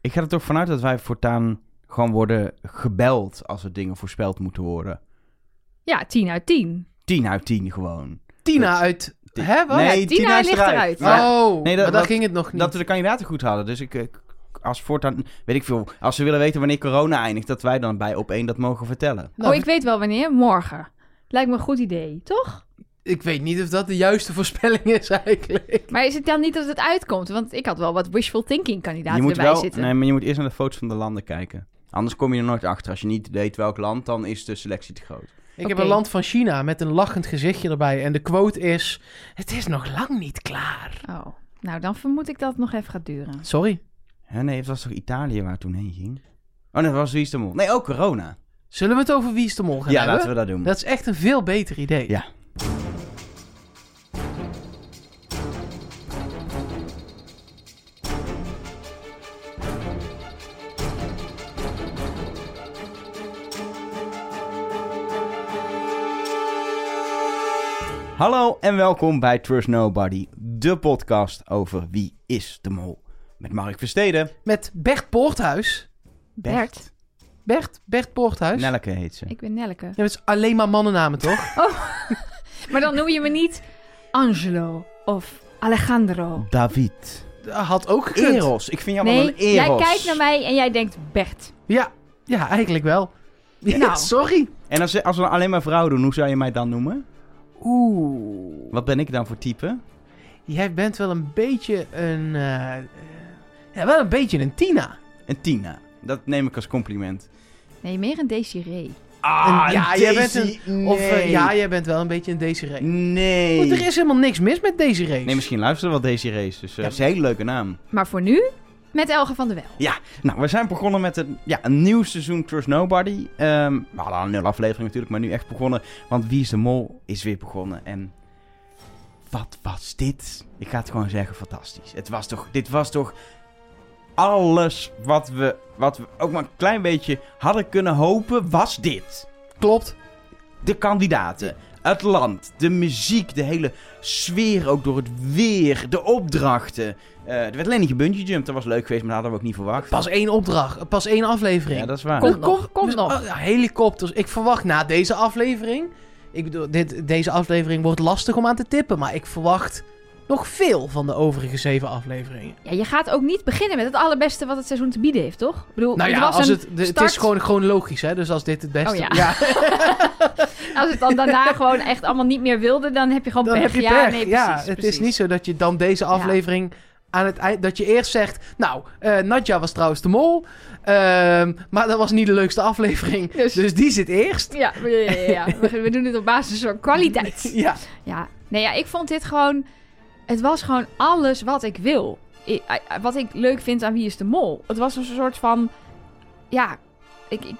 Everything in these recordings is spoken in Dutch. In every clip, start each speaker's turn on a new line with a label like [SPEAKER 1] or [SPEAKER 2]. [SPEAKER 1] Ik ga er toch vanuit dat wij voortaan gewoon worden gebeld als er dingen voorspeld moeten worden.
[SPEAKER 2] Ja, 10 uit 10.
[SPEAKER 1] 10 uit 10 gewoon.
[SPEAKER 3] Tina uit...
[SPEAKER 1] Ti-
[SPEAKER 3] Hè, wat?
[SPEAKER 2] Nee, Tina ligt eruit.
[SPEAKER 1] Maar nee,
[SPEAKER 3] oh,
[SPEAKER 1] dat-
[SPEAKER 3] maar daar
[SPEAKER 1] dat-
[SPEAKER 3] ging het nog niet.
[SPEAKER 1] Dat we de kandidaten goed hadden. Dus ik, eh, als voortaan, weet ik veel, als ze willen weten wanneer corona eindigt, dat wij dan bij op één dat mogen vertellen.
[SPEAKER 3] Nou,
[SPEAKER 2] oh, ik weet wel wanneer. Morgen. Lijkt me een goed idee, toch?
[SPEAKER 3] Ik weet niet of dat de juiste voorspelling is eigenlijk.
[SPEAKER 2] Maar is het dan niet dat het uitkomt? Want ik had wel wat wishful thinking
[SPEAKER 1] je
[SPEAKER 2] kandidaten
[SPEAKER 1] moet
[SPEAKER 2] erbij
[SPEAKER 1] wel,
[SPEAKER 2] zitten.
[SPEAKER 1] nee, maar je moet eerst naar de foto's van de landen kijken. Anders kom je er nooit achter. Als je niet weet welk land, dan is de selectie te groot.
[SPEAKER 3] Ik heb
[SPEAKER 2] Oké.
[SPEAKER 3] een land van China met een lachend gezichtje erbij. En de quote is... Het is nog lang niet klaar.
[SPEAKER 2] Oh, nou dan vermoed ik dat het nog even gaat duren.
[SPEAKER 3] Sorry.
[SPEAKER 1] Hè, nee, het was toch Italië waar het toen heen ging? Oh, dat was Wie is de Mol. Nee, ook corona.
[SPEAKER 3] Zullen we het over Wie is de Mol gaan
[SPEAKER 1] Ja,
[SPEAKER 3] hebben?
[SPEAKER 1] laten we dat doen.
[SPEAKER 3] Dat is echt een veel beter idee.
[SPEAKER 1] Ja. Hallo en welkom bij Trust Nobody, de podcast over wie is de mol. Met Mark Versteden.
[SPEAKER 3] Met Bert Poorthuis.
[SPEAKER 2] Bert.
[SPEAKER 3] Bert, Bert Poorthuis. Ja,
[SPEAKER 1] Nelke heet ze.
[SPEAKER 2] Ik ben Nelke.
[SPEAKER 3] maar het is alleen maar mannennamen, toch?
[SPEAKER 2] Maar dan noem je me niet Angelo of Alejandro.
[SPEAKER 1] David.
[SPEAKER 3] Had ook gekund.
[SPEAKER 1] Eros. Ik vind jou wel
[SPEAKER 2] Nee,
[SPEAKER 1] een Eros.
[SPEAKER 2] jij kijkt naar mij en jij denkt Bert.
[SPEAKER 3] Ja, ja, eigenlijk wel. Ja,
[SPEAKER 2] Nou.
[SPEAKER 3] sorry.
[SPEAKER 1] En als, als we alleen maar vrouw doen, hoe zou je mij dan noemen?
[SPEAKER 3] Oeh.
[SPEAKER 1] Wat ben ik dan voor type?
[SPEAKER 3] Jij bent wel een beetje een... eh, eh, ja, wel een beetje een Tina.
[SPEAKER 1] Een Tina. Dat neem ik als compliment.
[SPEAKER 2] Nee, meer een Desiree.
[SPEAKER 3] Ah,
[SPEAKER 1] Een-
[SPEAKER 3] ja, jij bent
[SPEAKER 1] Daisy,
[SPEAKER 3] een... Of eh,
[SPEAKER 1] nee.
[SPEAKER 3] ja, jij bent wel een beetje een Desiree.
[SPEAKER 1] Nee.
[SPEAKER 3] Goed, er is helemaal niks mis met deze race.
[SPEAKER 1] Nee, misschien luisteren wel deze race. Dus eh,
[SPEAKER 3] Ja.
[SPEAKER 1] dat is een hele leuke naam.
[SPEAKER 2] Maar voor nu met Elge van der Wel.
[SPEAKER 1] Nou, we zijn begonnen met een, ja, een nieuw seizoen Trust Nobody. Ehm we hadden al nul aflevering natuurlijk, maar nu echt begonnen. Want Wie is de Mol is weer begonnen. En wat was dit? Ik ga het gewoon zeggen, fantastisch. Het was toch, dit was toch alles wat we, wat we ook maar een klein beetje hadden kunnen hopen, was dit.
[SPEAKER 3] Klopt.
[SPEAKER 1] De kandidaten, het land, de muziek, de hele sfeer ook door het weer, de opdrachten. Eh, er werd alleen niet gebungee jump, dat was leuk geweest, maar dat hadden we ook niet verwacht.
[SPEAKER 3] Pas één opdracht, pas één aflevering.
[SPEAKER 1] Ja, dat is waar.
[SPEAKER 2] Komt nog. Komt
[SPEAKER 3] Dus,
[SPEAKER 2] nog.
[SPEAKER 3] oh, ja, helikopters. Ik verwacht na deze aflevering... Ik bedoel, dit, deze aflevering wordt lastig om aan te tippen, maar ik verwacht nog veel van de overige zeven afleveringen.
[SPEAKER 2] Ja, je gaat ook niet beginnen met het allerbeste wat het seizoen te bieden heeft, toch? Ik bedoel,
[SPEAKER 3] Nou
[SPEAKER 2] Oh, het
[SPEAKER 3] ja,
[SPEAKER 2] was
[SPEAKER 3] als
[SPEAKER 2] een
[SPEAKER 3] het, de- het
[SPEAKER 2] start-
[SPEAKER 3] is gewoon chronologisch, hè? Dus als dit het beste
[SPEAKER 2] Oh ja.
[SPEAKER 3] ja.
[SPEAKER 2] als het dan daarna gewoon echt allemaal niet meer wilde, dan heb je gewoon
[SPEAKER 3] Dan
[SPEAKER 2] pech.
[SPEAKER 3] heb je
[SPEAKER 2] Ja,
[SPEAKER 3] pech.
[SPEAKER 2] nee,
[SPEAKER 3] ja,
[SPEAKER 2] precies,
[SPEAKER 3] het
[SPEAKER 2] precies.
[SPEAKER 3] is niet zo dat je dan deze aflevering aan het eind... Dat je eerst zegt, nou, eh Nadja was trouwens de mol. ehm, maar dat was niet de leukste aflevering. Dus,
[SPEAKER 2] Dus-
[SPEAKER 3] die zit eerst.
[SPEAKER 2] Ja, ja, ja, ja. We, we doen het op basis van kwaliteit.
[SPEAKER 3] Ja,
[SPEAKER 2] Ja, nee, ja, ik vond dit gewoon... Het was gewoon alles wat ik wil. I- I- wat ik leuk vind aan Wie is de Mol. Het was een soort van... Ja, ik... ik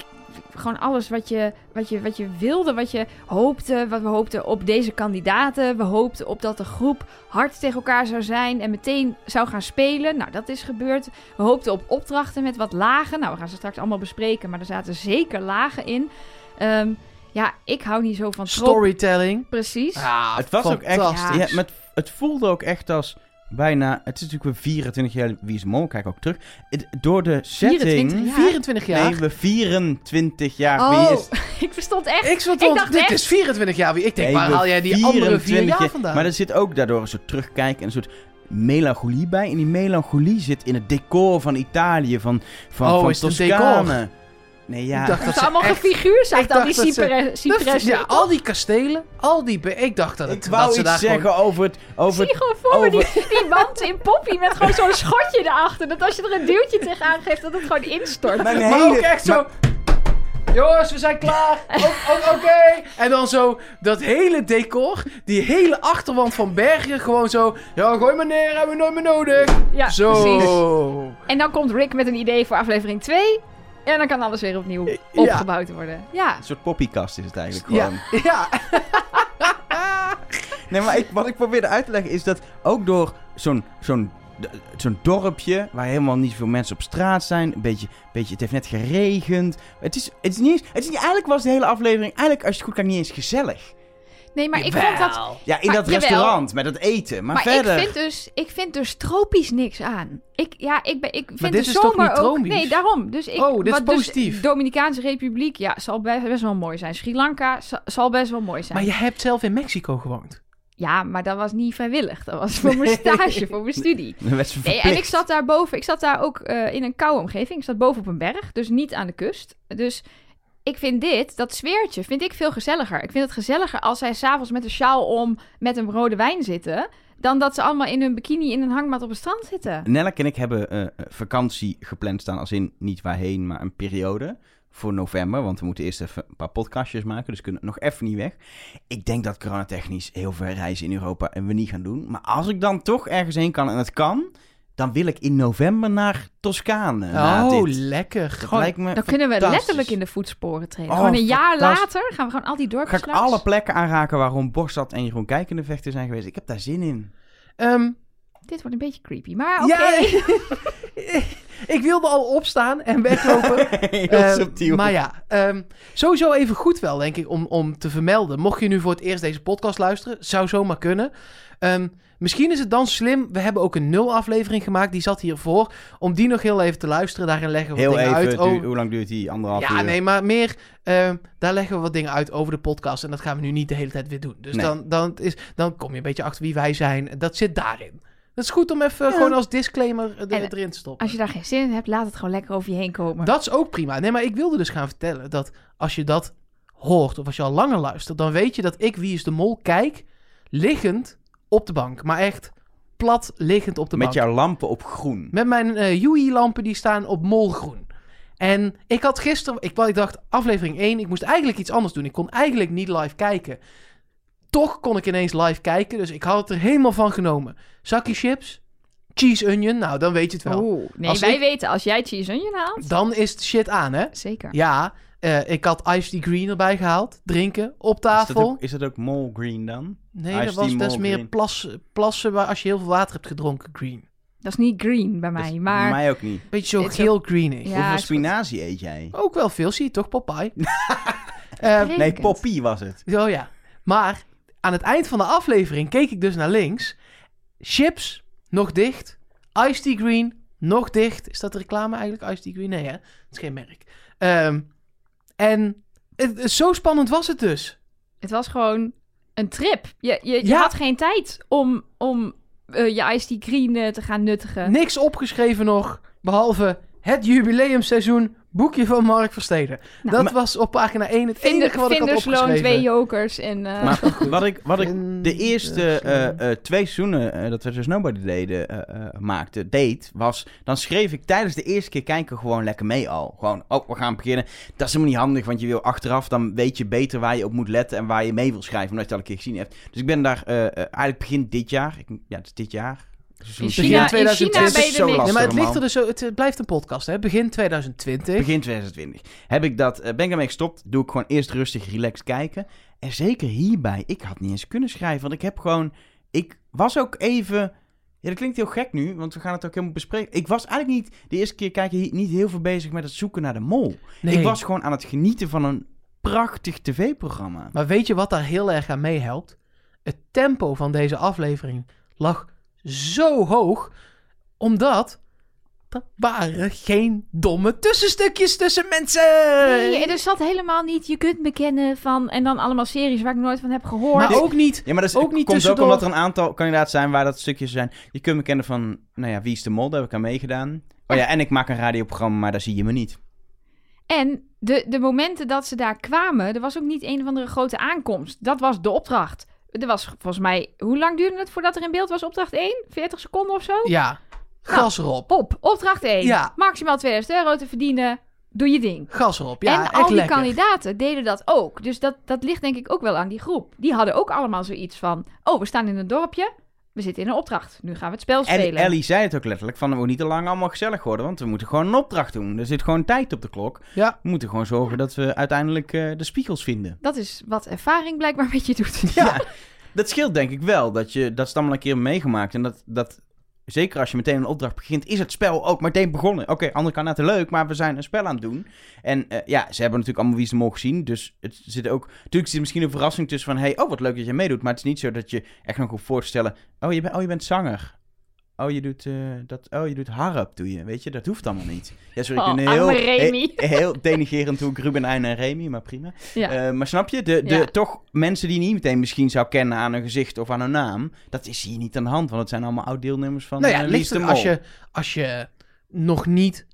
[SPEAKER 2] gewoon alles wat je, wat, je, wat je wilde, wat je hoopte. Wat we hoopten op deze kandidaten. We hoopten op dat de groep hard tegen elkaar zou zijn en meteen zou gaan spelen. Nou, dat is gebeurd. We hoopten op opdrachten met wat lagen. Nou, we gaan ze straks allemaal bespreken, maar er zaten zeker lagen in. Ehm, ja, ik hou niet zo van trope.
[SPEAKER 3] storytelling.
[SPEAKER 2] Precies.
[SPEAKER 3] Ja,
[SPEAKER 1] Het was ook echt.
[SPEAKER 3] fantastisch.
[SPEAKER 1] Ja, maar het, het voelde ook echt als bijna. Het is natuurlijk weer 24 jaar Wie is de Mol, kijk ook terug. Het- door de setting.
[SPEAKER 2] 24 jaar.
[SPEAKER 3] 24 jaar.
[SPEAKER 1] Nee, we 24 jaar Wie
[SPEAKER 2] Oh,
[SPEAKER 1] is.
[SPEAKER 2] ik verstond echt.
[SPEAKER 3] ik zat
[SPEAKER 2] Ik
[SPEAKER 3] al-
[SPEAKER 2] dacht
[SPEAKER 3] dit
[SPEAKER 2] echt-
[SPEAKER 3] is 24 jaar. wie- Ik denk,
[SPEAKER 1] Nee,
[SPEAKER 3] waar
[SPEAKER 1] we
[SPEAKER 3] haal jij die andere vier
[SPEAKER 1] 24
[SPEAKER 3] jaar vandaan?
[SPEAKER 1] Maar er zit ook daardoor een soort terugkijk en een soort melancholie bij. En die melancholie zit in het decor van Italië, van, van,
[SPEAKER 3] Oh,
[SPEAKER 1] van
[SPEAKER 3] is het een
[SPEAKER 1] Toscane. Nee, ja.
[SPEAKER 3] Ik dacht
[SPEAKER 2] Dat
[SPEAKER 3] dat
[SPEAKER 2] ze
[SPEAKER 3] ze
[SPEAKER 2] allemaal
[SPEAKER 3] echt...
[SPEAKER 2] gefiguurd zijn,
[SPEAKER 3] ik
[SPEAKER 2] al
[SPEAKER 3] dacht
[SPEAKER 2] die
[SPEAKER 3] dat ze-
[SPEAKER 2] cypre-
[SPEAKER 3] Dat-
[SPEAKER 2] cypressen.
[SPEAKER 3] Ja, al die kastelen, al die... be- Ik dacht dat, het,
[SPEAKER 1] ik wou
[SPEAKER 3] dat ze daar
[SPEAKER 1] iets
[SPEAKER 3] gewoon-
[SPEAKER 1] zeggen over het. Over
[SPEAKER 2] Zie
[SPEAKER 1] het
[SPEAKER 2] je gewoon voor me
[SPEAKER 1] over-
[SPEAKER 2] die, die wand in Poppy met gewoon zo'n schotje erachter. Dat als je er een duwtje tegenaan geeft, dat het gewoon instort.
[SPEAKER 1] mijn
[SPEAKER 3] Maar ook
[SPEAKER 1] hele-
[SPEAKER 3] echt zo. Jongens, we zijn klaar. O- o- Oké. En dan zo dat hele decor, die hele achterwand van Bergen, gewoon zo. Ja, gooi maar neer, hebben we nooit meer nodig.
[SPEAKER 2] Ja,
[SPEAKER 3] zo.
[SPEAKER 2] precies. En dan komt Rick met een idee voor aflevering 2. En dan kan alles weer opnieuw
[SPEAKER 3] Ja.
[SPEAKER 2] opgebouwd worden. Ja.
[SPEAKER 1] Een soort poppiekast is het eigenlijk
[SPEAKER 3] Ja.
[SPEAKER 1] gewoon.
[SPEAKER 3] Ja,
[SPEAKER 1] Nee, maar ik, wat ik probeerde uit te leggen is dat ook door zo'n zo'n d- zo'n dorpje waar helemaal niet veel mensen op straat zijn, een beetje, beetje het heeft net geregend. Het is, het is niet eens, het is niet, eigenlijk was de hele aflevering eigenlijk als je het goed kijkt niet eens gezellig.
[SPEAKER 2] Nee, maar ik vond dat...
[SPEAKER 1] Ja, in
[SPEAKER 2] Maar
[SPEAKER 1] dat
[SPEAKER 2] Ah, jawel.
[SPEAKER 1] restaurant met dat eten. Maar,
[SPEAKER 2] Maar
[SPEAKER 1] verder.
[SPEAKER 2] ik vind, dus, ik vind dus tropisch niks aan. Ik, ja, ik, ben, ik vind
[SPEAKER 3] dit
[SPEAKER 2] de
[SPEAKER 3] is toch
[SPEAKER 2] zomer
[SPEAKER 3] niet
[SPEAKER 2] ook...
[SPEAKER 3] tropisch?
[SPEAKER 2] Nee, daarom. Dus ik,
[SPEAKER 3] Oh, dit is
[SPEAKER 2] wat dus
[SPEAKER 3] positief.
[SPEAKER 2] Dominicaanse Republiek, ja, zal be- best wel mooi zijn. Sri Lanka zal, zal best wel mooi zijn.
[SPEAKER 3] Maar je hebt zelf in Mexico gewoond.
[SPEAKER 2] Ja, maar dat was niet vrijwillig. Dat was voor mijn
[SPEAKER 3] Nee.
[SPEAKER 2] stage, voor mijn studie.
[SPEAKER 1] Dan werd ze
[SPEAKER 2] Nee, en
[SPEAKER 1] verplicht.
[SPEAKER 2] ik zat daar boven. Ik zat daar ook eh, in een koude omgeving. Ik zat boven op een berg, dus niet aan de kust. Dus ik vind dit, dat sfeertje, vind ik veel gezelliger. Ik vind het gezelliger als zij s'avonds met een sjaal om met een rode wijn zitten... dan dat ze allemaal in hun bikini in een hangmat op het strand zitten.
[SPEAKER 1] Nellek en ik hebben eh, vakantie gepland staan, als in niet waarheen, maar een periode voor november. Want we moeten eerst even een paar podcastjes maken, dus kunnen nog even niet weg. Ik denk dat coronatechnisch heel veel reizen in Europa en we niet gaan doen. Maar als ik dan toch ergens heen kan en het kan, dan wil ik in november naar Toscane. eh, na
[SPEAKER 3] oh,
[SPEAKER 1] dit.
[SPEAKER 3] lekker.
[SPEAKER 1] Dat
[SPEAKER 3] Gewoon-
[SPEAKER 1] lijkt me
[SPEAKER 2] Dan kunnen we
[SPEAKER 1] fantastisch.
[SPEAKER 2] letterlijk in de voetsporen treden.
[SPEAKER 1] Oh,
[SPEAKER 2] gewoon een jaar
[SPEAKER 1] fantastisch.
[SPEAKER 2] later gaan we gewoon al die
[SPEAKER 1] Ga
[SPEAKER 2] dorpjes
[SPEAKER 1] ik
[SPEAKER 2] langs.
[SPEAKER 1] alle plekken aanraken waarom Borstad en Jeroen Kijk in de vechten zijn geweest. Ik heb daar zin in.
[SPEAKER 3] Ehm,
[SPEAKER 2] Dit wordt een beetje creepy, maar oké.
[SPEAKER 3] Ja, ik wilde al opstaan en weglopen.
[SPEAKER 1] Heel
[SPEAKER 3] Eh,
[SPEAKER 1] subtiel.
[SPEAKER 3] maar ja, ehm, sowieso even goed wel, denk ik, om, om te vermelden. Mocht je nu voor het eerst deze podcast luisteren, zou zomaar kunnen. Ehm, misschien is het dan slim, we hebben ook een nul aflevering gemaakt, die zat hiervoor. Om die nog heel even te luisteren, daarin leggen we
[SPEAKER 1] Heel
[SPEAKER 3] wat dingen
[SPEAKER 1] even,
[SPEAKER 3] uit.
[SPEAKER 1] het
[SPEAKER 3] over-
[SPEAKER 1] duurt- hoe lang duurt die? Anderhalf
[SPEAKER 3] ja,
[SPEAKER 1] uur?
[SPEAKER 3] nee, maar meer, ehm, daar leggen we wat dingen uit over de podcast. En dat gaan we nu niet de hele tijd weer doen. Dus
[SPEAKER 1] Nee.
[SPEAKER 3] dan, dan, is, dan kom je een beetje achter wie wij zijn. Dat zit daarin. Dat is goed om even gewoon als disclaimer eh, er-
[SPEAKER 2] En,
[SPEAKER 3] erin te stoppen.
[SPEAKER 2] Als je daar geen zin in hebt, laat het gewoon lekker over je heen komen.
[SPEAKER 3] Dat is ook prima. Nee, maar ik wilde dus gaan vertellen dat als je dat hoort of als je al langer luistert, dan weet je dat ik Wie is de Mol kijk liggend op de bank. Maar echt plat liggend op de
[SPEAKER 1] Met
[SPEAKER 3] bank.
[SPEAKER 1] jouw lampen op groen.
[SPEAKER 3] Met mijn eh Yui-lampen die staan op molgroen. En ik had gisteren, ik, ik dacht aflevering 1, ik moest eigenlijk iets anders doen. Ik kon eigenlijk niet live kijken. Toch kon ik ineens live kijken, dus ik had het er helemaal van genomen. Zakkie chips, cheese onion, nou dan weet je het wel.
[SPEAKER 2] Oeh, nee,
[SPEAKER 3] Als
[SPEAKER 2] wij
[SPEAKER 3] ik-
[SPEAKER 2] weten, als jij cheese onion haalt...
[SPEAKER 3] Dan is het shit aan, hè?
[SPEAKER 2] Zeker.
[SPEAKER 3] Ja, eh, ik had Ice Tea Green erbij gehaald. Drinken op
[SPEAKER 1] Is dat
[SPEAKER 3] tafel.
[SPEAKER 1] ook, is dat ook mol green dan?
[SPEAKER 3] Nee,
[SPEAKER 1] Iced
[SPEAKER 3] dat
[SPEAKER 1] Tea
[SPEAKER 3] was best
[SPEAKER 1] Malt
[SPEAKER 3] meer
[SPEAKER 1] Green.
[SPEAKER 3] plas, plassen waar, als je heel veel water hebt gedronken green.
[SPEAKER 2] Dat is niet green bij mij,
[SPEAKER 1] Dat is
[SPEAKER 2] maar...
[SPEAKER 1] Mij ook niet.
[SPEAKER 3] Beetje zo
[SPEAKER 2] Dit is ook-
[SPEAKER 3] geel greenig.
[SPEAKER 2] Ja,
[SPEAKER 1] Hoeveel
[SPEAKER 2] is goed.
[SPEAKER 1] spinazie eet jij?
[SPEAKER 3] Ook wel veel, zie je toch, Popeye? Eh,
[SPEAKER 1] Nee,
[SPEAKER 2] Sprekend.
[SPEAKER 1] poppy was het.
[SPEAKER 3] oh ja. Maar aan het eind van de aflevering keek ik dus naar links. Chips, nog dicht. Ice Tea Green, nog dicht. Is dat reclame eigenlijk, Ice Tea Green? Nee hè, dat is geen merk. Ehm, en het- het- zo spannend was het dus.
[SPEAKER 2] Het was gewoon een trip. Je, je, je
[SPEAKER 3] Ja.
[SPEAKER 2] had geen tijd om, om eh, je iced tea green eh, te gaan nuttigen.
[SPEAKER 3] Niks opgeschreven nog, behalve het jubileumseizoen boekje van Mark Versteden.
[SPEAKER 2] Nou,
[SPEAKER 3] dat
[SPEAKER 1] maar-
[SPEAKER 3] was op pagina 1 het
[SPEAKER 2] Vinder-
[SPEAKER 3] enige wat ik had
[SPEAKER 2] Vindersloon,
[SPEAKER 3] opgeschreven.
[SPEAKER 2] twee jokers en... eh,
[SPEAKER 1] Maar wat ik, wat ik
[SPEAKER 3] Vind-
[SPEAKER 1] de eerste
[SPEAKER 3] eh,
[SPEAKER 1] eh, eh, twee seizoenen eh, dat we dus Nobody deden, eh, eh, maakte, deed, was... Dan schreef ik tijdens de eerste keer kijken gewoon lekker mee al. Gewoon, oh, we gaan beginnen. Dat is helemaal niet handig, want je wil achteraf... Dan weet je beter waar je op moet letten en waar je mee wil schrijven. Omdat je het al een keer gezien hebt. Dus ik ben daar eh, eh, eigenlijk begin dit jaar... Ik, ja, het is dit jaar.
[SPEAKER 2] in
[SPEAKER 1] seizoen
[SPEAKER 2] China, in
[SPEAKER 3] 2020
[SPEAKER 2] China ben je
[SPEAKER 1] is
[SPEAKER 2] er
[SPEAKER 1] zo
[SPEAKER 2] niks.
[SPEAKER 1] lastig.
[SPEAKER 3] Nee, maar het
[SPEAKER 1] man.
[SPEAKER 3] ligt er dus zo, het eh, blijft een podcast, hè? Begin 2020.
[SPEAKER 1] Begin 2020. Heb ik dat, eh, ben ik daarmee gestopt, doe ik gewoon eerst rustig, relaxed kijken. En zeker hierbij, ik had niet eens kunnen schrijven, want ik heb gewoon... Ik was ook even... Ja, dat klinkt heel gek nu, want we gaan het ook helemaal bespreken. Ik was eigenlijk niet, de eerste keer kijken, hier niet heel veel bezig met het zoeken naar de mol.
[SPEAKER 3] Nee.
[SPEAKER 1] Ik was gewoon aan het genieten van een prachtig tv-programma.
[SPEAKER 3] Maar weet je wat daar heel erg aan meehelpt? Het tempo van deze aflevering lag zo hoog, omdat er waren geen domme tussenstukjes tussen mensen.
[SPEAKER 2] Nee, er zat helemaal niet, je kunt me kennen van... En dan allemaal series waar ik nooit van heb gehoord.
[SPEAKER 3] maar ook niet
[SPEAKER 1] Ja, maar dat is,
[SPEAKER 3] Ook niet
[SPEAKER 1] komt ook
[SPEAKER 3] tussendoor.
[SPEAKER 1] omdat er een aantal kandidaten zijn waar dat stukjes zijn. Je kunt me kennen van, nou ja, Wie is de Mol, daar heb ik aan meegedaan. Oh ja, en ik maak een radioprogramma, maar daar zie je me niet.
[SPEAKER 2] En de, de momenten dat ze daar kwamen, er was ook niet een of andere grote aankomst. Dat was de opdracht. Er was volgens mij, hoe lang duurde het voordat er in beeld was opdracht 1? 40 seconden of zo?
[SPEAKER 3] Ja,
[SPEAKER 2] Nou.
[SPEAKER 3] gas erop.
[SPEAKER 2] Pop, opdracht 1.
[SPEAKER 3] Ja.
[SPEAKER 2] Maximaal 2000 euro te verdienen. Doe je ding.
[SPEAKER 3] Gas erop. Ja,
[SPEAKER 2] en
[SPEAKER 3] echt
[SPEAKER 2] al die
[SPEAKER 3] lekker.
[SPEAKER 2] kandidaten deden dat ook. Dus dat, dat ligt denk ik ook wel aan die groep. Die hadden ook allemaal zoiets van... Oh, we staan in een dorpje. We zitten in een opdracht. Nu gaan we het spel
[SPEAKER 1] En
[SPEAKER 2] spelen.
[SPEAKER 1] Ellie zei het ook letterlijk: van het moet niet te lang allemaal gezellig worden, want we moeten gewoon een opdracht doen. Er zit gewoon tijd op de klok.
[SPEAKER 3] Ja.
[SPEAKER 1] We moeten gewoon zorgen dat we uiteindelijk eh, de spiegels vinden.
[SPEAKER 2] Dat is wat ervaring blijkbaar met je doet.
[SPEAKER 1] Ja. dat scheelt denk ik wel. Dat, je, dat is het allemaal een keer meegemaakt. En dat, dat zeker als je meteen een opdracht begint, is het spel ook meteen begonnen. Oké, andere kan het leuk, maar we zijn een spel aan het doen. En eh, ja, ze hebben natuurlijk allemaal wie ze mogen zien. Dus het zit ook. Natuurlijk zit er misschien een verrassing tussen van: hey, oh, wat leuk dat je meedoet. Maar het is niet zo dat je echt nog hoeft voor te stellen: oh, je, bent, oh, je bent zanger. Oh, je doet, eh, dat, oh, je doet harp, doe je. Weet je, dat hoeft allemaal niet. Ja, sorry, ik
[SPEAKER 2] Oh,
[SPEAKER 1] ben heel,
[SPEAKER 2] arme Remy.
[SPEAKER 1] he- heel denigerend hoe ik Ruben, Eijn en Remy, maar prima.
[SPEAKER 2] Ja.
[SPEAKER 1] Eh, maar snap je? De, de,
[SPEAKER 2] Ja.
[SPEAKER 1] Toch mensen die je niet meteen misschien zou kennen aan hun gezicht of aan hun naam. Dat is hier niet aan de hand, want het zijn allemaal oud-deelnemers van
[SPEAKER 3] nou
[SPEAKER 1] eh,
[SPEAKER 3] ja,
[SPEAKER 1] Lies
[SPEAKER 3] ligt
[SPEAKER 1] de
[SPEAKER 3] er,
[SPEAKER 1] Mol.
[SPEAKER 3] als, je, als je nog niet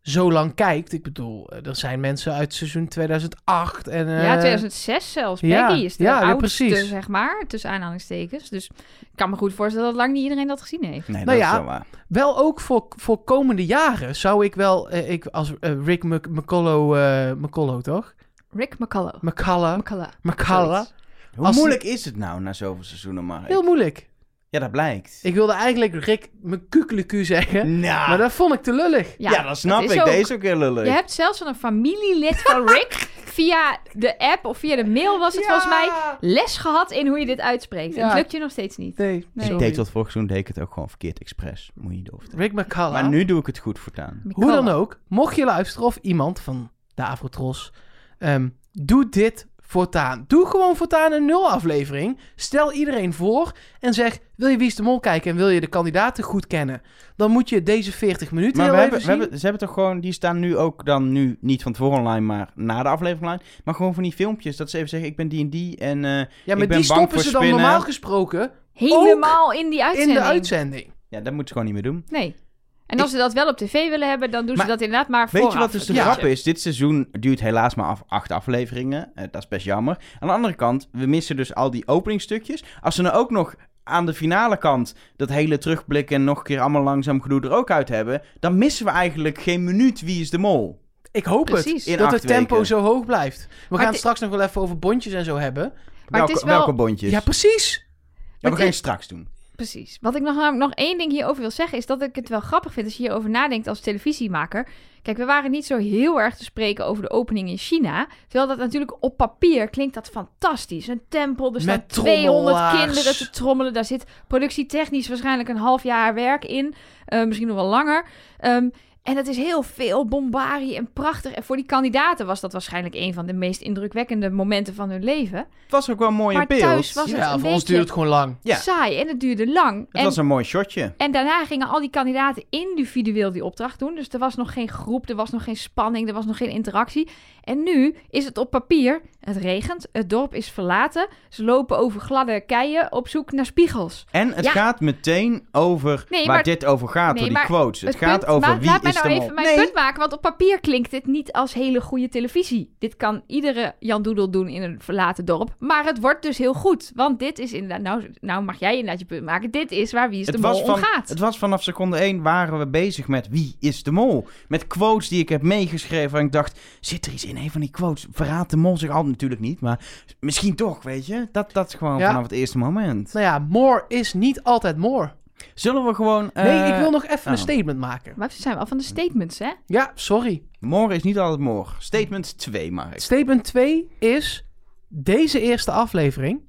[SPEAKER 3] zo lang kijkt. Ik bedoel, eh, er zijn mensen uit seizoen 2008 en... eh,
[SPEAKER 2] ja, 2006 zelfs.
[SPEAKER 3] ja,
[SPEAKER 2] Peggy is de
[SPEAKER 3] ja, ja,
[SPEAKER 2] oudste,
[SPEAKER 3] precies.
[SPEAKER 2] zeg maar, tussen aanhalingstekens. Dus ik kan me goed voorstellen dat lang niet iedereen dat gezien heeft.
[SPEAKER 1] Nee,
[SPEAKER 3] Nou
[SPEAKER 1] dat
[SPEAKER 3] ja.
[SPEAKER 1] is wel waar.
[SPEAKER 3] Wel ook voor, voor komende jaren zou ik wel... eh, ik, als eh, Rick Mc- McCollough, eh, McCollough, toch?
[SPEAKER 2] Rick McCullough.
[SPEAKER 3] McCullough.
[SPEAKER 2] McCullough.
[SPEAKER 3] McCullough.
[SPEAKER 2] zoiets.
[SPEAKER 1] Hoe
[SPEAKER 3] Als-
[SPEAKER 1] moeilijk is het nou na zoveel seizoenen, maar
[SPEAKER 3] Heel moeilijk.
[SPEAKER 1] Ja, dat blijkt.
[SPEAKER 3] Ik wilde eigenlijk Rick McCuckelecu zeggen.
[SPEAKER 1] Nou,
[SPEAKER 3] Maar dat vond ik te lullig.
[SPEAKER 1] ja, dat snap
[SPEAKER 2] is
[SPEAKER 1] ik.
[SPEAKER 2] ook-
[SPEAKER 1] Deze is ook heel lullig.
[SPEAKER 2] Je hebt zelfs van een familielid van Rick via de app of via de mail was het
[SPEAKER 3] Ja.
[SPEAKER 2] volgens mij les gehad in hoe je dit uitspreekt. En
[SPEAKER 3] Ja.
[SPEAKER 2] het lukt je nog steeds niet.
[SPEAKER 3] Nee,
[SPEAKER 2] Nee.
[SPEAKER 1] Ik
[SPEAKER 3] sorry.
[SPEAKER 1] deed dat vorig seizoen, deed ik het ook gewoon verkeerd expres. Moet je niet over.
[SPEAKER 3] Rick McCullough.
[SPEAKER 1] Maar nu doe ik het goed voortaan.
[SPEAKER 3] Hoe
[SPEAKER 2] McCullough.
[SPEAKER 3] dan ook, mocht je luisteren of iemand van de Avrotros, ehm, doe dit voortaan. Doe gewoon voortaan een nul aflevering. Stel iedereen voor en zeg, wil je Wie is de Mol kijken en wil je de kandidaten goed kennen? Dan moet je deze 40 minuten
[SPEAKER 1] Maar
[SPEAKER 3] heel
[SPEAKER 1] we
[SPEAKER 3] even
[SPEAKER 1] hebben, we
[SPEAKER 3] zien.
[SPEAKER 1] hebben, ze hebben toch gewoon, die staan nu ook dan nu niet van tevoren online, maar na de aflevering online. Maar gewoon van die filmpjes, dat ze even zeggen, ik ben die en die en eh,
[SPEAKER 3] ja, maar
[SPEAKER 1] ik ben
[SPEAKER 3] die
[SPEAKER 1] bang
[SPEAKER 3] stoppen
[SPEAKER 1] voor
[SPEAKER 3] ze dan
[SPEAKER 1] spinnen.
[SPEAKER 3] normaal gesproken
[SPEAKER 2] Helemaal in die
[SPEAKER 3] in
[SPEAKER 2] uitzending.
[SPEAKER 3] de uitzending.
[SPEAKER 1] ja, dat moeten ze gewoon niet meer doen.
[SPEAKER 2] Nee. En als ze dat wel op tv willen hebben, dan doen
[SPEAKER 1] Maar
[SPEAKER 2] ze dat inderdaad maar
[SPEAKER 1] Weet
[SPEAKER 2] vooraf.
[SPEAKER 1] je wat dus de
[SPEAKER 3] Ja.
[SPEAKER 1] grap is? Dit seizoen duurt helaas maar af acht afleveringen. Eh, dat is best jammer. Aan de andere kant, we missen dus al die openingstukjes. Als ze nou ook nog aan de finale kant dat hele terugblikken en nog een keer allemaal langzaam gedoe er ook uit hebben, dan missen we eigenlijk geen minuut Wie is de Mol.
[SPEAKER 3] Ik hoop
[SPEAKER 2] Precies.
[SPEAKER 1] In
[SPEAKER 3] het, dat
[SPEAKER 1] acht
[SPEAKER 3] het tempo
[SPEAKER 1] weken.
[SPEAKER 3] zo hoog blijft. We gaan het
[SPEAKER 2] dit-
[SPEAKER 3] straks nog wel even over bondjes en zo hebben.
[SPEAKER 2] Maar het
[SPEAKER 1] welke,
[SPEAKER 2] is wel-
[SPEAKER 1] welke bondjes?
[SPEAKER 3] Ja, precies.
[SPEAKER 1] Ja, we
[SPEAKER 2] het
[SPEAKER 1] gaan het
[SPEAKER 2] is-
[SPEAKER 1] straks doen.
[SPEAKER 2] Precies. Wat ik nog, nog één ding hierover wil zeggen, is dat ik het wel grappig vind als je hierover nadenkt als televisiemaker. Kijk, we waren niet zo heel erg te spreken over de opening in China. Terwijl dat natuurlijk op papier klinkt dat fantastisch. Een tempel, er staan
[SPEAKER 3] Met
[SPEAKER 2] 200
[SPEAKER 3] trommelaars.
[SPEAKER 2] kinderen te trommelen. Daar zit productietechnisch waarschijnlijk een half jaar werk in. Eh, misschien nog wel langer. Ehm, en het is heel veel bombarie en prachtig. En voor die kandidaten was dat waarschijnlijk een van de meest indrukwekkende momenten van hun leven.
[SPEAKER 1] Het was ook wel een mooie
[SPEAKER 2] Maar
[SPEAKER 1] beeld.
[SPEAKER 2] thuis was het
[SPEAKER 3] Ja,
[SPEAKER 2] een
[SPEAKER 3] voor ons
[SPEAKER 2] beetje
[SPEAKER 3] duurt het gewoon lang.
[SPEAKER 1] Ja.
[SPEAKER 2] saai en het duurde lang.
[SPEAKER 1] Het
[SPEAKER 2] en
[SPEAKER 1] was een mooi shotje.
[SPEAKER 2] en daarna gingen al die kandidaten individueel die opdracht doen. Dus er was nog geen groep, er was nog geen spanning, er was nog geen interactie. En nu is het op papier. Het regent, het dorp is verlaten. Ze lopen over gladde keien op zoek naar spiegels.
[SPEAKER 1] En het
[SPEAKER 2] Ja.
[SPEAKER 1] gaat meteen over
[SPEAKER 2] Nee,
[SPEAKER 1] waar
[SPEAKER 2] maar-
[SPEAKER 1] dit over gaat,
[SPEAKER 2] Nee,
[SPEAKER 1] door die
[SPEAKER 2] maar
[SPEAKER 1] quotes. Dus Het, gaat
[SPEAKER 2] punt-
[SPEAKER 1] over
[SPEAKER 2] laat,
[SPEAKER 1] wie
[SPEAKER 2] laat mij
[SPEAKER 1] is
[SPEAKER 2] nou
[SPEAKER 1] de
[SPEAKER 2] even
[SPEAKER 1] mol.
[SPEAKER 2] mijn punt maken, want op papier klinkt dit niet als hele goede televisie. Dit kan iedere Jan Doedel doen in een verlaten dorp. Maar het wordt dus heel goed. Want dit is inderdaad... Nou, nou mag jij inderdaad je punt maken. Dit is waar Wie is de Mol om
[SPEAKER 1] van,
[SPEAKER 2] gaat.
[SPEAKER 1] het was vanaf seconde 1 waren we bezig met wie is de mol. Met quotes die ik heb meegeschreven. En ik dacht, zit er iets in een van die quotes? Verraadt de mol zich al natuurlijk niet, maar misschien toch, weet je? Dat, dat is gewoon
[SPEAKER 3] Ja.
[SPEAKER 1] vanaf het eerste moment.
[SPEAKER 3] Nou ja, more is niet altijd more.
[SPEAKER 1] Zullen we gewoon...
[SPEAKER 3] Nee,
[SPEAKER 1] eh,
[SPEAKER 3] ik wil nog even een
[SPEAKER 1] oh.
[SPEAKER 3] statement maken.
[SPEAKER 2] Maar we zijn wel van de statements, hè?
[SPEAKER 3] Ja, sorry.
[SPEAKER 1] Morgen is niet altijd morgen. Statement 2, Mark.
[SPEAKER 3] Statement 2 is: deze eerste aflevering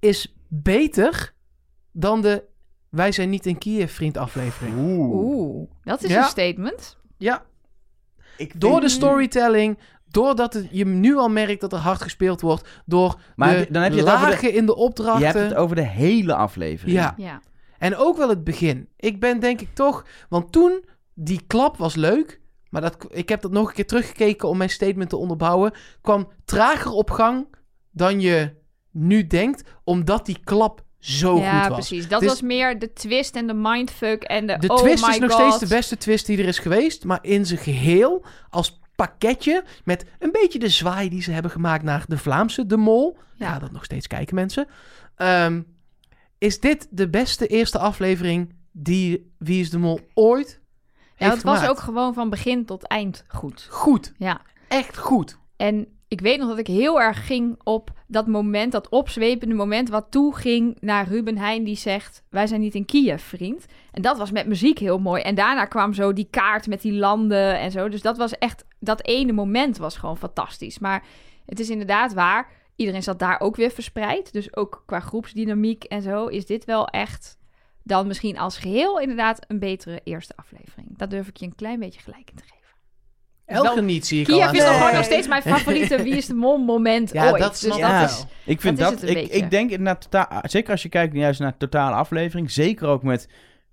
[SPEAKER 3] is beter dan de Wij zijn niet in Kiev vriend aflevering.
[SPEAKER 1] Oeh.
[SPEAKER 2] Oeh, dat is
[SPEAKER 3] Ja.
[SPEAKER 2] een statement.
[SPEAKER 3] Ja,
[SPEAKER 1] Ik
[SPEAKER 3] door
[SPEAKER 1] vind-
[SPEAKER 3] de storytelling, doordat het, je nu al merkt dat er hard gespeeld wordt, door
[SPEAKER 1] Maar
[SPEAKER 3] de
[SPEAKER 1] dan heb je het over
[SPEAKER 3] lagen
[SPEAKER 1] de-
[SPEAKER 3] in de
[SPEAKER 1] Je hebt
[SPEAKER 3] opdrachten.
[SPEAKER 1] het over de hele aflevering.
[SPEAKER 3] Ja.
[SPEAKER 2] Ja.
[SPEAKER 3] En ook wel het begin. Ik ben denk ik toch, want toen die klap was leuk, maar dat, ik heb dat nog een keer teruggekeken om mijn statement te onderbouwen, kwam trager op gang dan je nu denkt, omdat die klap zo
[SPEAKER 2] ja,
[SPEAKER 3] goed was.
[SPEAKER 2] precies. Dat
[SPEAKER 3] Het is-
[SPEAKER 2] was meer de twist en de mindfuck en de,
[SPEAKER 3] De
[SPEAKER 2] oh
[SPEAKER 3] twist
[SPEAKER 2] my
[SPEAKER 3] is nog
[SPEAKER 2] God.
[SPEAKER 3] steeds de beste twist die er is geweest, maar in zijn geheel als pakketje met een beetje de zwaai die ze hebben gemaakt naar de Vlaamse De Mol. Ja,
[SPEAKER 2] Ja.
[SPEAKER 3] dat nog steeds kijken mensen. Ehm, is dit de beste eerste aflevering die Wie is de Mol ooit
[SPEAKER 2] Ja,
[SPEAKER 3] heeft
[SPEAKER 2] het was
[SPEAKER 3] gemaakt?
[SPEAKER 2] ook gewoon van begin tot eind goed.
[SPEAKER 3] goed,
[SPEAKER 2] Ja.
[SPEAKER 3] echt goed.
[SPEAKER 2] En ik weet nog dat ik heel erg ging op dat moment, dat opzwepende moment, wat toeging naar Ruben Heijn die zegt: Wij zijn niet in Kiev, vriend. En dat was met muziek heel mooi. En daarna kwam zo die kaart met die landen en zo. Dus dat was echt, dat ene moment was gewoon fantastisch. Maar het is inderdaad waar, iedereen zat daar ook weer verspreid. Dus ook qua groepsdynamiek en zo is dit wel echt dan misschien als geheel inderdaad een betere eerste aflevering. Dat durf ik je een klein beetje gelijk in te geven.
[SPEAKER 3] Elke
[SPEAKER 2] Wel-
[SPEAKER 3] niet zie ik al
[SPEAKER 2] Kiev
[SPEAKER 3] aan
[SPEAKER 2] is
[SPEAKER 3] de
[SPEAKER 2] toch gewoon
[SPEAKER 3] hand.
[SPEAKER 2] nog steeds mijn favoriete Wie is de Mol moment
[SPEAKER 3] Ja,
[SPEAKER 2] ooit.
[SPEAKER 3] dat snap
[SPEAKER 2] dus
[SPEAKER 3] ik
[SPEAKER 1] dat
[SPEAKER 2] dat
[SPEAKER 3] wel.
[SPEAKER 2] is
[SPEAKER 1] Ik vind
[SPEAKER 2] Dat
[SPEAKER 1] dat,
[SPEAKER 2] is het een
[SPEAKER 1] ik,
[SPEAKER 2] beetje.
[SPEAKER 1] ik denk inderdaad, totaal, zeker als je kijkt juist naar de totale aflevering, zeker ook met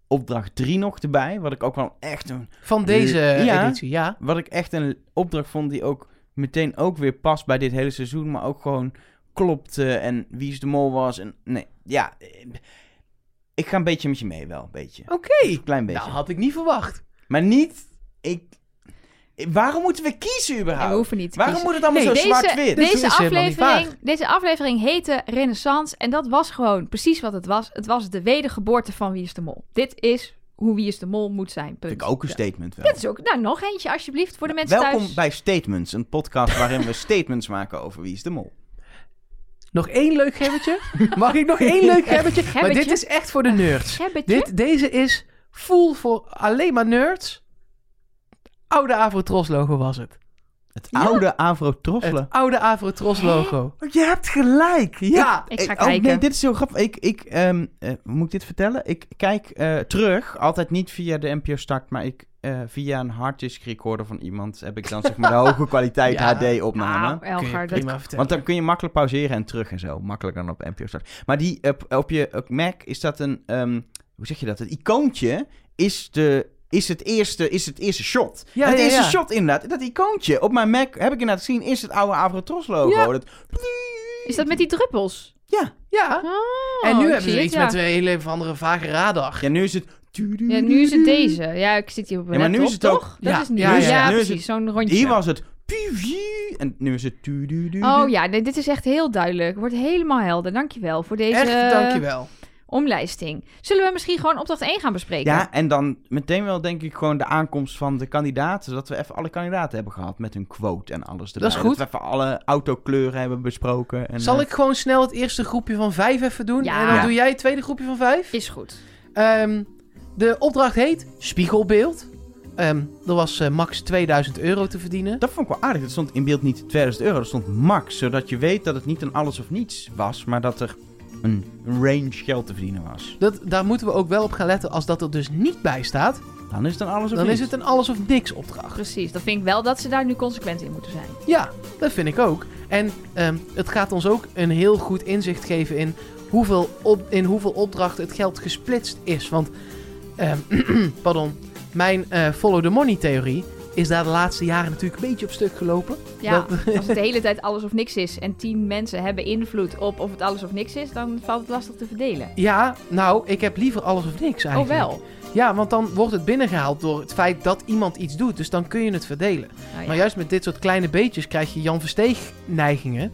[SPEAKER 1] opdracht 3 nog erbij, wat ik ook wel echt een,
[SPEAKER 3] Van deze
[SPEAKER 1] Ja.
[SPEAKER 3] editie, ja.
[SPEAKER 1] wat ik echt een opdracht vond die ook meteen ook weer past bij dit hele seizoen, maar ook gewoon klopte en wie is de mol was en nee, ja, eh, ik ga een beetje met je mee wel, een beetje,
[SPEAKER 3] Oké.
[SPEAKER 1] een klein beetje,
[SPEAKER 3] Nou, had ik niet verwacht.
[SPEAKER 1] maar niet, ik, ik- waarom moeten we kiezen
[SPEAKER 2] Nee,
[SPEAKER 1] überhaupt?
[SPEAKER 2] we hoeven niet te
[SPEAKER 1] waarom
[SPEAKER 2] kiezen.
[SPEAKER 1] moet het allemaal
[SPEAKER 3] Nee,
[SPEAKER 1] zo
[SPEAKER 2] deze,
[SPEAKER 1] zwart-wit?
[SPEAKER 3] Dit
[SPEAKER 2] deze,
[SPEAKER 3] is helemaal niet
[SPEAKER 2] aflevering, deze aflevering heette Renaissance. En dat was gewoon precies wat het was. Het was de wedergeboorte van Wie is de Mol. Dit is hoe Wie is de Mol moet zijn.
[SPEAKER 1] Vind
[SPEAKER 2] Punt.
[SPEAKER 1] ik ook een
[SPEAKER 2] Ja.
[SPEAKER 1] statement wel.
[SPEAKER 2] Dit is ook... Nou, nog eentje alsjeblieft voor de mensen
[SPEAKER 1] Welkom
[SPEAKER 2] thuis.
[SPEAKER 1] bij Statements, een podcast waarin we statements maken over wie is de mol.
[SPEAKER 3] Nog één leuk gebbetje? Mag ik nog één leuk gebbetje? Maar dit
[SPEAKER 2] gebbetje?
[SPEAKER 3] is echt voor de nerds.
[SPEAKER 2] Gebbetje?
[SPEAKER 3] Dit, deze is full voor alleen maar nerds. Oude Avrotros logo was het.
[SPEAKER 1] Het
[SPEAKER 2] Ja.
[SPEAKER 1] oude Avro Trosselen.
[SPEAKER 3] Het oude Avrotros logo.
[SPEAKER 1] Je hebt gelijk.
[SPEAKER 3] Ja.
[SPEAKER 2] Ik ga
[SPEAKER 1] oh,
[SPEAKER 2] kijken.
[SPEAKER 1] nee, dit is zo grappig. Ik, ik, ehm, eh, moet ik dit vertellen? Ik kijk eh, terug, altijd niet via de NPO Start, maar ik, eh, via een harddisk recorder van iemand heb ik dan zeg maar de hoge kwaliteit
[SPEAKER 3] Ja. Ah.
[SPEAKER 1] HD-opname.
[SPEAKER 2] Nou, Elgar, dat...
[SPEAKER 3] prima
[SPEAKER 1] Want
[SPEAKER 3] vertellen.
[SPEAKER 1] dan kun je makkelijk pauzeren en terug en zo. Makkelijker dan op NPO Start. Maar die, eh, op, op je op Mac is dat een... ehm, hoe zeg je dat? Het icoontje is, de, is, het, eerste, is het eerste shot.
[SPEAKER 3] Ja,
[SPEAKER 1] het
[SPEAKER 3] ja,
[SPEAKER 1] eerste
[SPEAKER 3] ja.
[SPEAKER 1] shot inderdaad. Dat icoontje op mijn Mac, heb ik inderdaad gezien, is het oude Avrotros logo.
[SPEAKER 2] Ja.
[SPEAKER 1] Dat,
[SPEAKER 2] Is dat met die druppels?
[SPEAKER 1] Ja.
[SPEAKER 3] Ja.
[SPEAKER 2] Oh,
[SPEAKER 3] En nu
[SPEAKER 2] ik
[SPEAKER 3] hebben
[SPEAKER 2] zie
[SPEAKER 3] ze
[SPEAKER 2] het,
[SPEAKER 3] iets
[SPEAKER 2] ja.
[SPEAKER 3] met een hele of andere vage radar.
[SPEAKER 1] Ja, nu is het...
[SPEAKER 2] Ja, nu is het deze. Ja, ik zit hier op mijn
[SPEAKER 1] Ja, maar nu
[SPEAKER 2] laptop,
[SPEAKER 1] is het ook-
[SPEAKER 2] toch? Dat
[SPEAKER 3] Ja,
[SPEAKER 2] is nieuw.
[SPEAKER 3] ja,
[SPEAKER 2] Ja,
[SPEAKER 3] ja.
[SPEAKER 1] Nu is
[SPEAKER 2] precies. Zo'n rondje.
[SPEAKER 1] Hier was het... En nu is het...
[SPEAKER 2] Oh ja, nee, dit is echt heel duidelijk. Wordt helemaal helder. Dankjewel voor deze
[SPEAKER 3] Echt, dankjewel.
[SPEAKER 2] omlijsting. Zullen we misschien gewoon opdracht 1 gaan bespreken?
[SPEAKER 1] Ja, en dan meteen wel denk ik gewoon de aankomst van de kandidaten. Zodat we even alle kandidaten hebben gehad met hun quote en alles. erbij.
[SPEAKER 3] Dat is goed.
[SPEAKER 1] we even alle autokleuren hebben besproken. En,
[SPEAKER 3] Zal
[SPEAKER 1] eh,
[SPEAKER 3] ik gewoon snel het eerste groepje van vijf even doen?
[SPEAKER 2] Ja.
[SPEAKER 3] En dan
[SPEAKER 2] Ja.
[SPEAKER 3] doe jij het tweede groepje van vijf?
[SPEAKER 2] Is goed.
[SPEAKER 3] Ehm, de opdracht heet Spiegelbeeld. Ehm, er was eh, max 2000 euro te verdienen.
[SPEAKER 1] Dat vond ik wel aardig. Dat stond in beeld niet 2000 euro, dat stond max. Zodat je weet dat het niet een alles of niets was, maar dat er een range geld te verdienen was.
[SPEAKER 3] Dat, daar moeten we ook wel op gaan letten. Als dat er dus niet bij staat,
[SPEAKER 1] Dan is het een alles of
[SPEAKER 3] dan
[SPEAKER 1] niets.
[SPEAKER 3] is het een alles of niks opdracht.
[SPEAKER 2] Precies. Dan vind ik wel dat ze daar nu consequent in moeten zijn.
[SPEAKER 3] Ja, dat vind ik ook. En ehm, het gaat ons ook een heel goed inzicht geven in hoeveel, op, in hoeveel opdrachten het geld gesplitst is. Want, ehm, pardon, mijn eh, follow the money theorie is daar de laatste jaren natuurlijk een beetje op stuk gelopen.
[SPEAKER 2] Ja,
[SPEAKER 3] Dat-
[SPEAKER 2] als het de hele tijd alles of niks is en tien mensen hebben invloed op of het alles of niks is, dan valt het lastig te verdelen.
[SPEAKER 3] Ja, nou, ik heb liever alles of niks eigenlijk.
[SPEAKER 2] Oh wel.
[SPEAKER 3] Ja, want dan wordt het binnengehaald door het feit dat iemand iets doet. Dus dan kun je het verdelen.
[SPEAKER 2] Nou ja.
[SPEAKER 3] Maar juist met dit soort kleine beetjes krijg je Jan Versteeg-neigingen.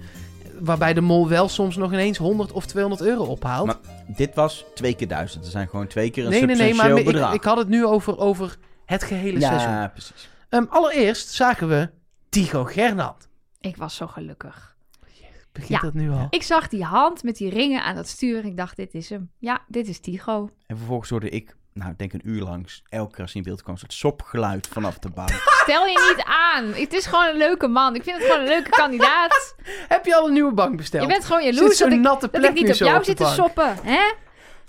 [SPEAKER 3] Waarbij de mol wel soms nog ineens 100 of 200 euro ophaalt.
[SPEAKER 1] Maar Dit was twee keer duizend. Er zijn gewoon twee keer een
[SPEAKER 3] nee, nee, nee,
[SPEAKER 1] substantieel
[SPEAKER 3] maar ik,
[SPEAKER 1] bedrag.
[SPEAKER 3] ik had het nu over, over het gehele seizoen.
[SPEAKER 1] ja, precies.
[SPEAKER 3] Ehm, allereerst zagen we Tigo Gernand.
[SPEAKER 2] Ik was zo gelukkig.
[SPEAKER 3] Begint
[SPEAKER 2] Ja.
[SPEAKER 3] dat nu al?
[SPEAKER 2] Ik zag die hand met die ringen aan dat stuur en ik dacht, dit is hem. Ja, dit is Tigo.
[SPEAKER 1] En vervolgens hoorde ik, nou ik denk een uur langs, elke keer als hij in beeld kwam, een soort sopgeluid vanaf de bank.
[SPEAKER 2] Stel je niet aan. Het is gewoon een leuke man. Ik vind het gewoon een leuke kandidaat.
[SPEAKER 3] Heb je al een nieuwe bank besteld?
[SPEAKER 2] Je bent gewoon
[SPEAKER 3] Zit
[SPEAKER 2] jaloers
[SPEAKER 3] zo'n
[SPEAKER 2] dat ik,
[SPEAKER 3] natte
[SPEAKER 2] dat
[SPEAKER 3] plek
[SPEAKER 2] ik niet
[SPEAKER 3] nu
[SPEAKER 2] op
[SPEAKER 3] zo
[SPEAKER 2] jou
[SPEAKER 3] de
[SPEAKER 2] zit te
[SPEAKER 3] bank.
[SPEAKER 2] soppen. Hè?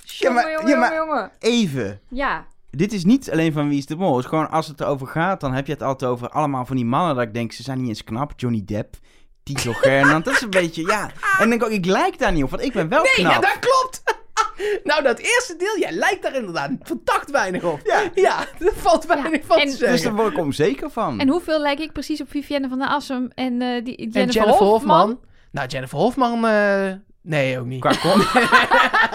[SPEAKER 2] Jongen,
[SPEAKER 1] maar-
[SPEAKER 2] jongen,
[SPEAKER 1] ja, maar-
[SPEAKER 2] jongen, jongen.
[SPEAKER 1] Even.
[SPEAKER 2] Ja,
[SPEAKER 1] Dit is niet alleen van Wie is de Mol. Het is gewoon als het erover gaat, dan heb je het altijd over allemaal van die mannen. Dat ik denk, ze zijn niet eens knap. Johnny Depp, Tito Gernand. dat is een beetje,
[SPEAKER 2] Ah.
[SPEAKER 1] ja. En dan denk ik ook, ik lijk daar niet op, want ik ben wel
[SPEAKER 3] Nee,
[SPEAKER 1] knap.
[SPEAKER 3] ja, dat klopt. nou, dat eerste deel, jij lijkt daar inderdaad verdacht weinig op.
[SPEAKER 1] Ja.
[SPEAKER 3] Ja, dat valt weinig van
[SPEAKER 2] en-
[SPEAKER 3] te
[SPEAKER 2] Dus
[SPEAKER 3] zeggen.
[SPEAKER 1] Dus daar word ik onzeker van.
[SPEAKER 2] Hm. En hoeveel lijk ik precies op Vivienne van der Assem en eh, die Jennifer,
[SPEAKER 3] en Jennifer Hofman.
[SPEAKER 2] Hofman?
[SPEAKER 3] Nou, Jennifer Hofman... eh, nee, ook niet.
[SPEAKER 1] Qua kont,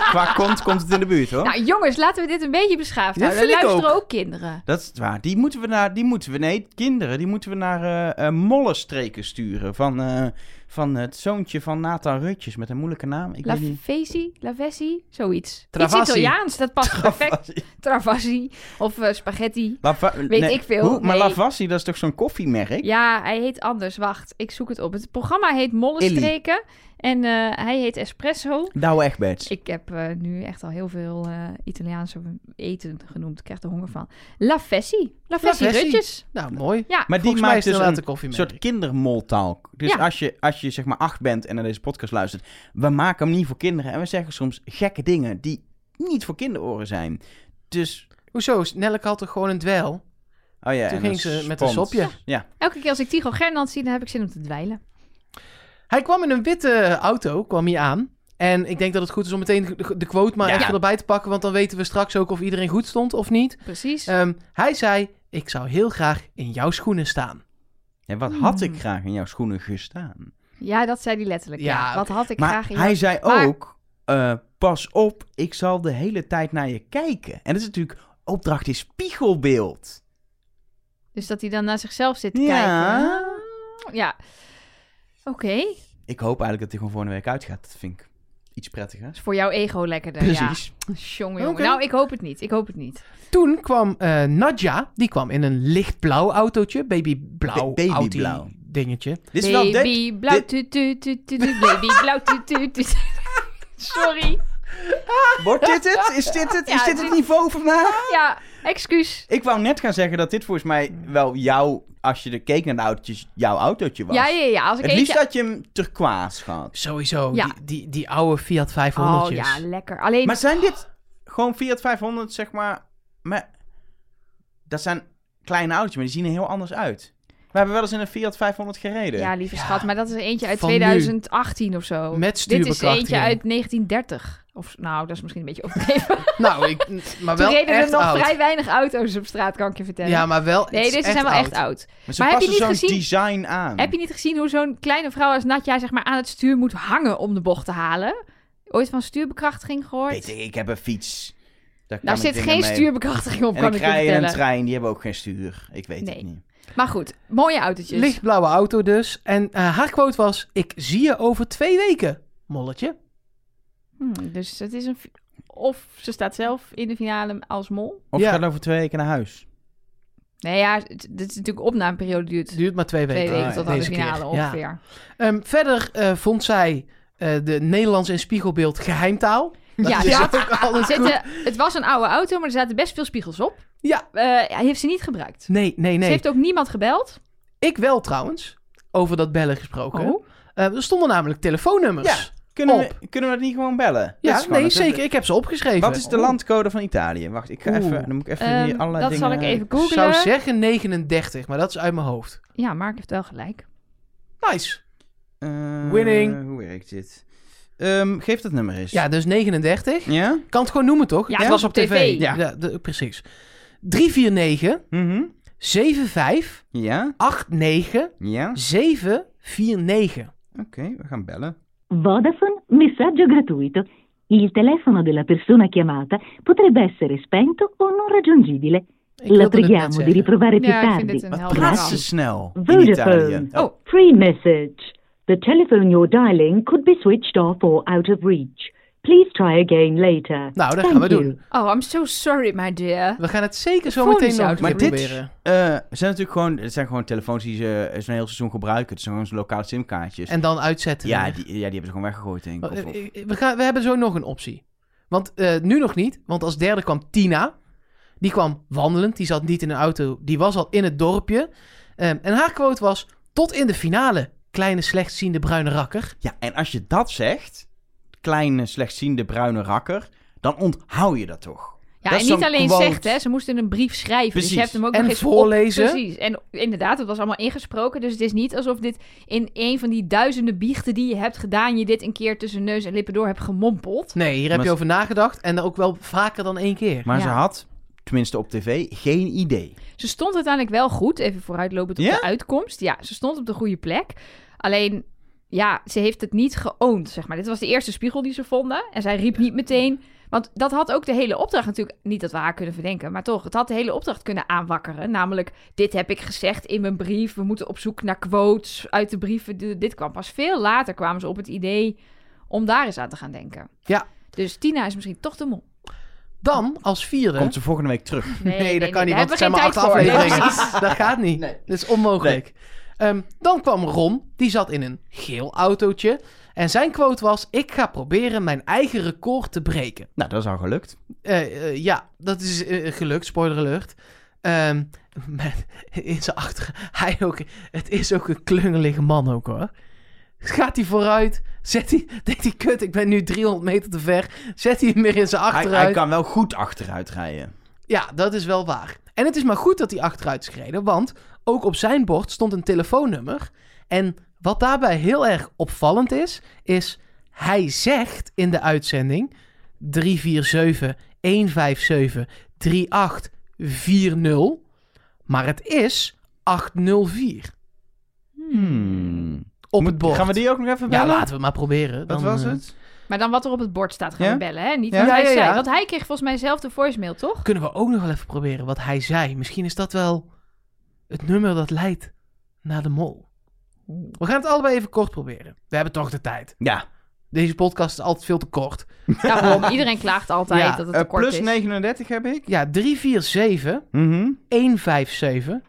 [SPEAKER 1] qua kont komt het in de buurt, hoor.
[SPEAKER 2] Nou jongens, laten we dit een beetje beschaafd
[SPEAKER 3] Dat
[SPEAKER 2] houden.
[SPEAKER 3] vind ik
[SPEAKER 2] Luisteren ook. kinderen.
[SPEAKER 1] Dat is waar. Die moeten we naar, die moeten we, nee, kinderen, die moeten we naar eh, eh, mollenstreken sturen. Van, eh, van het zoontje van Nathan Rutjes met een moeilijke naam. Ik
[SPEAKER 2] La
[SPEAKER 1] weet niet.
[SPEAKER 2] Fesi, La Vessi, zoiets.
[SPEAKER 3] Travassi.
[SPEAKER 2] Iets Italiaans, dat past perfect. Travassi of eh, spaghetti.
[SPEAKER 1] La Va-
[SPEAKER 2] Weet ik veel.
[SPEAKER 1] Hoe? Maar
[SPEAKER 2] Nee.
[SPEAKER 1] Lavassi, dat is toch zo'n koffiemerk?
[SPEAKER 2] Ja, hij heet anders. Wacht, ik zoek het op. Het programma heet Mollenstreken en eh, hij heet Espresso.
[SPEAKER 1] Nou, echt, Bets.
[SPEAKER 2] Ik heb eh, nu echt al heel veel eh, Italiaanse eten genoemd. Ik krijg er honger van. La Vessi. La Vessi
[SPEAKER 3] Vessi.
[SPEAKER 2] Rutjes.
[SPEAKER 3] Nou, mooi.
[SPEAKER 2] Ja,
[SPEAKER 1] Maar die
[SPEAKER 3] Volgens mij
[SPEAKER 1] maakt dus
[SPEAKER 3] is het inderdaad
[SPEAKER 1] een
[SPEAKER 3] de koffie
[SPEAKER 1] soort kindermoltaal. Dus
[SPEAKER 2] Ja.
[SPEAKER 1] als, je, als je zeg maar acht bent en naar deze podcast luistert, we maken hem niet voor kinderen. En we zeggen soms gekke dingen die niet voor kinderoren zijn. Dus,
[SPEAKER 3] Hoezo? Nelleke had toch gewoon een dweil?
[SPEAKER 1] oh ja.
[SPEAKER 3] Toen
[SPEAKER 1] en
[SPEAKER 3] ging ze met een
[SPEAKER 1] spons.
[SPEAKER 3] sopje.
[SPEAKER 2] Elke keer als ik Tigo Gernand zie, dan heb ik zin om te dweilen.
[SPEAKER 3] Hij kwam in een witte auto, kwam hij aan. En ik denk dat het goed is om meteen de- de quote maar
[SPEAKER 1] Ja.
[SPEAKER 3] even erbij te pakken, want dan weten we straks ook of iedereen goed stond of niet.
[SPEAKER 2] Precies.
[SPEAKER 3] Ehm, hij zei, ik zou heel graag in jouw schoenen staan.
[SPEAKER 1] En wat had ik
[SPEAKER 2] Hmm.
[SPEAKER 1] graag in jouw schoenen gestaan?
[SPEAKER 2] ja, dat zei hij letterlijk. Ja,
[SPEAKER 3] ja,
[SPEAKER 2] wat had ik
[SPEAKER 1] maar
[SPEAKER 2] graag in
[SPEAKER 1] hij zei
[SPEAKER 2] Maar-
[SPEAKER 1] ook, eh, pas op, ik zal de hele tijd naar je kijken. En dat is natuurlijk, opdracht is spiegelbeeld.
[SPEAKER 2] Dus dat hij dan naar zichzelf zit te
[SPEAKER 1] Ja.
[SPEAKER 2] kijken. Ja. Oké. Dat
[SPEAKER 1] Ik hoop eigenlijk dat hij gewoon volgende week uitgaat. Dat vind ik iets prettiger.
[SPEAKER 2] is voor jouw ego lekkerder.
[SPEAKER 1] Precies.
[SPEAKER 2] Ja. Jongen, jongen.
[SPEAKER 3] Oké.
[SPEAKER 2] Nou, ik hoop het niet. Ik hoop het niet.
[SPEAKER 3] Toen kwam eh Nadja, die kwam in een lichtblauw autootje, babyblauw
[SPEAKER 1] Ba-
[SPEAKER 3] auto
[SPEAKER 1] babyblauw.
[SPEAKER 3] dingetje.
[SPEAKER 1] Dit is wel dit.
[SPEAKER 2] baby blauw tu tu tu tu tu, baby blauw tu tu tu. Sorry.
[SPEAKER 1] Wordt dit het? Is dit het?
[SPEAKER 2] Ja,
[SPEAKER 1] is dit
[SPEAKER 2] dit-
[SPEAKER 1] het niveau vandaag?
[SPEAKER 2] Ja, excuus.
[SPEAKER 1] Ik wou net gaan zeggen dat dit volgens mij wel jouw, als je er keek naar de autootjes, jouw autootje was.
[SPEAKER 2] Ja, ja, ja. Als ik
[SPEAKER 1] Het liefst
[SPEAKER 2] eentje...
[SPEAKER 1] had je hem turquoise gehad.
[SPEAKER 3] Sowieso,
[SPEAKER 2] Ja.
[SPEAKER 3] die, die, die oude Fiat 500'tjes.
[SPEAKER 2] Oh ja, lekker. Alleen,
[SPEAKER 1] Maar zijn dit gewoon Fiat 500, zeg maar, maar dat zijn kleine autootjes, maar die zien er heel anders uit. We hebben wel eens in een Fiat 500 gereden.
[SPEAKER 2] ja, lieve
[SPEAKER 3] Ja.
[SPEAKER 2] schat, maar dat is eentje uit
[SPEAKER 3] Van nu.
[SPEAKER 2] 2018 of zo.
[SPEAKER 3] Met
[SPEAKER 2] Dit is eentje
[SPEAKER 3] stuurbekrachtiging.
[SPEAKER 2] uit 1930. Of, nou, dat is misschien een beetje overdreven.
[SPEAKER 3] Nou, ik, maar
[SPEAKER 2] Toen
[SPEAKER 3] wel
[SPEAKER 2] reden er
[SPEAKER 3] echt
[SPEAKER 2] nog
[SPEAKER 3] oud.
[SPEAKER 2] vrij weinig auto's op straat, kan ik je vertellen.
[SPEAKER 3] Ja, maar wel
[SPEAKER 2] nee,
[SPEAKER 3] het is
[SPEAKER 2] deze zijn wel echt
[SPEAKER 3] oud.
[SPEAKER 2] oud.
[SPEAKER 1] Maar ze
[SPEAKER 2] Maar heb je
[SPEAKER 1] passen zo'n
[SPEAKER 2] niet gezien-
[SPEAKER 1] design aan.
[SPEAKER 2] Heb je niet gezien hoe zo'n kleine vrouw als Natja zeg maar, aan het stuur moet hangen om de bocht te halen? Ooit van stuurbekrachtiging gehoord?
[SPEAKER 1] Weet ik, ik heb een fiets. Daar kan
[SPEAKER 2] Daar
[SPEAKER 1] ik
[SPEAKER 2] zit
[SPEAKER 1] dingen
[SPEAKER 2] geen
[SPEAKER 1] mee.
[SPEAKER 2] stuurbekrachtiging op,
[SPEAKER 1] En
[SPEAKER 2] kan
[SPEAKER 1] ik
[SPEAKER 2] ik je
[SPEAKER 1] rij in een
[SPEAKER 2] vertellen.
[SPEAKER 1] trein, die hebben ook geen stuur. Ik weet
[SPEAKER 2] Nee.
[SPEAKER 1] het niet.
[SPEAKER 2] Maar goed, mooie autootjes.
[SPEAKER 3] Lichtblauwe auto dus. En eh, haar quote was, ik zie je over twee weken, molletje.
[SPEAKER 2] Hmm, dus het is een... fi- Of ze staat zelf in de finale als mol.
[SPEAKER 1] Of
[SPEAKER 3] Ja.
[SPEAKER 1] gaat over twee weken naar huis.
[SPEAKER 2] Nee, ja, het- dit is natuurlijk opnameperiode duurt
[SPEAKER 3] Duurt maar twee weken.
[SPEAKER 2] twee weken
[SPEAKER 1] Ah,
[SPEAKER 2] tot
[SPEAKER 1] ja.
[SPEAKER 2] aan de
[SPEAKER 3] Deze keer,
[SPEAKER 2] finale
[SPEAKER 3] ja.
[SPEAKER 2] ongeveer.
[SPEAKER 3] Ehm, verder eh, vond zij eh, de Nederlands in spiegelbeeld geheimtaal. Dat
[SPEAKER 2] Ja,
[SPEAKER 3] is
[SPEAKER 2] ja.
[SPEAKER 3] ook altijd
[SPEAKER 2] Er
[SPEAKER 3] goed.
[SPEAKER 2] zitten, het was een oude auto, maar er zaten best veel spiegels op.
[SPEAKER 3] Ja.
[SPEAKER 2] Eh, hij heeft ze niet gebruikt.
[SPEAKER 3] Nee, nee,
[SPEAKER 2] Ze
[SPEAKER 3] nee.
[SPEAKER 2] heeft ook niemand gebeld.
[SPEAKER 3] Ik wel trouwens, over dat bellen gesproken.
[SPEAKER 2] Oh.
[SPEAKER 3] Eh, er stonden namelijk telefoonnummers.
[SPEAKER 1] Kunnen
[SPEAKER 3] Op.
[SPEAKER 1] we, kunnen we dat niet gewoon bellen?
[SPEAKER 3] Ja,
[SPEAKER 1] Dat is gewoon
[SPEAKER 3] nee,
[SPEAKER 1] het-
[SPEAKER 3] zeker. Ik heb ze opgeschreven.
[SPEAKER 1] Wat is de
[SPEAKER 3] Oh.
[SPEAKER 1] landcode van Italië? Wacht, ik ga
[SPEAKER 3] Oeh.
[SPEAKER 1] even. Dan moet ik even
[SPEAKER 2] Ehm,
[SPEAKER 1] hier allerlei
[SPEAKER 2] dat
[SPEAKER 1] dingen.
[SPEAKER 2] zal ik even
[SPEAKER 3] Ik zou
[SPEAKER 2] googlen.
[SPEAKER 3] zeggen 39, maar dat is uit mijn hoofd.
[SPEAKER 2] Ja, Mark heeft wel gelijk.
[SPEAKER 3] Nice.
[SPEAKER 1] Eh,
[SPEAKER 3] Winning.
[SPEAKER 1] Hoe werkt dit? Ehm, geef dat nummer eens.
[SPEAKER 3] Ja, dus 39.
[SPEAKER 1] Ja?
[SPEAKER 3] Kan het gewoon noemen, toch?
[SPEAKER 2] Ja,
[SPEAKER 3] het
[SPEAKER 2] ja.
[SPEAKER 3] was op tv.
[SPEAKER 2] Ja.
[SPEAKER 3] de- precies. 349
[SPEAKER 1] Mhm.
[SPEAKER 3] 75
[SPEAKER 1] Ja?
[SPEAKER 3] 89
[SPEAKER 1] Ja?
[SPEAKER 3] 749.
[SPEAKER 1] Oké, we gaan bellen.
[SPEAKER 4] Vodafone, messaggio gratuito. Il telefono della persona chiamata potrebbe essere spento o non raggiungibile.
[SPEAKER 3] Ik
[SPEAKER 4] La
[SPEAKER 3] wilde het net
[SPEAKER 4] preghiamo
[SPEAKER 3] zeggen.
[SPEAKER 4] di riprovare più
[SPEAKER 2] Ja, ik vind
[SPEAKER 4] tardi.
[SPEAKER 2] dit een
[SPEAKER 1] Wat
[SPEAKER 2] helder
[SPEAKER 1] praat
[SPEAKER 2] verhaal.
[SPEAKER 1] ze snel in Italië?
[SPEAKER 4] Vodafone.
[SPEAKER 2] Oh,
[SPEAKER 4] Free message. The telephone you're dialing could be switched off or out of reach. Please try again later.
[SPEAKER 3] Nou, dat
[SPEAKER 4] Thank
[SPEAKER 3] gaan we
[SPEAKER 4] you.
[SPEAKER 3] doen.
[SPEAKER 2] oh, I'm so sorry, my dear.
[SPEAKER 3] We gaan het zeker zo
[SPEAKER 2] Phone
[SPEAKER 3] meteen
[SPEAKER 2] is
[SPEAKER 3] nog
[SPEAKER 2] out.
[SPEAKER 3] een
[SPEAKER 1] Maar
[SPEAKER 3] keer
[SPEAKER 1] dit
[SPEAKER 3] proberen.
[SPEAKER 1] eh, zijn natuurlijk gewoon, het zijn gewoon telefoons die ze zo'n heel seizoen gebruiken. Het zijn gewoon zo'n lokale simkaartjes.
[SPEAKER 3] En dan uitzetten.
[SPEAKER 1] Ja
[SPEAKER 3] weer.
[SPEAKER 1] die, ja, die hebben ze gewoon weggegooid, denk ik.
[SPEAKER 3] Maar,
[SPEAKER 1] Of- of-
[SPEAKER 3] eh, eh, We, gaan, we hebben zo nog een optie. Want eh, nu nog niet, want als derde kwam Tina. Die kwam wandelend, die zat niet in een auto, die was al in het dorpje. Ehm, en haar quote was, tot in de finale, kleine slechtziende bruine rakker.
[SPEAKER 1] Ja, en als je dat zegt, kleine, slechtziende bruine rakker, dan onthoud je dat toch?
[SPEAKER 2] Ja,
[SPEAKER 1] Dat
[SPEAKER 2] en
[SPEAKER 1] is
[SPEAKER 2] niet
[SPEAKER 1] zo'n
[SPEAKER 2] alleen
[SPEAKER 1] quote.
[SPEAKER 2] zegt, hè. Ze moest in een brief schrijven. Dus
[SPEAKER 1] Precies.
[SPEAKER 2] je hebt hem ook
[SPEAKER 3] En
[SPEAKER 2] nog eens op-
[SPEAKER 3] voorlezen.
[SPEAKER 2] Precies. En inderdaad, het was allemaal ingesproken. Dus het is niet alsof dit in een van die duizenden biechten die je hebt gedaan... je dit een keer tussen neus en lippen door hebt gemompeld.
[SPEAKER 3] Nee, hier heb
[SPEAKER 1] Maar
[SPEAKER 3] je
[SPEAKER 1] ze-
[SPEAKER 3] over nagedacht en ook wel vaker dan één keer.
[SPEAKER 1] Maar
[SPEAKER 2] Ja.
[SPEAKER 1] ze had, tenminste op tv, geen idee.
[SPEAKER 2] Ze stond uiteindelijk wel goed, even vooruitlopend op
[SPEAKER 1] Ja?
[SPEAKER 2] de uitkomst. Ja, ze stond op de goede plek. Alleen, ja, ze heeft het niet geoond, zeg maar. Dit was de eerste spiegel die ze vonden. En zij riep niet meteen... Want dat had ook de hele opdracht natuurlijk... Niet dat we haar kunnen verdenken, maar toch. Het had de hele opdracht kunnen aanwakkeren. Namelijk, dit heb ik gezegd in mijn brief. We moeten op zoek naar quotes uit de brieven. De- dit kwam pas veel later, kwamen ze op het idee... om daar eens aan te gaan denken.
[SPEAKER 3] Ja.
[SPEAKER 2] Dus Tina is misschien toch de mol.
[SPEAKER 3] Dan, als vierde...
[SPEAKER 1] Komt ze volgende week terug.
[SPEAKER 3] Nee, dat kan niet,
[SPEAKER 2] daar hebben
[SPEAKER 3] want het zijn
[SPEAKER 2] we
[SPEAKER 3] maar
[SPEAKER 2] geen
[SPEAKER 3] acht
[SPEAKER 2] tijd voor. Nee,
[SPEAKER 3] afleveringen.
[SPEAKER 2] precies.
[SPEAKER 3] dat gaat niet.
[SPEAKER 1] Nee.
[SPEAKER 3] Dat is onmogelijk. Ehm, dan kwam Ron, die zat in een geel autootje. En zijn quote was, ik ga proberen mijn eigen record te breken.
[SPEAKER 1] Nou, dat is al gelukt.
[SPEAKER 3] Eh, eh, ja, dat is eh, gelukt, spoiler alert. Ehm, met- in zijn achter, hij ook, het is ook een klungelige man ook hoor. Gaat hij vooruit? Zet hij, denkt hij, kut, ik ben nu 300 meter te ver. Zet hij hem weer in zijn
[SPEAKER 1] Hij,
[SPEAKER 3] achteruit.
[SPEAKER 1] hij kan wel goed achteruit rijden.
[SPEAKER 3] Ja, dat is wel waar. En het is maar goed dat hij achteruit is gereden, want ook op zijn bord stond een telefoonnummer. En wat daarbij heel erg opvallend is, is hij zegt in de uitzending 347 157 3840, maar het is 804
[SPEAKER 1] Hmm.
[SPEAKER 3] op
[SPEAKER 1] Moet-
[SPEAKER 3] het bord.
[SPEAKER 1] Gaan we die ook nog even
[SPEAKER 3] ja,
[SPEAKER 1] bellen?
[SPEAKER 3] laten we maar proberen.
[SPEAKER 1] Wat
[SPEAKER 3] Dan,
[SPEAKER 1] was
[SPEAKER 3] eh,
[SPEAKER 1] het?
[SPEAKER 2] Maar dan wat er op het bord staat gaan
[SPEAKER 1] Ja?
[SPEAKER 2] we bellen, hè? Niet
[SPEAKER 1] Ja?
[SPEAKER 2] wat
[SPEAKER 3] Ja,
[SPEAKER 2] hij
[SPEAKER 3] ja, ja.
[SPEAKER 2] zei. Want hij kreeg volgens mij zelf de voicemail, toch?
[SPEAKER 3] Kunnen we ook nog wel even proberen wat hij zei? Misschien is dat wel het nummer dat leidt naar de mol. We gaan het allebei even kort proberen. We hebben toch de tijd.
[SPEAKER 1] Ja.
[SPEAKER 3] Deze podcast is altijd veel te kort.
[SPEAKER 2] Daarom, iedereen klaagt altijd
[SPEAKER 3] Ja,
[SPEAKER 2] dat het
[SPEAKER 1] Eh,
[SPEAKER 2] te kort
[SPEAKER 1] plus
[SPEAKER 2] is.
[SPEAKER 1] 39 heb ik.
[SPEAKER 3] Ja, 347
[SPEAKER 1] Mhm.
[SPEAKER 3] 157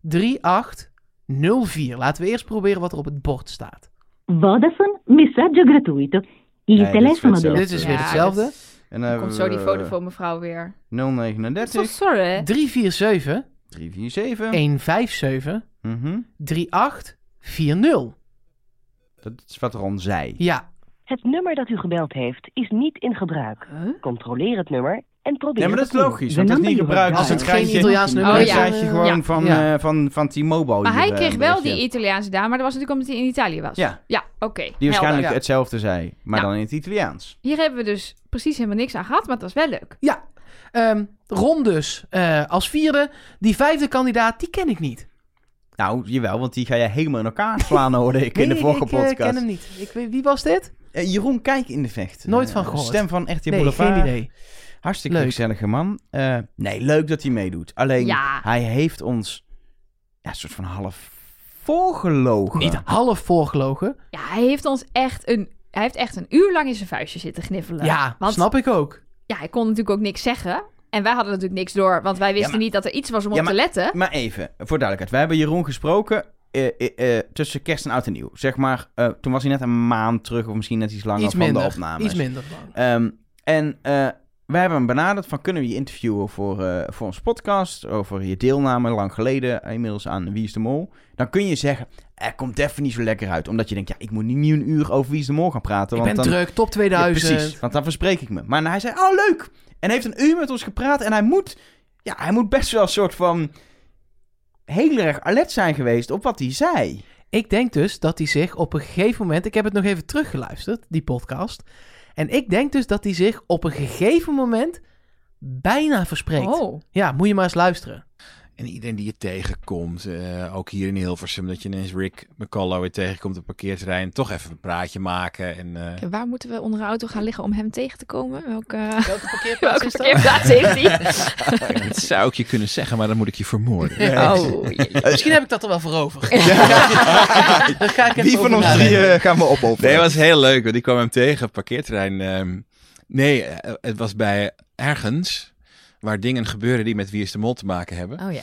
[SPEAKER 3] 3804. Laten we eerst proberen wat er op het bord staat.
[SPEAKER 4] Vodafone, messaggio gratuito. Il
[SPEAKER 1] Eh, dit is
[SPEAKER 4] telefono
[SPEAKER 1] vet zelf.
[SPEAKER 4] della...
[SPEAKER 3] Dit is weer
[SPEAKER 2] Ja,
[SPEAKER 3] hetzelfde.
[SPEAKER 2] dat is-
[SPEAKER 1] En
[SPEAKER 2] dan
[SPEAKER 1] dan
[SPEAKER 2] komt zo
[SPEAKER 1] hebben
[SPEAKER 2] die
[SPEAKER 1] we
[SPEAKER 2] Vodafone mevrouw weer. I'm so
[SPEAKER 1] 039
[SPEAKER 2] sorry.
[SPEAKER 3] 347
[SPEAKER 1] 347.
[SPEAKER 3] 157
[SPEAKER 1] Mhm.
[SPEAKER 3] 3840.
[SPEAKER 1] Dat is wat Ron zei.
[SPEAKER 3] Ja,
[SPEAKER 5] Het nummer dat u gebeld heeft is niet in gebruik.
[SPEAKER 2] Huh?
[SPEAKER 5] Controleer het nummer en probeer
[SPEAKER 1] Ja, maar dat is
[SPEAKER 5] het opnieuw.
[SPEAKER 1] logisch, want het is niet gebruikt.
[SPEAKER 3] als
[SPEAKER 1] Dus
[SPEAKER 3] het
[SPEAKER 1] het
[SPEAKER 3] geen
[SPEAKER 1] krijg je,
[SPEAKER 3] Italiaans nummer
[SPEAKER 2] Oh,
[SPEAKER 1] dan
[SPEAKER 3] is,
[SPEAKER 2] ja.
[SPEAKER 1] krijg je
[SPEAKER 3] eh,
[SPEAKER 1] gewoon
[SPEAKER 2] Ja.
[SPEAKER 1] van,
[SPEAKER 3] Ja.
[SPEAKER 1] eh, van, van T-Mobile.
[SPEAKER 2] Maar hij
[SPEAKER 1] hier, eh,
[SPEAKER 2] kreeg
[SPEAKER 1] een
[SPEAKER 2] wel
[SPEAKER 1] berichtje.
[SPEAKER 2] die Italiaanse dame, maar dat was natuurlijk omdat hij in Italië was.
[SPEAKER 1] Ja.
[SPEAKER 2] Ja, oké.
[SPEAKER 1] Die waarschijnlijk
[SPEAKER 2] helder.
[SPEAKER 3] ja.
[SPEAKER 1] hetzelfde zei, maar
[SPEAKER 2] Ja.
[SPEAKER 1] dan in het Italiaans.
[SPEAKER 2] Hier hebben we dus precies helemaal niks aan gehad, maar het was wel leuk.
[SPEAKER 3] ja. Ehm, Ron dus eh, als vierde. Die vijfde kandidaat, die ken ik niet.
[SPEAKER 1] Nou, jawel, want die ga jij helemaal in elkaar slaan, hoorde ik in de
[SPEAKER 3] Nee,
[SPEAKER 1] vorige
[SPEAKER 3] ik, eh,
[SPEAKER 1] podcast.
[SPEAKER 3] ken hem niet. Ik, weet- wie was dit?
[SPEAKER 1] Eh, Jeroen Kijk in de vecht.
[SPEAKER 3] Nooit
[SPEAKER 1] Eh,
[SPEAKER 3] van gehoord.
[SPEAKER 1] Stem van RT
[SPEAKER 3] nee,
[SPEAKER 1] Boulevard.
[SPEAKER 3] geen idee.
[SPEAKER 1] Hartstikke
[SPEAKER 3] Leuk.
[SPEAKER 1] gezellige man. Eh, nee, leuk dat hij meedoet. Alleen,
[SPEAKER 2] Ja.
[SPEAKER 1] hij heeft ons ja, een soort van half voorgelogen.
[SPEAKER 3] Niet half voorgelogen.
[SPEAKER 2] Ja, hij heeft ons echt een... Hij heeft echt een uur lang in zijn vuistje zitten gniffelen.
[SPEAKER 3] Ja,
[SPEAKER 2] Want
[SPEAKER 3] snap ik ook.
[SPEAKER 2] ja, hij kon natuurlijk ook niks zeggen. En wij hadden natuurlijk niks door, want wij wisten
[SPEAKER 1] maar-
[SPEAKER 2] niet dat er iets was om
[SPEAKER 1] Ja,
[SPEAKER 2] op te letten.
[SPEAKER 1] Maar even, voor duidelijkheid. Wij hebben Jeroen gesproken eh, eh, eh, tussen kerst en oud en nieuw. Zeg maar, eh, toen was hij net een maand terug of misschien net iets langer
[SPEAKER 3] Iets
[SPEAKER 1] van
[SPEAKER 3] minder.
[SPEAKER 1] de opnames.
[SPEAKER 3] Iets minder lang.
[SPEAKER 1] Ehm, en eh wij hebben hem benaderd van kunnen we je interviewen voor, eh voor ons podcast over je deelname lang geleden eh, inmiddels aan Wie is de Mol. Dan kun je zeggen, er komt even niet zo lekker uit. Omdat je denkt, ja, ik moet nu een uur over Wie is de Mol gaan praten.
[SPEAKER 3] Ik ben
[SPEAKER 1] want dan,
[SPEAKER 3] druk, top
[SPEAKER 1] Ja,
[SPEAKER 3] 2000.
[SPEAKER 1] precies, want dan verspreek ik me. Maar hij zei, oh leuk! En heeft een uur met ons gepraat en hij moet, ja, hij moet best wel een soort van heel erg alert zijn geweest op wat hij zei.
[SPEAKER 3] Ik denk dus dat hij zich op een gegeven moment... Ik heb het nog even teruggeluisterd, die podcast. En ik denk dus dat hij zich op een gegeven moment bijna verspreekt.
[SPEAKER 2] Oh,
[SPEAKER 3] Ja, moet je maar eens luisteren.
[SPEAKER 6] En iedereen die je tegenkomt, eh, ook hier in Hilversum, dat je ineens Rick McCallow weer tegenkomt op het parkeerterrein, toch even een praatje maken. En, eh,
[SPEAKER 7] Waar moeten we onder de auto gaan liggen om hem tegen te komen? Welke,
[SPEAKER 3] Welke parkeerplaats
[SPEAKER 7] welke parkeerplaats heeft hij?
[SPEAKER 6] dat zou ik je kunnen zeggen, maar dan moet ik je vermoorden.
[SPEAKER 7] Oh, jee.
[SPEAKER 1] Eh,
[SPEAKER 3] Misschien heb ik dat er wel voor over. Dat ga ik even over nadenken.
[SPEAKER 1] eh, gaan we opofferen?
[SPEAKER 6] Nee, het was heel leuk, want ik kwam hem tegen op het parkeerterrein. ehm. nee, eh, het was bij ergens waar dingen gebeuren die met Wie is de Mol te maken hebben.
[SPEAKER 7] oh ja.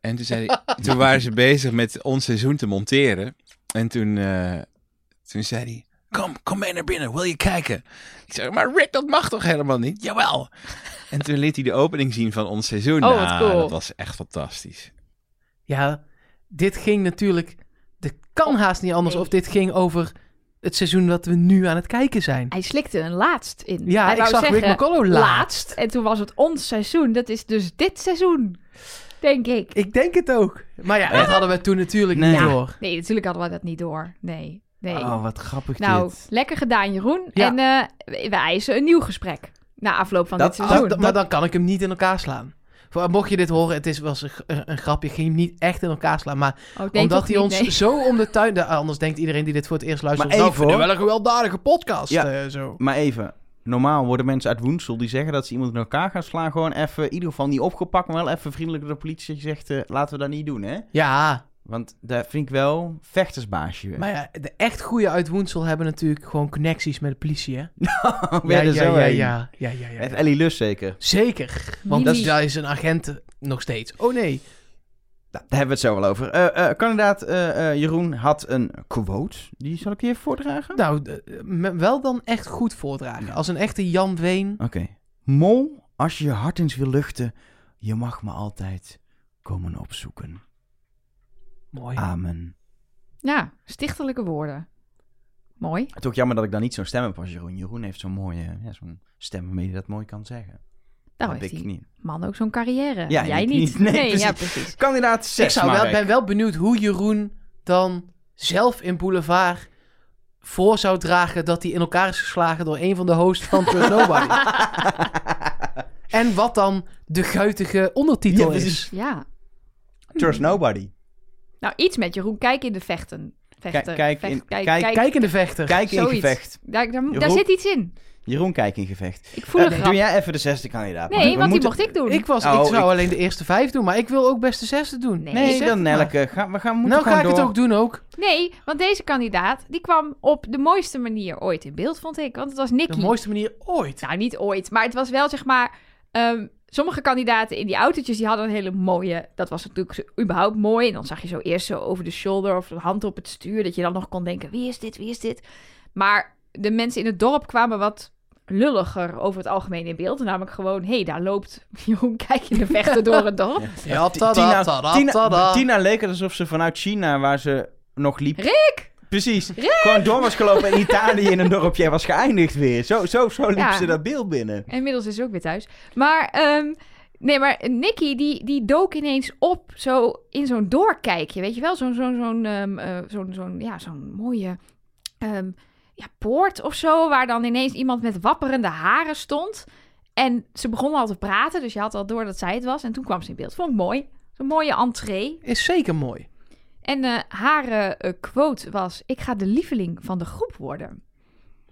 [SPEAKER 6] En toen, zei hij- toen waren ze bezig met ons seizoen te monteren. En toen, eh, toen zei hij... Kom, kom mee naar binnen, wil je kijken? Ik zei, maar Rick, dat mag toch helemaal niet? Jawel! En toen liet hij de opening zien van ons seizoen.
[SPEAKER 2] Oh, wat
[SPEAKER 6] Nou,
[SPEAKER 2] cool.
[SPEAKER 6] Dat was echt fantastisch.
[SPEAKER 3] Ja, dit ging natuurlijk... Dit kan haast niet anders
[SPEAKER 2] Oh, Nee.
[SPEAKER 3] of dit ging over het seizoen dat we nu aan het kijken zijn.
[SPEAKER 2] hij slikte een laatst in.
[SPEAKER 3] Ja,
[SPEAKER 2] hij
[SPEAKER 3] ik zag Rick McCollow laatst.
[SPEAKER 2] En toen was het ons seizoen. Dat is dus dit seizoen, denk ik.
[SPEAKER 3] Ik denk het ook. Maar ja,
[SPEAKER 2] Ah.
[SPEAKER 3] dat hadden we toen natuurlijk
[SPEAKER 1] Nee.
[SPEAKER 3] niet
[SPEAKER 1] Ja.
[SPEAKER 3] door.
[SPEAKER 2] Nee, natuurlijk hadden we dat niet door. Nee, nee.
[SPEAKER 1] Oh, wat grappig
[SPEAKER 2] nou,
[SPEAKER 1] dit.
[SPEAKER 2] lekker gedaan Jeroen.
[SPEAKER 3] Ja.
[SPEAKER 2] En eh, we- we eisen een nieuw gesprek. Na afloop van
[SPEAKER 1] Dat-
[SPEAKER 2] dit seizoen.
[SPEAKER 3] Dat- dat- maar dan kan ik hem niet in elkaar slaan. Voor- Mocht je dit horen, het is, was een, g- een, een grapje. Ik ging hem niet echt in elkaar slaan. Maar
[SPEAKER 2] Oh, ik denk
[SPEAKER 3] omdat
[SPEAKER 2] toch
[SPEAKER 3] hij
[SPEAKER 2] niet,
[SPEAKER 3] ons
[SPEAKER 2] nee.
[SPEAKER 3] zo om de tuin... Nou, Anders denkt iedereen die dit voor het eerst luistert...
[SPEAKER 1] Maar
[SPEAKER 3] nou,
[SPEAKER 1] even,
[SPEAKER 3] vinden we
[SPEAKER 1] hoor.
[SPEAKER 3] wel een gewelddadige podcast.
[SPEAKER 1] Ja.
[SPEAKER 3] eh, zo.
[SPEAKER 1] Maar even, normaal worden mensen uit Woensel die zeggen dat ze iemand in elkaar gaan slaan. Gewoon even, in ieder geval niet opgepakt, maar wel even vriendelijk door de politie dat je zegt, eh, laten we dat niet doen, hè?
[SPEAKER 3] Ja,
[SPEAKER 1] Want daar vind ik wel vechtersbaasje.
[SPEAKER 3] maar ja, de echt goede uit Woensel hebben natuurlijk gewoon connecties met de politie, hè?
[SPEAKER 1] Weer er
[SPEAKER 3] ja,
[SPEAKER 1] zo
[SPEAKER 3] ja,
[SPEAKER 1] heen.
[SPEAKER 3] ja, ja, ja, ja.
[SPEAKER 1] Met Ellie Lus zeker.
[SPEAKER 3] Zeker. Want
[SPEAKER 2] Mimi.
[SPEAKER 3] daar is een agent nog steeds. Oh nee.
[SPEAKER 1] Nou, daar hebben we het zo wel over. Eh, eh, kandidaat eh, eh, Jeroen had een quote. Die zal ik je even voordragen.
[SPEAKER 3] Nou, eh, me- wel dan echt goed voordragen.
[SPEAKER 1] Ja.
[SPEAKER 3] Als een echte Jan Ween.
[SPEAKER 1] Oké. Mol, als je je hart eens wil luchten, je mag me altijd komen opzoeken.
[SPEAKER 3] Mooi.
[SPEAKER 1] Amen.
[SPEAKER 2] Ja, stichtelijke woorden. Mooi.
[SPEAKER 1] Het is ook jammer dat ik dan niet zo'n stem heb als Jeroen. Jeroen heeft zo'n mooie ja, zo'n stem waarmee hij dat mooi kan zeggen.
[SPEAKER 2] Nou
[SPEAKER 1] heb
[SPEAKER 2] heeft
[SPEAKER 1] ik
[SPEAKER 2] die
[SPEAKER 1] niet.
[SPEAKER 2] man ook zo'n carrière.
[SPEAKER 1] Ja,
[SPEAKER 2] Jij
[SPEAKER 1] ik
[SPEAKER 2] niet.
[SPEAKER 1] niet. Nee,
[SPEAKER 2] ja,
[SPEAKER 1] precies.
[SPEAKER 2] precies.
[SPEAKER 1] Kandidaat 6,
[SPEAKER 3] ik zou wel, ben wel benieuwd hoe Jeroen dan zelf in Boulevard voor zou dragen dat hij in elkaar is geslagen door een van de hosts van Trust Nobody. en wat dan de guitige ondertitel
[SPEAKER 1] Ja,
[SPEAKER 3] is.
[SPEAKER 2] Ja.
[SPEAKER 1] Trust Nobody.
[SPEAKER 2] Nou, iets met Jeroen. Kijk in de vechten. vechten
[SPEAKER 1] Kijk- kijk
[SPEAKER 2] vecht-
[SPEAKER 1] in-
[SPEAKER 2] kijk,
[SPEAKER 1] kijk-
[SPEAKER 2] kijk,
[SPEAKER 3] Kijk in de vechter.
[SPEAKER 1] Kijk in
[SPEAKER 2] Zoiets.
[SPEAKER 1] gevecht.
[SPEAKER 2] Daar, daar, daar
[SPEAKER 1] Jeroen-
[SPEAKER 2] zit iets in.
[SPEAKER 1] Jeroen, kijk in gevecht.
[SPEAKER 2] Ik voel
[SPEAKER 1] Eh,
[SPEAKER 2] een grap.
[SPEAKER 1] doe jij even de zesde kandidaat.
[SPEAKER 2] Nee, want
[SPEAKER 1] we moeten-
[SPEAKER 2] die mocht ik doen.
[SPEAKER 3] Ik, was,
[SPEAKER 1] Oh,
[SPEAKER 3] ik zou
[SPEAKER 1] ik-
[SPEAKER 3] alleen de eerste vijf doen, maar ik wil ook best de zesde doen.
[SPEAKER 2] Nee,
[SPEAKER 1] Nee,
[SPEAKER 3] Zeg het
[SPEAKER 1] dan
[SPEAKER 3] maar.
[SPEAKER 1] Nelke. Ga, we gaan moeten
[SPEAKER 3] Nou
[SPEAKER 1] gewoon
[SPEAKER 3] ga ik het
[SPEAKER 1] door.
[SPEAKER 3] ook doen ook.
[SPEAKER 2] Nee, want deze kandidaat die kwam op de mooiste manier ooit in beeld, vond ik. Want het was Nicky.
[SPEAKER 3] De mooiste manier ooit.
[SPEAKER 2] Nou, niet ooit, maar het was wel zeg maar. ehm, sommige kandidaten in die autootjes die hadden een hele mooie. Dat was natuurlijk zo- überhaupt mooi. En dan zag je zo eerst zo over de shoulder of de hand op het stuur. Dat je dan nog kon denken: wie is dit, wie is dit? Maar de mensen in het dorp kwamen wat lulliger over het algemeen in beeld. Namelijk gewoon: hé, hey, daar loopt Jeroen Kijk in de vechten door het dorp.
[SPEAKER 3] Ja,
[SPEAKER 1] Ti- Tina, Tina, Tina leek het alsof ze vanuit China, waar ze nog liep...
[SPEAKER 2] Rick!
[SPEAKER 1] Precies. Gewoon door was gelopen in Italië in een dorpje en was geëindigd weer. Zo, zo, zo liep
[SPEAKER 2] Ja.
[SPEAKER 1] ze dat beeld binnen.
[SPEAKER 2] En inmiddels is ze ook weer thuis. Maar, ehm, nee, maar Nicky, die, die dook ineens op zo in zo'n doorkijkje. Weet je wel, zo'n zo'n zo'n ehm, eh, zo'n zo'n- ja, zo'n mooie ehm, ja, poort of zo. Waar dan ineens iemand met wapperende haren stond. En ze begon al te praten, dus je had al door dat zij het was. En toen kwam ze in beeld. Vond ik mooi. Zo'n mooie entree.
[SPEAKER 3] Is zeker mooi.
[SPEAKER 2] En eh, haar eh, quote was: Ik ga de lieveling van de groep worden.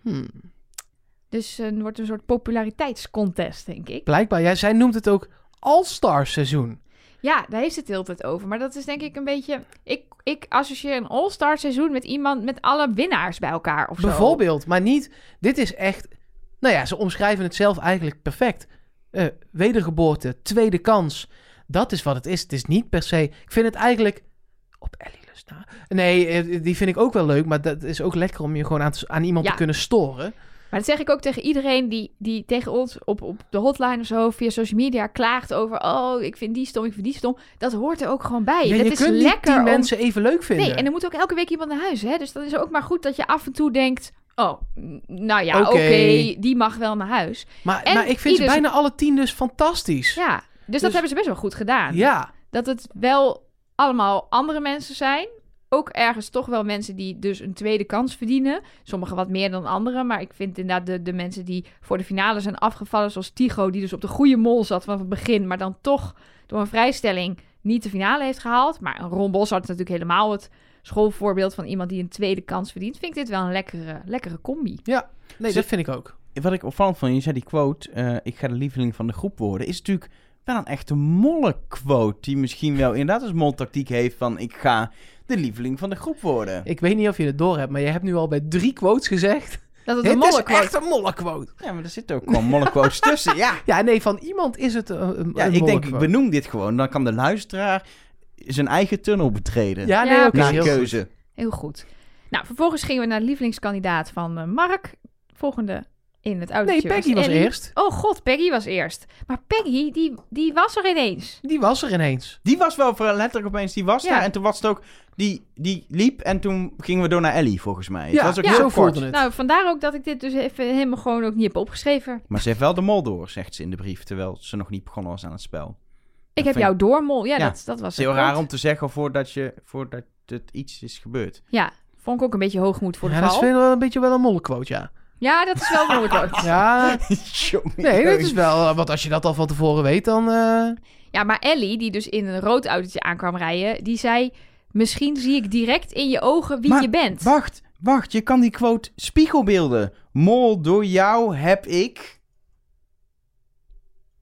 [SPEAKER 3] Hmm.
[SPEAKER 2] Dus eh, het wordt een soort populariteitscontest, denk ik.
[SPEAKER 3] Blijkbaar, jij, zij noemt het ook All-Star seizoen.
[SPEAKER 2] Ja, daar heeft ze het de hele tijd over. Maar dat is denk ik een beetje... Ik, ik associeer een all-star seizoen met iemand... met alle winnaars bij elkaar of zo.
[SPEAKER 3] Bijvoorbeeld, maar niet. Dit is echt. Nou ja, ze omschrijven het zelf eigenlijk perfect. Eh, wedergeboorte, tweede kans. Dat is wat het is. Het is niet per se. Ik vind het eigenlijk. Op Ellie lust na. Nee, eh, die vind ik ook wel leuk. Maar dat is ook lekker om je gewoon aan, te- aan iemand
[SPEAKER 2] Ja.
[SPEAKER 3] te kunnen storen.
[SPEAKER 2] Maar dat zeg ik ook tegen iedereen die, die tegen ons op, op de hotline of zo... via social media klaagt over... oh, ik vind die stom, ik vind die stom. Dat hoort er ook gewoon bij.
[SPEAKER 3] Ja,
[SPEAKER 2] dat
[SPEAKER 3] je
[SPEAKER 2] is
[SPEAKER 3] kunt niet
[SPEAKER 2] lekker
[SPEAKER 3] tien
[SPEAKER 2] om-
[SPEAKER 3] mensen even leuk vinden.
[SPEAKER 2] Nee, en er moet ook elke week iemand naar huis, hè? Dus dan is het ook maar goed dat je af en toe denkt... oh, n- nou ja,
[SPEAKER 3] Oké.
[SPEAKER 2] oké, die mag wel naar huis.
[SPEAKER 3] maar,
[SPEAKER 2] en
[SPEAKER 3] maar ik vind
[SPEAKER 2] ieder-
[SPEAKER 3] ze bijna alle tien dus fantastisch.
[SPEAKER 2] Ja, dus, dat
[SPEAKER 3] Dus-
[SPEAKER 2] hebben ze best wel goed gedaan.
[SPEAKER 3] ja.
[SPEAKER 2] dat het wel allemaal andere mensen zijn. Ook ergens toch wel mensen die dus een tweede kans verdienen. Sommigen wat meer dan anderen. Maar ik vind inderdaad de, de mensen die voor de finale zijn afgevallen, zoals Tigo, die dus op de goede mol zat vanaf het begin, maar dan toch door een vrijstelling niet de finale heeft gehaald. Maar een Ron Bossart is natuurlijk helemaal het schoolvoorbeeld van iemand die een tweede kans verdient. Vind ik dit wel een lekkere, lekkere combi.
[SPEAKER 3] Nee,
[SPEAKER 1] Ze-
[SPEAKER 3] dat vind ik ook.
[SPEAKER 1] Wat ik opvallend vond, je zei die quote... eh, ik ga de lieveling van de groep worden... is natuurlijk wel een echte molle quote... die misschien wel inderdaad als moltactiek heeft van... ik ga de lieveling van de groep worden.
[SPEAKER 3] Ik weet niet of je het door hebt, maar je hebt nu al bij drie quotes gezegd.
[SPEAKER 2] Dat het een
[SPEAKER 3] Dit is
[SPEAKER 2] molle quote.
[SPEAKER 3] echt een molle quote.
[SPEAKER 1] Ja, maar er zitten ook gewoon molle quotes tussen. Ja,
[SPEAKER 3] Ja, nee, van iemand is het een, een,
[SPEAKER 1] ja
[SPEAKER 3] een
[SPEAKER 1] ik
[SPEAKER 3] molle
[SPEAKER 1] denk, ik
[SPEAKER 3] quote.
[SPEAKER 1] benoem dit gewoon. Dan kan de luisteraar zijn eigen tunnel betreden.
[SPEAKER 3] Ja,
[SPEAKER 2] Ja,
[SPEAKER 3] nee, oké.
[SPEAKER 1] Na
[SPEAKER 3] heel goed.
[SPEAKER 1] keuze.
[SPEAKER 2] Heel goed. Nou, vervolgens gingen we naar de lievelingskandidaat van eh, Mark. Volgende in het
[SPEAKER 3] Nee,
[SPEAKER 2] autootje
[SPEAKER 3] Peggy was
[SPEAKER 2] Ellie.
[SPEAKER 3] eerst.
[SPEAKER 2] Oh god, Peggy was eerst. Maar Peggy, die, die was er ineens.
[SPEAKER 3] Die was er ineens.
[SPEAKER 1] Die was wel ver- letterlijk opeens, die was
[SPEAKER 2] Ja.
[SPEAKER 1] daar. En toen was het ook, die, die liep en toen gingen we door naar Ellie, volgens mij. Het
[SPEAKER 3] Ja,
[SPEAKER 1] was ook
[SPEAKER 3] ja.
[SPEAKER 1] heel
[SPEAKER 3] zo
[SPEAKER 1] kort.
[SPEAKER 3] voelde het.
[SPEAKER 2] Nou, vandaar ook dat ik dit dus even helemaal gewoon ook niet heb opgeschreven.
[SPEAKER 1] Maar ze heeft wel de mol door, zegt ze in de brief, terwijl ze nog niet begonnen was aan het spel.
[SPEAKER 2] Ik heb
[SPEAKER 1] vind
[SPEAKER 2] jou doormol. Ja,
[SPEAKER 1] Ja,
[SPEAKER 2] Dat, dat was
[SPEAKER 1] Het is heel
[SPEAKER 2] het
[SPEAKER 1] raar
[SPEAKER 2] punt.
[SPEAKER 1] om te zeggen voordat, je, voordat het iets is gebeurd.
[SPEAKER 2] Ja, vond ik ook een beetje hoogmoed voor de
[SPEAKER 3] ja, dat
[SPEAKER 2] val.
[SPEAKER 3] is wel een beetje wel een mollequote, ja.
[SPEAKER 2] Ja, dat is wel mooi. hoor.
[SPEAKER 3] Ja,
[SPEAKER 1] Jongen,
[SPEAKER 3] nee, dat
[SPEAKER 1] jongen.
[SPEAKER 3] is wel... eh, Want als je dat al van tevoren weet, dan... eh,
[SPEAKER 2] Ja, maar Ellie, die dus in een rood autootje aankwam rijden, die zei... Misschien zie ik direct in je ogen wie
[SPEAKER 1] Maar
[SPEAKER 2] je bent.
[SPEAKER 1] Wacht, wacht, je kan die quote spiegelbeelden. Mol, door jou heb ik...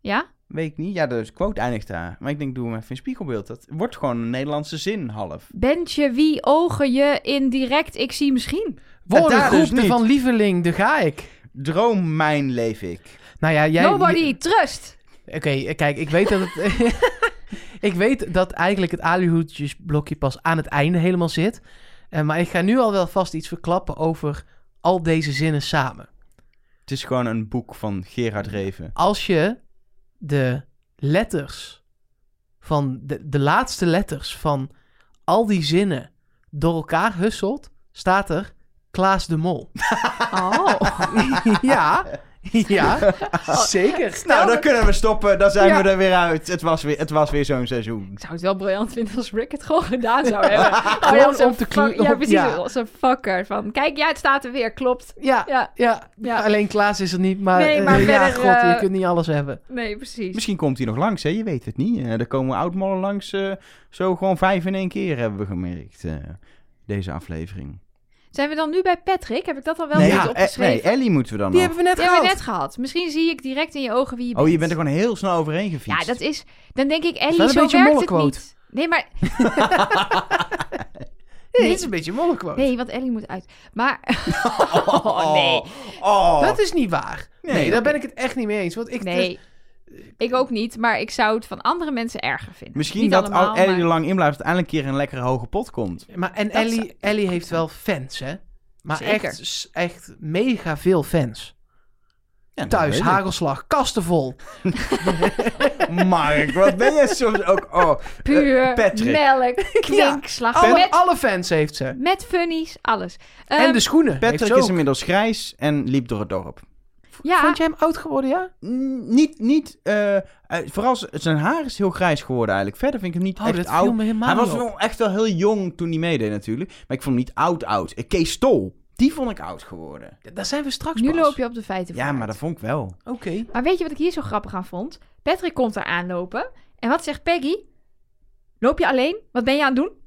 [SPEAKER 2] Ja?
[SPEAKER 1] Weet ik niet, ja, de quote eindigt daar. Maar ik denk, doe hem even in spiegelbeeld. Dat wordt gewoon een Nederlandse zin, half.
[SPEAKER 2] Bent je wie ogen je in direct ik zie misschien?
[SPEAKER 1] daar dus
[SPEAKER 3] Woordengroep
[SPEAKER 1] niet.
[SPEAKER 3] de van lieveling, de ga ik.
[SPEAKER 1] Droom mijn leef ik.
[SPEAKER 3] Nou ja, jij...
[SPEAKER 2] Nobody trust.
[SPEAKER 3] Oké, eh, kijk, ik weet dat het... ik weet dat eigenlijk het alihoedjesblokje pas aan het einde helemaal zit. Eh, maar ik ga nu al wel vast iets verklappen over al deze zinnen samen.
[SPEAKER 1] Het is gewoon een boek van Gerard Reven.
[SPEAKER 3] als je de letters van de, de laatste letters van al die zinnen door elkaar husselt, staat er Klaas de Mol.
[SPEAKER 2] Oh.
[SPEAKER 3] ja, ja, zeker.
[SPEAKER 1] Nou, dan kunnen we stoppen. Dan zijn
[SPEAKER 2] Ja.
[SPEAKER 1] we er weer uit. Het was weer, het was weer zo'n seizoen.
[SPEAKER 2] Ik zou het wel briljant vinden als Rick het gewoon gedaan zou hebben.
[SPEAKER 3] Gewoon
[SPEAKER 2] ja, zo'n
[SPEAKER 3] om te
[SPEAKER 2] fuck-
[SPEAKER 3] kno-
[SPEAKER 2] Ja,
[SPEAKER 3] om-
[SPEAKER 2] precies.
[SPEAKER 3] ja.
[SPEAKER 2] Als een fucker. Van, kijk, ja, het staat er weer. Klopt.
[SPEAKER 3] Ja,
[SPEAKER 2] Ja,
[SPEAKER 3] ja,
[SPEAKER 2] Ja.
[SPEAKER 3] alleen Klaas is er niet, maar,
[SPEAKER 2] Nee,
[SPEAKER 3] eh,
[SPEAKER 2] maar
[SPEAKER 3] ja,
[SPEAKER 2] verder,
[SPEAKER 3] god, je
[SPEAKER 2] eh,
[SPEAKER 3] kunt niet alles hebben.
[SPEAKER 2] nee, precies.
[SPEAKER 1] Misschien komt hij nog langs, hè? Je weet het niet. Eh, er komen oudmannen langs. eh, zo gewoon vijf in één keer hebben we gemerkt. eh, deze aflevering.
[SPEAKER 2] Zijn we dan nu bij Patrick? Heb ik dat al wel
[SPEAKER 1] nee,
[SPEAKER 2] goed
[SPEAKER 1] ja, eh,
[SPEAKER 2] opgeschreven?
[SPEAKER 1] nee, Ellie moeten we dan
[SPEAKER 3] Die
[SPEAKER 1] nog.
[SPEAKER 3] hebben we net
[SPEAKER 2] Die
[SPEAKER 3] gehad.
[SPEAKER 2] hebben we net gehad. Misschien zie ik direct in je ogen wie je bent.
[SPEAKER 1] Oh, je bent er gewoon heel snel overheen gefietst.
[SPEAKER 2] Ja, dat is... Dan denk ik, Ellie,
[SPEAKER 3] wel een
[SPEAKER 2] zo
[SPEAKER 3] beetje een
[SPEAKER 2] werkt het
[SPEAKER 3] mollequote.
[SPEAKER 2] niet. Nee, maar...
[SPEAKER 3] Nee,
[SPEAKER 2] Nee.
[SPEAKER 3] dit is een beetje mollequote.
[SPEAKER 2] Nee, want Ellie moet uit. Maar... Oh, nee.
[SPEAKER 1] Oh.
[SPEAKER 3] Dat is niet waar.
[SPEAKER 1] Nee,
[SPEAKER 3] Nee,
[SPEAKER 1] oké.
[SPEAKER 3] daar ben ik het echt niet mee eens. Want ik, eh,
[SPEAKER 2] Nee. Ik ook niet, maar ik zou het van andere mensen erger vinden.
[SPEAKER 1] Misschien
[SPEAKER 2] Niet
[SPEAKER 1] dat
[SPEAKER 2] allemaal,
[SPEAKER 1] al Ellie
[SPEAKER 2] maar-
[SPEAKER 1] er lang in blijft, uiteindelijk een keer een lekkere hoge pot komt.
[SPEAKER 3] maar, en
[SPEAKER 2] Dat zou
[SPEAKER 3] Ellie, Ellie heeft wel fans, hè? Maar
[SPEAKER 2] Zeker.
[SPEAKER 3] echt, s- echt mega veel fans.
[SPEAKER 1] Ja, dat
[SPEAKER 3] Thuis,
[SPEAKER 1] weet ik.
[SPEAKER 3] hagelslag, kasten vol.
[SPEAKER 1] Mark, wat ben jij soms ook... Oh,
[SPEAKER 2] Puur,
[SPEAKER 1] Patrick.
[SPEAKER 2] melk, kwinkslag,
[SPEAKER 3] Alle,
[SPEAKER 2] met,
[SPEAKER 3] alle fans heeft ze.
[SPEAKER 2] met funnies, alles.
[SPEAKER 3] en
[SPEAKER 2] Ehm,
[SPEAKER 3] de schoenen. heeft
[SPEAKER 1] Patrick
[SPEAKER 3] ze
[SPEAKER 1] is
[SPEAKER 3] ook.
[SPEAKER 1] inmiddels grijs en liep door het dorp.
[SPEAKER 2] ja,
[SPEAKER 3] Vond jij hem oud geworden, ja?
[SPEAKER 1] N- Niet, niet, eh, eh, vooral z- zijn haar is heel grijs geworden eigenlijk. Verder vind ik hem niet
[SPEAKER 3] Oh,
[SPEAKER 1] echt
[SPEAKER 3] dat
[SPEAKER 1] oud.
[SPEAKER 3] viel me helemaal
[SPEAKER 1] Hij was
[SPEAKER 3] niet op.
[SPEAKER 1] wel echt wel heel jong toen hij meedeed natuurlijk. Maar ik vond hem niet oud-oud. Eh, Kees Stol, die vond ik oud geworden.
[SPEAKER 3] Ja, Daar zijn we straks
[SPEAKER 2] nu
[SPEAKER 3] pas.
[SPEAKER 2] loop je op de feiten
[SPEAKER 1] Ja,
[SPEAKER 2] vooruit.
[SPEAKER 1] maar dat vond ik wel.
[SPEAKER 3] Oké.
[SPEAKER 2] Maar weet je wat ik hier zo grappig aan vond? Patrick komt daar aanlopen. En wat zegt Peggy? Loop je alleen? Wat ben je aan het doen?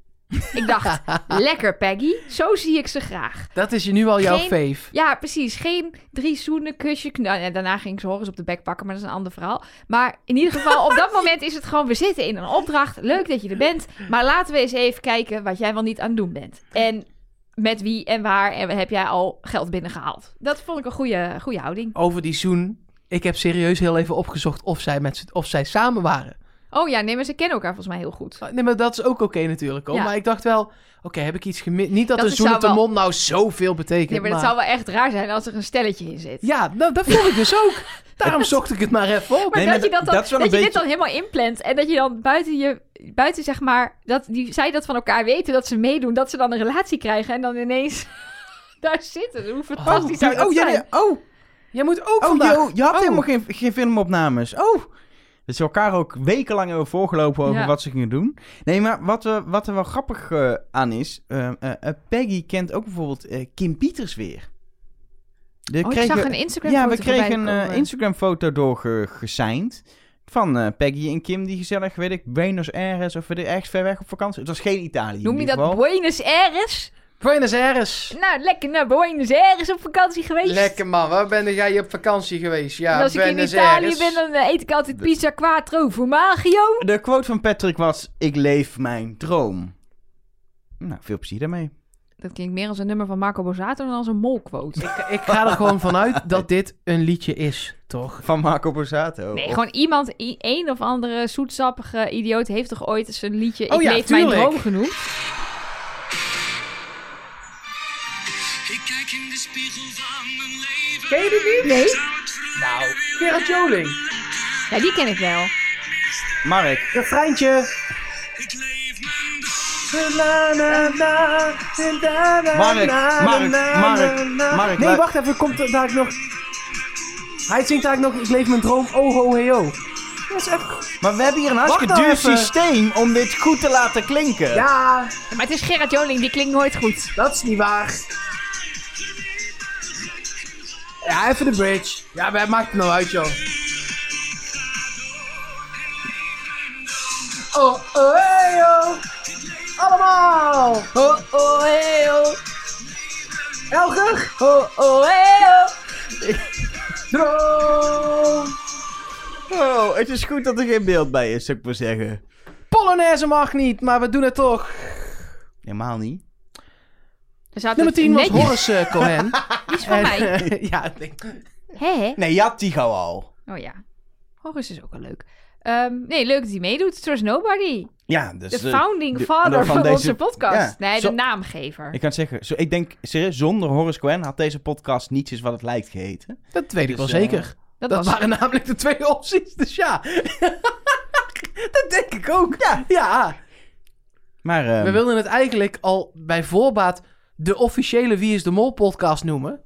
[SPEAKER 2] Ik dacht, lekker Peggy. Zo zie ik ze graag.
[SPEAKER 3] Dat is je nu al jouw
[SPEAKER 2] Geen-
[SPEAKER 3] fave.
[SPEAKER 2] Ja, precies. Geen drie zoenen, kusje. kn- Nou, ja, daarna ging ik ze horens op de bek pakken, maar dat is een ander verhaal. Maar in ieder geval, op dat moment is het gewoon... We zitten in een opdracht. Leuk dat je er bent. Maar laten we eens even kijken wat jij wel niet aan het doen bent. En met wie en waar en heb jij al geld binnengehaald? Dat vond ik een goede, goede houding.
[SPEAKER 3] Over die zoen. Ik heb serieus heel even opgezocht of zij, met z'n- of zij samen waren.
[SPEAKER 2] Oh ja, nee, maar ze kennen elkaar volgens mij heel goed.
[SPEAKER 3] Nee, maar dat is ook oké natuurlijk. Hoor.
[SPEAKER 2] Ja.
[SPEAKER 3] Maar ik dacht wel, oké, heb ik iets gemist? Niet dat,
[SPEAKER 2] Dat
[SPEAKER 3] een
[SPEAKER 2] het
[SPEAKER 3] zoen
[SPEAKER 2] zou
[SPEAKER 3] op de
[SPEAKER 2] wel-
[SPEAKER 3] mond nou zoveel betekent.
[SPEAKER 2] Nee, maar dat zou wel echt raar zijn als er een stelletje in zit.
[SPEAKER 3] Ja, nou, dat voel ik dus ook. Daarom zocht ik het maar even op.
[SPEAKER 2] Maar
[SPEAKER 1] Nee,
[SPEAKER 2] dat
[SPEAKER 1] maar
[SPEAKER 2] je, dat dan,
[SPEAKER 1] dat
[SPEAKER 2] dat
[SPEAKER 1] is wel
[SPEAKER 2] je
[SPEAKER 1] een
[SPEAKER 2] dit dan helemaal inplant en dat je dan buiten je, buiten zeg maar, dat die, zij dat van elkaar weten, dat ze meedoen, dat ze dan een relatie krijgen en dan ineens daar zitten. Hoe fantastisch zou dat
[SPEAKER 1] oh, ja,
[SPEAKER 2] zijn?
[SPEAKER 1] ja, oh,
[SPEAKER 3] Jij moet ook
[SPEAKER 1] Oh,
[SPEAKER 3] vandaag...
[SPEAKER 1] joh, je had
[SPEAKER 3] Oh.
[SPEAKER 1] helemaal geen, geen filmopnames. Oh. Dat ze elkaar ook wekenlang hebben voorgelopen over
[SPEAKER 2] Ja.
[SPEAKER 1] wat ze gingen doen. Nee, maar wat, we, wat er wel grappig eh, aan is... eh, eh, eh, Peggy kent ook bijvoorbeeld eh, Kim Pieters weer. De
[SPEAKER 2] Oh, ik
[SPEAKER 1] kregen-
[SPEAKER 2] zag een Instagram
[SPEAKER 1] Ja, we
[SPEAKER 2] foto voorbij
[SPEAKER 1] kregen een
[SPEAKER 2] komen.
[SPEAKER 1] eh, Instagram-foto doorgeseind... Van eh, Peggy en Kim, die gezellig, weet ik, Buenos Aires of weet ik, ergens ver weg op vakantie. Het was geen Italië.
[SPEAKER 2] Noem
[SPEAKER 1] in
[SPEAKER 2] je
[SPEAKER 1] ieder
[SPEAKER 2] dat
[SPEAKER 1] geval.
[SPEAKER 2] Buenos Aires?
[SPEAKER 3] Buenos Aires.
[SPEAKER 2] Nou, lekker naar Buenos Aires op vakantie geweest.
[SPEAKER 3] Lekker man, waar ben jij op vakantie geweest? Ja,
[SPEAKER 2] en als ik in
[SPEAKER 3] Buenos
[SPEAKER 2] Italië
[SPEAKER 3] Aires.
[SPEAKER 2] ben, dan eh, eet ik altijd pizza quattro formaggio.
[SPEAKER 1] De quote van Patrick was: Ik leef mijn droom. Nou, veel plezier daarmee.
[SPEAKER 2] Dat klinkt meer als een nummer van Marco Borsato dan als een molquote.
[SPEAKER 3] Ik, ik ga er gewoon vanuit dat dit een liedje is, toch?
[SPEAKER 1] Van Marco Borsato.
[SPEAKER 2] Nee,
[SPEAKER 1] Of-
[SPEAKER 2] gewoon iemand, i- een of andere zoetsappige idioot heeft toch ooit eens een liedje
[SPEAKER 3] Oh
[SPEAKER 2] Ik
[SPEAKER 3] ja,
[SPEAKER 2] leef mijn
[SPEAKER 3] tuurlijk.
[SPEAKER 2] droom genoemd?
[SPEAKER 8] Ik kijk in de spiegel van mijn leven.
[SPEAKER 3] Ken je dit niet?
[SPEAKER 2] Nee.
[SPEAKER 3] Nou, Gerard Joling.
[SPEAKER 2] Ja, die ken ik wel.
[SPEAKER 1] Mark,
[SPEAKER 3] Refreintje.
[SPEAKER 8] Ik leef mijn
[SPEAKER 1] Mark, Mark, Mark, Mark,
[SPEAKER 3] Nee,
[SPEAKER 1] laat-
[SPEAKER 3] wacht even, komt er daar nog... Hij zingt daar nog, ik leef mijn droom, oh ho hey ho. Dat is echt...
[SPEAKER 1] maar we hebben hier een hartstikke
[SPEAKER 3] nou
[SPEAKER 1] duur
[SPEAKER 3] even.
[SPEAKER 1] systeem om dit goed te laten klinken.
[SPEAKER 3] Ja,
[SPEAKER 2] Maar het is Gerard Joling, die klinkt nooit goed.
[SPEAKER 3] dat is niet waar. Ja, even de bridge. Ja, maar het maakt het nou uit, joh. Oh, oh, hey, oh. Allemaal. Oh, oh, hey, oh. Elger. Oh, oh, hey, oh. Droom.
[SPEAKER 1] Oh, het is goed dat er geen beeld bij is, zou ik maar zeggen.
[SPEAKER 3] Polonaise mag niet, maar we doen het toch.
[SPEAKER 1] Helemaal niet.
[SPEAKER 2] Er zaten
[SPEAKER 3] Nummer 10 was
[SPEAKER 2] netjes-
[SPEAKER 3] Horace eh, Cohen. eh,
[SPEAKER 2] Die is van mij.
[SPEAKER 3] ja, ik denk-
[SPEAKER 2] Hé, hé.
[SPEAKER 1] Nee, je had die gauw al.
[SPEAKER 2] Oh ja. Horus is ook wel leuk. Ehm, nee, leuk dat hij meedoet. Trust Nobody.
[SPEAKER 1] Ja, dus...
[SPEAKER 2] De
[SPEAKER 1] eh,
[SPEAKER 2] founding
[SPEAKER 1] de-
[SPEAKER 2] father
[SPEAKER 1] van
[SPEAKER 2] van,
[SPEAKER 1] deze-
[SPEAKER 2] onze podcast.
[SPEAKER 1] ja.
[SPEAKER 2] Nee,
[SPEAKER 1] Zo-
[SPEAKER 2] de naamgever.
[SPEAKER 1] ik kan het zeggen, zo, ik denk, serieus, zonder Horace Cohen had deze podcast niets is wat het lijkt geheten.
[SPEAKER 3] Dat weet ik
[SPEAKER 1] Dus,
[SPEAKER 3] wel
[SPEAKER 1] eh,
[SPEAKER 3] zeker.
[SPEAKER 2] dat,
[SPEAKER 3] Dat
[SPEAKER 2] was...
[SPEAKER 3] waren namelijk de twee opties, dus ja. dat denk ik ook. Ja. ja.
[SPEAKER 1] Maar, eh,
[SPEAKER 3] We wilden het eigenlijk al bij voorbaat de officiële Wie is de Mol podcast noemen.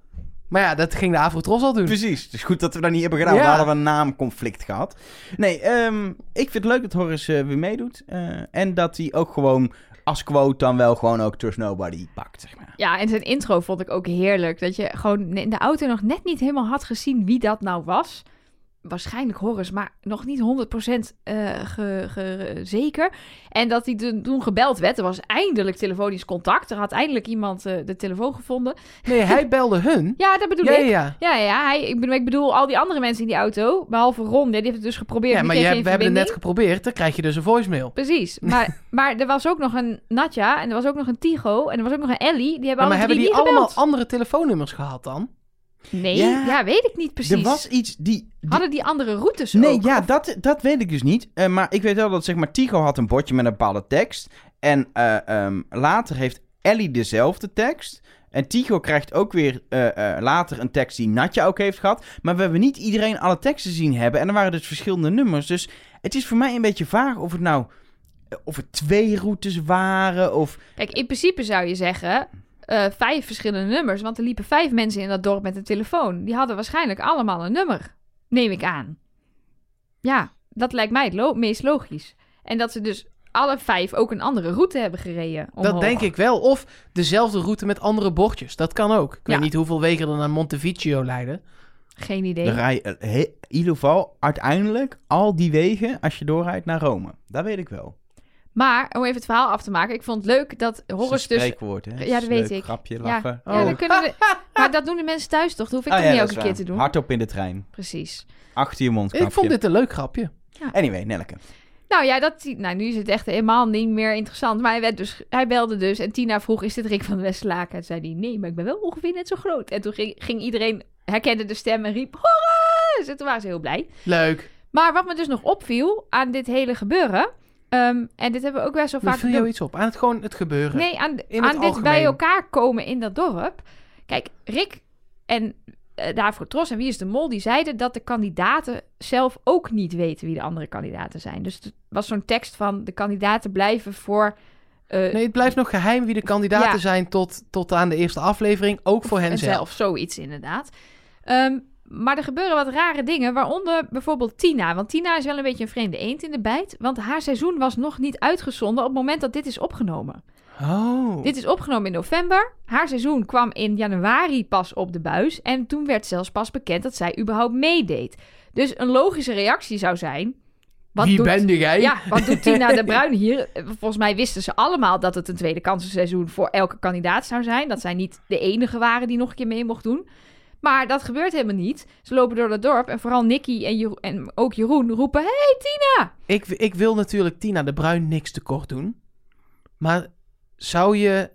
[SPEAKER 3] Maar ja, dat ging de Avrotros al doen.
[SPEAKER 1] Precies. Het is goed dat we dat niet hebben gedaan.
[SPEAKER 3] Ja.
[SPEAKER 1] We hadden we een naamconflict gehad. Nee, ehm, ik vind het leuk dat Horace eh, weer meedoet. Eh, en dat hij ook gewoon als quote dan wel gewoon ook Trust Nobody pakt, zeg maar.
[SPEAKER 2] Ja, en zijn intro vond ik ook heerlijk. Dat je gewoon in de auto nog net niet helemaal had gezien wie dat nou was. Waarschijnlijk Horus, maar nog niet 100% eh, ge- ge- zeker. En dat hij toen- toen gebeld werd. Er was eindelijk telefonisch contact. Er had eindelijk iemand eh, de telefoon gevonden.
[SPEAKER 3] Nee, hij belde hun.
[SPEAKER 2] Ja, dat bedoel
[SPEAKER 3] Ja,
[SPEAKER 2] ik.
[SPEAKER 3] ja, ja.
[SPEAKER 2] Ja, ja hij, ik, bedoel, ik bedoel al die andere mensen in die auto. Behalve Ron, ja, die heeft het dus geprobeerd.
[SPEAKER 3] Ja,
[SPEAKER 2] die
[SPEAKER 3] maar
[SPEAKER 2] kreeg
[SPEAKER 3] je
[SPEAKER 2] geen
[SPEAKER 3] hebt- we hebben het net
[SPEAKER 2] verbinding.
[SPEAKER 3] geprobeerd. Dan krijg je dus een voicemail.
[SPEAKER 2] Precies, maar, maar er was ook nog een Natja en er was ook nog een Tigo en er was ook nog een Ellie. Die hebben
[SPEAKER 3] Ja, maar
[SPEAKER 2] alle
[SPEAKER 3] hebben
[SPEAKER 2] drie
[SPEAKER 3] die
[SPEAKER 2] niet
[SPEAKER 3] allemaal
[SPEAKER 2] gebeld.
[SPEAKER 3] andere telefoonnummers gehad dan?
[SPEAKER 2] Nee,
[SPEAKER 1] Ja.
[SPEAKER 2] ja. weet ik niet precies.
[SPEAKER 1] Er was iets die... die-
[SPEAKER 2] Hadden die andere routes
[SPEAKER 1] nee,
[SPEAKER 2] ook?
[SPEAKER 1] ja,
[SPEAKER 2] Of-
[SPEAKER 1] dat, dat weet ik dus niet. Eh, maar ik weet wel dat, zeg maar, Tigo had een bordje met een bepaalde tekst. En eh, ehm, later heeft Ellie dezelfde tekst. En Tigo krijgt ook weer eh, eh, later een tekst die Natja ook heeft gehad. Maar we hebben niet iedereen alle teksten zien hebben. En er waren dus verschillende nummers. Dus het is voor mij een beetje vaag of het nou... eh, Of het twee routes waren, of...
[SPEAKER 2] Kijk, in principe zou je zeggen eh, vijf verschillende nummers. Want er liepen vijf mensen in dat dorp met een telefoon. Die hadden waarschijnlijk allemaal een nummer. Neem ik aan. Ja, dat lijkt mij het lo- meest logisch. En dat ze dus alle vijf ook een andere route hebben gereden.
[SPEAKER 3] Dat denk ik wel. Of dezelfde route met andere bordjes. Dat kan ook. Ik weet
[SPEAKER 2] Ja.
[SPEAKER 3] niet hoeveel wegen er naar Montevideo leiden.
[SPEAKER 2] Geen
[SPEAKER 1] Dan
[SPEAKER 2] idee.
[SPEAKER 1] rij je, eh, he- in ieder geval uiteindelijk al die wegen als je doorrijdt naar Rome. Dat weet ik wel.
[SPEAKER 2] Maar om even het verhaal af te maken. Ik vond het leuk dat
[SPEAKER 1] Dat is
[SPEAKER 2] Horus
[SPEAKER 1] een
[SPEAKER 2] dus...
[SPEAKER 1] spreekwoord, hè?
[SPEAKER 2] Ja,
[SPEAKER 1] is
[SPEAKER 2] dat weet
[SPEAKER 1] leuk,
[SPEAKER 2] ik.
[SPEAKER 1] grapje,
[SPEAKER 2] Ja.
[SPEAKER 1] lachen.
[SPEAKER 2] Ja,
[SPEAKER 3] Oh.
[SPEAKER 2] dan kunnen we... Maar dat doen de mensen thuis toch? Dat hoef ik toch
[SPEAKER 1] Ah, ja,
[SPEAKER 2] niet
[SPEAKER 1] dat
[SPEAKER 2] elke
[SPEAKER 1] is
[SPEAKER 2] keer te
[SPEAKER 1] waar.
[SPEAKER 2] doen?
[SPEAKER 1] Hardop in de trein.
[SPEAKER 2] Precies.
[SPEAKER 1] Achter je mondkapje.
[SPEAKER 3] Ik vond dit een leuk grapje.
[SPEAKER 1] Anyway, Nelke.
[SPEAKER 2] Nou ja, dat, nou, nu is het echt helemaal niet meer interessant. Maar hij, werd dus, hij belde dus en Tina vroeg, is dit Rick van Westlaken? En zei hij, nee, maar ik ben wel ongeveer net zo groot. En toen ging, ging iedereen, herkende de stem en riep, horrors! En toen waren ze heel blij.
[SPEAKER 3] Leuk.
[SPEAKER 2] Maar wat me dus nog opviel aan dit hele gebeuren... ehm, en dit hebben we ook best wel
[SPEAKER 3] Dan
[SPEAKER 2] vaak...
[SPEAKER 3] viel
[SPEAKER 2] genoemd.
[SPEAKER 3] jou iets op. Aan het gewoon het gebeuren.
[SPEAKER 2] Nee, aan,
[SPEAKER 3] In het
[SPEAKER 2] aan dit bij
[SPEAKER 3] algemeen.
[SPEAKER 2] elkaar komen in dat dorp. Kijk, Rick en eh, daarvoor Tros en Wie is de Mol, die zeiden dat de kandidaten zelf ook niet weten wie de andere kandidaten zijn. Dus het was zo'n tekst van de kandidaten blijven voor... eh,
[SPEAKER 3] Nee, het blijft nog geheim wie de kandidaten
[SPEAKER 2] Ja.
[SPEAKER 3] zijn tot, tot aan de eerste aflevering. Ook voor hen
[SPEAKER 2] en
[SPEAKER 3] zelf.
[SPEAKER 2] zelf, zoiets inderdaad. Ehm, maar er gebeuren wat rare dingen, waaronder bijvoorbeeld Tina. Want Tina is wel een beetje een vreemde eend in de bijt. Want haar seizoen was nog niet uitgezonden op het moment dat dit is opgenomen.
[SPEAKER 3] Oh.
[SPEAKER 2] Dit is opgenomen in november. Haar seizoen kwam in januari pas op de buis. En toen werd zelfs pas bekend dat zij überhaupt meedeed. Dus een logische reactie zou zijn. Wat
[SPEAKER 3] wie
[SPEAKER 2] doet,
[SPEAKER 3] ben jij?
[SPEAKER 2] Ja, wat doet Tina de Bruin hier? Volgens mij wisten ze allemaal dat het een tweede kansenseizoen voor elke kandidaat zou zijn. Dat zij niet de enige waren die nog een keer mee mocht doen. Maar dat gebeurt helemaal niet. Ze lopen door het dorp en vooral Nicky en, Jero- en ook Jeroen roepen... Hey!
[SPEAKER 3] Ik, ik wil natuurlijk Tina de Bruin niks tekort doen. Maar zou je...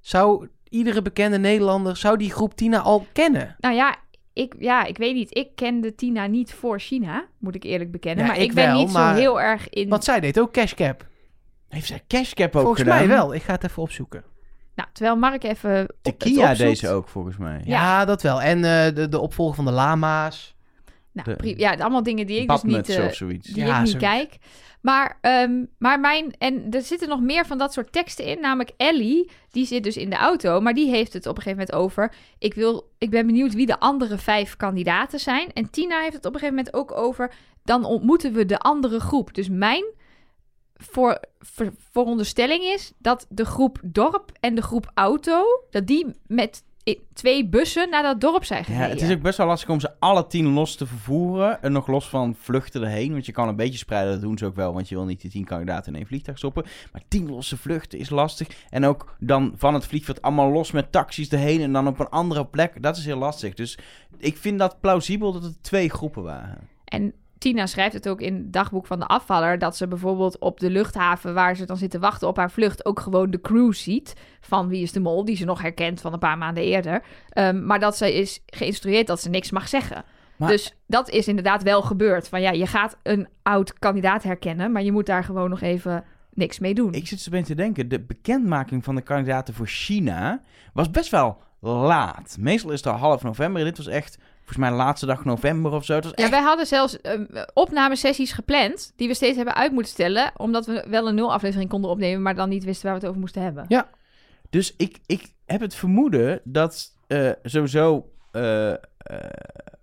[SPEAKER 3] Zou iedere bekende Nederlander... Zou die groep Tina al kennen?
[SPEAKER 2] Nou ja, ik, ja, ik weet niet. Ik kende Tina niet voor China, moet ik eerlijk bekennen.
[SPEAKER 3] Ja,
[SPEAKER 2] maar
[SPEAKER 3] ik
[SPEAKER 2] ik, ben
[SPEAKER 3] wel,
[SPEAKER 2] niet
[SPEAKER 3] maar-
[SPEAKER 2] zo heel erg in...
[SPEAKER 3] Want zij deed ook cashcap.
[SPEAKER 1] Heeft zij cashcap ook
[SPEAKER 3] Volgens
[SPEAKER 1] gedaan?
[SPEAKER 3] mij wel. Ik ga het even opzoeken.
[SPEAKER 2] Nou, terwijl Mark even...
[SPEAKER 1] De
[SPEAKER 2] op- het
[SPEAKER 1] Kia
[SPEAKER 2] opzoekt.
[SPEAKER 1] deze ook, volgens mij.
[SPEAKER 3] Ja, dat wel. En eh, de, de opvolger van de lama's.
[SPEAKER 2] Nou,
[SPEAKER 1] De-
[SPEAKER 2] pri- ja, allemaal dingen die ik dus niet,
[SPEAKER 1] Badmuts
[SPEAKER 2] eh,
[SPEAKER 1] of zoiets.
[SPEAKER 2] die
[SPEAKER 3] Ja,
[SPEAKER 2] ik niet
[SPEAKER 3] zoiets.
[SPEAKER 2] kijk. Maar, ehm, maar mijn... En er zitten nog meer van dat soort teksten in. Namelijk Ellie, die zit dus in de auto. Maar die heeft het op een gegeven moment over... Ik, wil, ik ben benieuwd wie de andere vijf kandidaten zijn. En Tina heeft het op een gegeven moment ook over... Dan ontmoeten we de andere groep. Dus mijn voor, voor, vooronderstelling is dat de groep dorp en de groep auto... dat die met i- twee bussen naar dat dorp zijn
[SPEAKER 1] Ja,
[SPEAKER 2] gereden.
[SPEAKER 1] het is ook best wel lastig om ze alle tien los te vervoeren. En nog los van vluchten erheen. Want je kan een beetje spreiden, dat doen ze ook wel. Want je wil niet die tien kandidaten in één vliegtuig stoppen. Maar tien losse vluchten is lastig. En ook dan van het vliegveld allemaal los met taxis erheen. En dan op een andere plek. Dat is heel lastig. Dus ik vind dat plausibel dat het twee groepen waren.
[SPEAKER 2] En Tina schrijft het ook in het dagboek van de afvaller... dat ze bijvoorbeeld op de luchthaven waar ze dan zitten wachten op haar vlucht... ook gewoon de crew ziet van Wie is de Mol... die ze nog herkent van een paar maanden eerder. Ehm, maar dat ze is geïnstrueerd dat ze niks mag zeggen.
[SPEAKER 1] Maar-
[SPEAKER 2] Dus dat is inderdaad wel gebeurd. Van ja, je gaat een oud kandidaat herkennen... maar je moet daar gewoon nog even niks mee doen.
[SPEAKER 1] Ik zit zo meteen te denken, de bekendmaking van de kandidaten voor China was best wel laat. Meestal is het al half november en dit was echt, volgens mij, de laatste dag november of zo. Het was
[SPEAKER 2] Ja, wij hadden zelfs ehm, opnamesessies gepland... die we steeds hebben uit moeten stellen... omdat we wel een nul aflevering konden opnemen... maar dan niet wisten waar we het over moesten hebben.
[SPEAKER 1] Dus ik, ik heb het vermoeden dat eh, sowieso, eh, eh,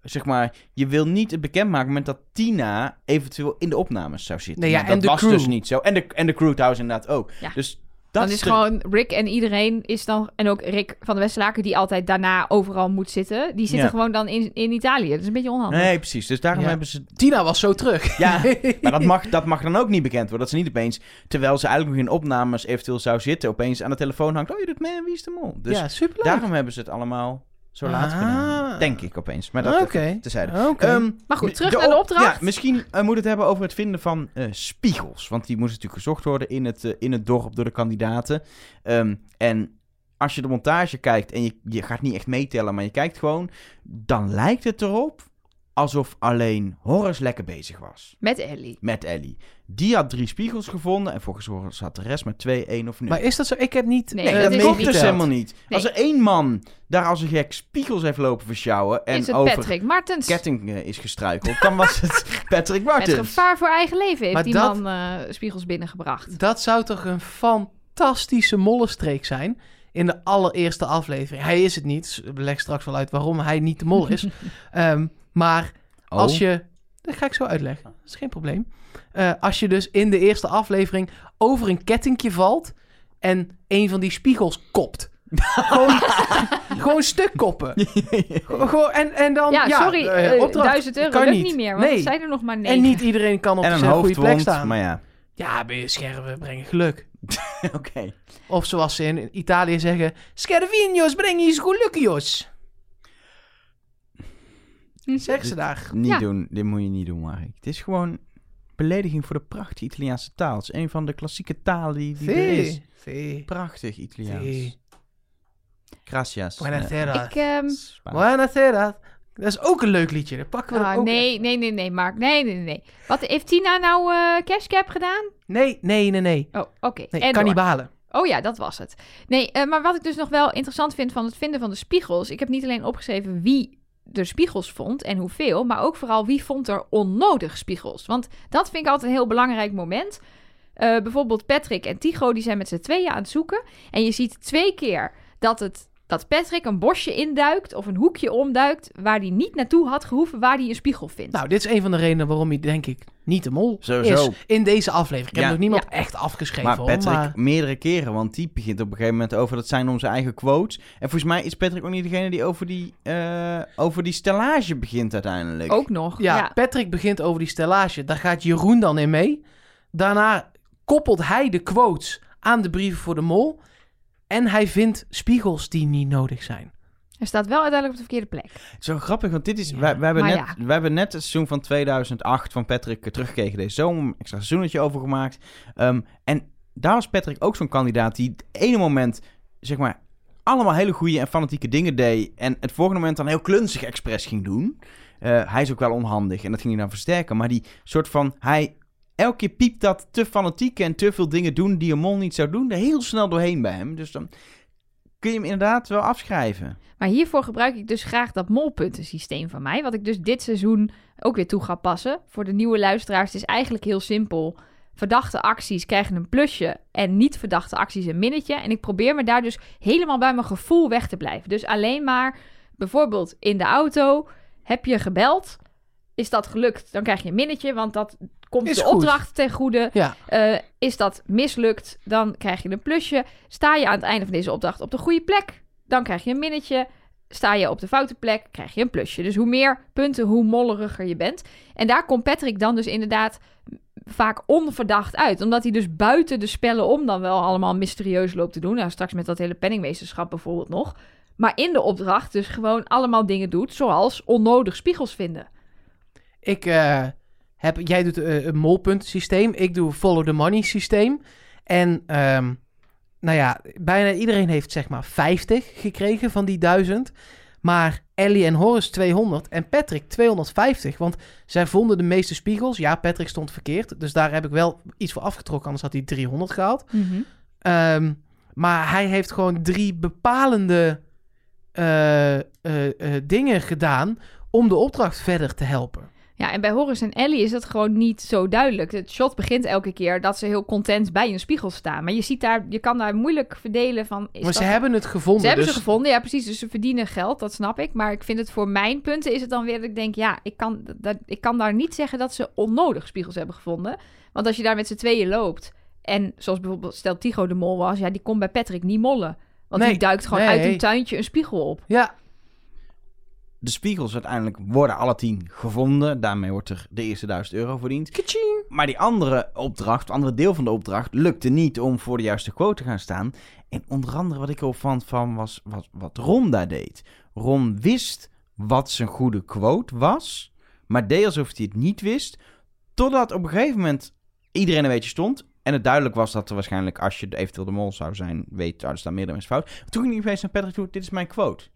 [SPEAKER 1] zeg maar, je wil niet het bekendmaken met dat Tina eventueel in de opnames zou zitten.
[SPEAKER 3] Nee, ja,
[SPEAKER 1] Nou, dat
[SPEAKER 3] en de
[SPEAKER 1] was
[SPEAKER 3] crew.
[SPEAKER 1] dus niet zo. En de, en de crew trouwens inderdaad ook.
[SPEAKER 2] Ja.
[SPEAKER 1] Dus dat
[SPEAKER 2] Dan is
[SPEAKER 1] de-
[SPEAKER 2] gewoon Rick en iedereen is dan... En ook Rick van de Westlaken, die altijd daarna overal moet zitten. Die zitten
[SPEAKER 1] Ja.
[SPEAKER 2] gewoon dan in, in Italië. Dat is een beetje onhandig.
[SPEAKER 1] Nee, precies. Dus daarom
[SPEAKER 3] Ja.
[SPEAKER 1] hebben ze...
[SPEAKER 3] Tina was zo terug.
[SPEAKER 1] Ja, Ah, maar dat mag, dat mag dan ook niet bekend worden. Dat ze niet opeens, terwijl ze eigenlijk nog in opnames eventueel zou zitten, opeens aan de telefoon hangt. Oh, je doet mee aan Wie is de Mol? Dus
[SPEAKER 3] ja, superleuk.
[SPEAKER 1] daarom hebben ze het allemaal zo laat
[SPEAKER 3] Ah.
[SPEAKER 1] gedaan. Denk ik opeens. Maar dat
[SPEAKER 3] Oké.
[SPEAKER 1] even tezijde.
[SPEAKER 3] Oké.
[SPEAKER 1] Ehm,
[SPEAKER 2] Maar goed, terug
[SPEAKER 1] de
[SPEAKER 2] naar de
[SPEAKER 1] op-
[SPEAKER 2] opdracht.
[SPEAKER 1] Ja, misschien eh, moet het hebben over het vinden van eh, spiegels. Want die moesten natuurlijk gezocht worden in het, eh, in het dorp door de kandidaten. Ehm, en als je de montage kijkt en je, je gaat niet echt meetellen, maar je kijkt gewoon... dan lijkt het erop alsof alleen Horace lekker bezig was
[SPEAKER 2] Met Ellie.
[SPEAKER 1] met Ellie. Die had drie spiegels gevonden en volgens Horace had de rest met twee, één of nul.
[SPEAKER 3] Maar is dat zo? Ik heb niet...
[SPEAKER 2] Nee,
[SPEAKER 1] Nee,
[SPEAKER 3] eh,
[SPEAKER 2] dat
[SPEAKER 1] dat
[SPEAKER 2] is
[SPEAKER 1] klopt
[SPEAKER 2] niet
[SPEAKER 1] dus
[SPEAKER 3] meegeteld.
[SPEAKER 1] helemaal niet. Als er één man daar als een gek spiegels heeft lopen versjouwen... en
[SPEAKER 2] is het
[SPEAKER 1] over
[SPEAKER 2] Patrick Martens.
[SPEAKER 1] kettingen is gestruikeld, dan was het Patrick
[SPEAKER 2] Met
[SPEAKER 1] Martens.
[SPEAKER 2] gevaar voor eigen leven heeft
[SPEAKER 3] Maar
[SPEAKER 2] die
[SPEAKER 3] dat-
[SPEAKER 2] man eh, spiegels binnengebracht.
[SPEAKER 3] Dat zou toch een fantastische mollenstreek zijn in de allereerste aflevering. Hij is het niet. Ik Leg straks wel uit waarom hij niet de mol is. Ehm, maar Oh.
[SPEAKER 1] Oh.
[SPEAKER 3] als je... Dat ga ik zo uitleggen. Dat is geen probleem. Eh, als je dus in de eerste aflevering over een kettingje valt en een van die spiegels kopt. gewoon, gewoon stuk koppen. Gewoon, en, en dan...
[SPEAKER 2] ja, sorry,
[SPEAKER 3] eh,
[SPEAKER 2] eh,
[SPEAKER 3] opdracht.
[SPEAKER 2] 1000 euro
[SPEAKER 3] Kan
[SPEAKER 2] lukt
[SPEAKER 3] niet.
[SPEAKER 2] niet, meer, want
[SPEAKER 3] Nee.
[SPEAKER 2] er zijn er nog maar negen.
[SPEAKER 3] En niet iedereen kan op
[SPEAKER 1] en een
[SPEAKER 3] dezelfde goede plek
[SPEAKER 1] hoofdwond,
[SPEAKER 3] staan.
[SPEAKER 1] maar ja.
[SPEAKER 3] Ja, ben je scherven, brengen geluk.
[SPEAKER 1] Oké.
[SPEAKER 3] Of zoals ze in Italië zeggen: Schervinios, breng je gelukkigos. Zeggen ze daar.
[SPEAKER 1] Niet
[SPEAKER 2] Ja.
[SPEAKER 1] doen, dit moet je niet doen, Mark. Het is gewoon belediging voor de prachtige Italiaanse taal. Het is een van de klassieke talen die, die er is.
[SPEAKER 3] Sì, sì.
[SPEAKER 1] Prachtig Italiaans.
[SPEAKER 3] Sì.
[SPEAKER 1] Gracias. Eh,
[SPEAKER 3] Buonasera.
[SPEAKER 2] Ik, ehm,
[SPEAKER 1] Spaans.
[SPEAKER 3] Buonasera. Dat is ook een leuk liedje. Dat pakken we er
[SPEAKER 2] ah,
[SPEAKER 3] ook
[SPEAKER 2] nee, nee, nee, nee, Mark. Nee, nee, nee, nee. Wat heeft Tina nou eh cashcap gedaan?
[SPEAKER 3] Nee, nee, nee, nee.
[SPEAKER 2] Oh, oké.
[SPEAKER 3] Nee,
[SPEAKER 2] En door.
[SPEAKER 3] kannibalen.
[SPEAKER 2] Oh ja, dat was het. Nee, eh, maar wat ik dus nog wel interessant vind van het vinden van de spiegels. Ik heb niet alleen opgeschreven wie er spiegels vond en hoeveel, maar ook vooral wie vond er onnodig spiegels. Want dat vind ik altijd een heel belangrijk moment. Eh, bijvoorbeeld Patrick en Tycho, die zijn met z'n tweeën aan het zoeken. En je ziet twee keer dat, het, dat Patrick een bosje induikt of een hoekje omduikt waar hij niet naartoe had gehoeven, waar hij een spiegel vindt.
[SPEAKER 3] Nou, dit is een van de redenen waarom hij, denk ik, niet de mol
[SPEAKER 1] Sowieso.
[SPEAKER 3] is in deze aflevering. Ik heb
[SPEAKER 1] Ja.
[SPEAKER 3] nog niemand echt afgeschreven.
[SPEAKER 1] Maar
[SPEAKER 3] hoor,
[SPEAKER 1] Patrick
[SPEAKER 3] maar-
[SPEAKER 1] meerdere keren, want die begint op een gegeven moment over dat zijn om zijn eigen quotes. En volgens mij is Patrick ook niet degene die over die, eh, over die stellage begint uiteindelijk.
[SPEAKER 2] ook nog.
[SPEAKER 3] Ja,
[SPEAKER 2] ja.
[SPEAKER 3] Patrick begint over die stellage. Daar gaat Jeroen dan in mee. Daarna koppelt hij de quotes aan de brieven voor de mol. En hij vindt spiegels die niet nodig zijn.
[SPEAKER 2] Hij staat wel uiteindelijk op de verkeerde plek.
[SPEAKER 1] Zo grappig, want dit is. Wij, wij hebben
[SPEAKER 2] maar
[SPEAKER 1] net,
[SPEAKER 2] ja.
[SPEAKER 1] wij hebben net het seizoen van 2008 van Patrick eh, teruggekeken deze zomer. Een extra seizoenetje over gemaakt. Ehm, en daar was Patrick ook zo'n kandidaat die het ene moment, zeg maar, allemaal hele goede en fanatieke dingen deed. En het volgende moment dan heel klunzig expres ging doen. Eh, hij is ook wel onhandig en dat ging hij dan versterken. Maar die soort van. Hij. Elke keer piept dat te fanatiek en te veel dingen doen die een mol niet zou doen. Er heel snel doorheen bij hem. Dus dan kun je hem inderdaad wel afschrijven.
[SPEAKER 2] Maar hiervoor gebruik ik dus graag dat molpuntensysteem van mij. Wat ik dus dit seizoen ook weer toe ga passen. Voor de nieuwe luisteraars het is eigenlijk heel simpel. Verdachte acties krijgen een plusje en niet verdachte acties een minnetje. En ik probeer me daar dus helemaal bij mijn gevoel weg te blijven. Dus alleen maar bijvoorbeeld in de auto heb je gebeld. Is dat gelukt? Dan krijg je een minnetje, want dat komt
[SPEAKER 3] Is
[SPEAKER 2] de
[SPEAKER 3] goed.
[SPEAKER 2] opdracht ten goede.
[SPEAKER 3] Ja,
[SPEAKER 2] Eh, is dat mislukt, dan krijg je een plusje. Sta je aan het einde van deze opdracht op de goede plek, dan krijg je een minnetje. Sta je op de foute plek, krijg je een plusje. Dus hoe meer punten, hoe molleriger je bent. En daar komt Patrick dan dus inderdaad vaak onverdacht uit. Omdat hij dus buiten de spellen om dan wel allemaal mysterieus loopt te doen. Nou, straks met dat hele penningmeesterschap bijvoorbeeld nog. Maar in de opdracht dus gewoon allemaal dingen doet, zoals onnodig spiegels vinden.
[SPEAKER 3] ik eh, heb... Jij doet eh, een molpunt systeem. Ik doe follow the money systeem. En ehm, nou ja, bijna iedereen heeft zeg maar 50 gekregen van die 1000. Maar Ellie en Horace 200 en Patrick 250. Want zij vonden de meeste spiegels. Ja, Patrick stond verkeerd. Dus daar heb ik wel iets voor afgetrokken. Anders had hij 300 gehaald. Ehm, maar hij heeft gewoon drie bepalende eh, eh, eh, dingen gedaan om de opdracht verder te helpen.
[SPEAKER 2] Ja, en bij Horace en Ellie is dat gewoon niet zo duidelijk. Het shot begint elke keer dat ze heel content bij een spiegel staan. Maar je ziet daar, je kan daar moeilijk verdelen van... Is
[SPEAKER 3] maar
[SPEAKER 2] dat
[SPEAKER 3] ze hebben het gevonden.
[SPEAKER 2] Ze hebben
[SPEAKER 3] dus
[SPEAKER 2] ze gevonden, ja precies. Dus ze verdienen geld, dat snap ik. Maar ik vind het voor mijn punten is het dan weer dat ik denk... ja, ik kan, dat, ik kan daar niet zeggen dat ze onnodig spiegels hebben gevonden. Want als je daar met z'n tweeën loopt... en zoals bijvoorbeeld stel Tigo de Mol was... ja, die kon bij Patrick niet mollen. Want
[SPEAKER 3] Nee,
[SPEAKER 2] die duikt gewoon
[SPEAKER 3] nee.
[SPEAKER 2] uit een tuintje een spiegel op.
[SPEAKER 3] Ja,
[SPEAKER 1] De spiegels uiteindelijk worden alle tien gevonden. Daarmee wordt er de eerste 1000 euro verdiend. Maar die andere opdracht, het andere deel van de opdracht, lukte niet om voor de juiste quote te gaan staan. En onder andere wat ik er opvand van was, was wat Ron daar deed. Ron wist wat zijn goede quote was, maar deed alsof hij het niet wist. Totdat op een gegeven moment iedereen een beetje stond. En het duidelijk was dat er waarschijnlijk, als je eventueel de mol zou zijn, weet, daar staan meer dan eens fout. Toen ging hij opeens naar Patrick toe, dit is mijn quote.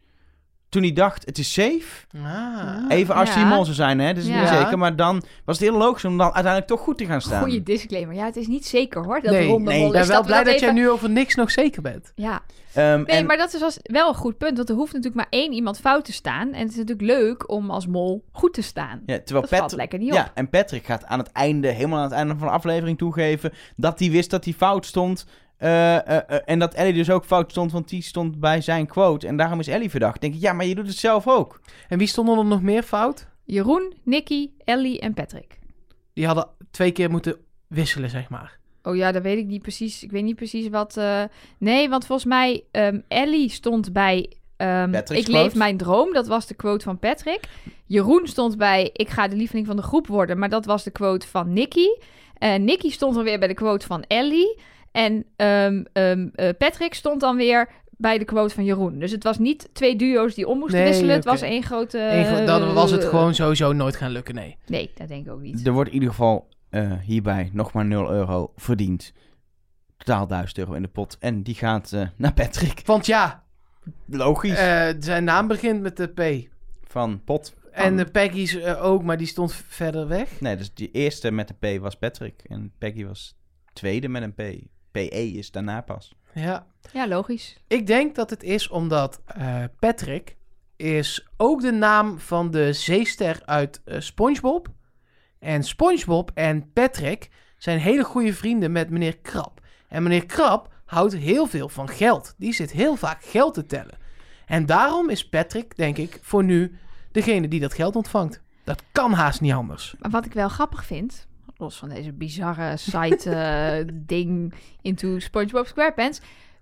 [SPEAKER 1] Toen hij dacht, het is safe,
[SPEAKER 3] Ah.
[SPEAKER 1] Even als
[SPEAKER 2] Ja.
[SPEAKER 1] die mol zou zijn, hè? Dat is
[SPEAKER 2] Ja.
[SPEAKER 1] niet zeker. Maar dan was het heel logisch om dan uiteindelijk toch goed te gaan staan.
[SPEAKER 2] Goeie disclaimer. Ja, het is niet zeker hoor, dat
[SPEAKER 3] Nee,
[SPEAKER 2] de ronde
[SPEAKER 1] nee.
[SPEAKER 2] mol
[SPEAKER 3] Ik
[SPEAKER 2] is.
[SPEAKER 3] ben wel
[SPEAKER 2] we
[SPEAKER 3] blij dat
[SPEAKER 2] even-
[SPEAKER 3] jij nu over niks nog zeker bent.
[SPEAKER 2] Ja,
[SPEAKER 1] Ehm,
[SPEAKER 2] Nee,
[SPEAKER 1] en
[SPEAKER 2] maar dat is als- wel een goed punt. Want er hoeft natuurlijk maar één iemand fout te staan. En het is natuurlijk leuk om als mol goed te staan.
[SPEAKER 1] ja, terwijl
[SPEAKER 2] dat valt
[SPEAKER 1] Patrick-
[SPEAKER 2] lekker niet op.
[SPEAKER 1] ja, en Patrick gaat aan het einde, helemaal aan het einde van de aflevering toegeven... dat hij wist dat hij fout stond. eh, eh, eh, en dat Ellie dus ook fout stond, want die stond bij zijn quote. En daarom is Ellie verdacht. Denk ik, ja, maar je doet het zelf ook.
[SPEAKER 3] En wie stonden er nog meer fout?
[SPEAKER 2] Jeroen, Nicky, Ellie en Patrick.
[SPEAKER 3] Die hadden twee keer moeten wisselen, zeg maar.
[SPEAKER 2] Oh ja, dat weet ik niet precies. Ik weet niet precies wat. eh, Nee, want volgens mij ehm, Ellie stond bij. ehm,
[SPEAKER 1] Patrick's
[SPEAKER 2] ik leef
[SPEAKER 1] quote.
[SPEAKER 2] mijn droom. Dat was de quote van Patrick. Jeroen stond bij. Ik ga de lieveling van de groep worden. Maar dat was de quote van Nicky. Eh Nicky stond dan weer bij de quote van Ellie. En ehm, ehm, eh, Patrick stond dan weer bij de quote van Jeroen. Dus het was niet twee duo's die om moesten
[SPEAKER 3] Nee,
[SPEAKER 2] wisselen. Het
[SPEAKER 3] oké.
[SPEAKER 2] was één grote.
[SPEAKER 3] Eén van-
[SPEAKER 2] Eh,
[SPEAKER 3] dan was het gewoon sowieso nooit gaan lukken, nee.
[SPEAKER 2] Nee, dat denk ik ook niet.
[SPEAKER 1] Er wordt in ieder geval eh, hierbij nog maar 0 euro verdiend. Totaal 1000 euro in de pot. En die gaat eh, naar Patrick.
[SPEAKER 3] Want ja,
[SPEAKER 1] Logisch.
[SPEAKER 3] eh, zijn naam begint met de P.
[SPEAKER 1] van pot.
[SPEAKER 3] En de Peggy's eh, ook, maar die stond verder weg.
[SPEAKER 1] Nee, dus die eerste met een P was Patrick. En Peggy was tweede met een P. PE is daarna pas.
[SPEAKER 3] Ja.
[SPEAKER 2] Ja, logisch.
[SPEAKER 3] Ik denk dat het is omdat eh, Patrick is ook de naam van de zeester uit eh, SpongeBob. En SpongeBob en Patrick zijn hele goede vrienden met meneer Krab. En meneer Krab houdt heel veel van geld. Die zit heel vaak geld te tellen. En daarom is Patrick, denk ik, voor nu degene die dat geld ontvangt. Dat kan haast niet anders.
[SPEAKER 2] Maar wat ik wel grappig vind, los van deze bizarre site-ding into SpongeBob SquarePants.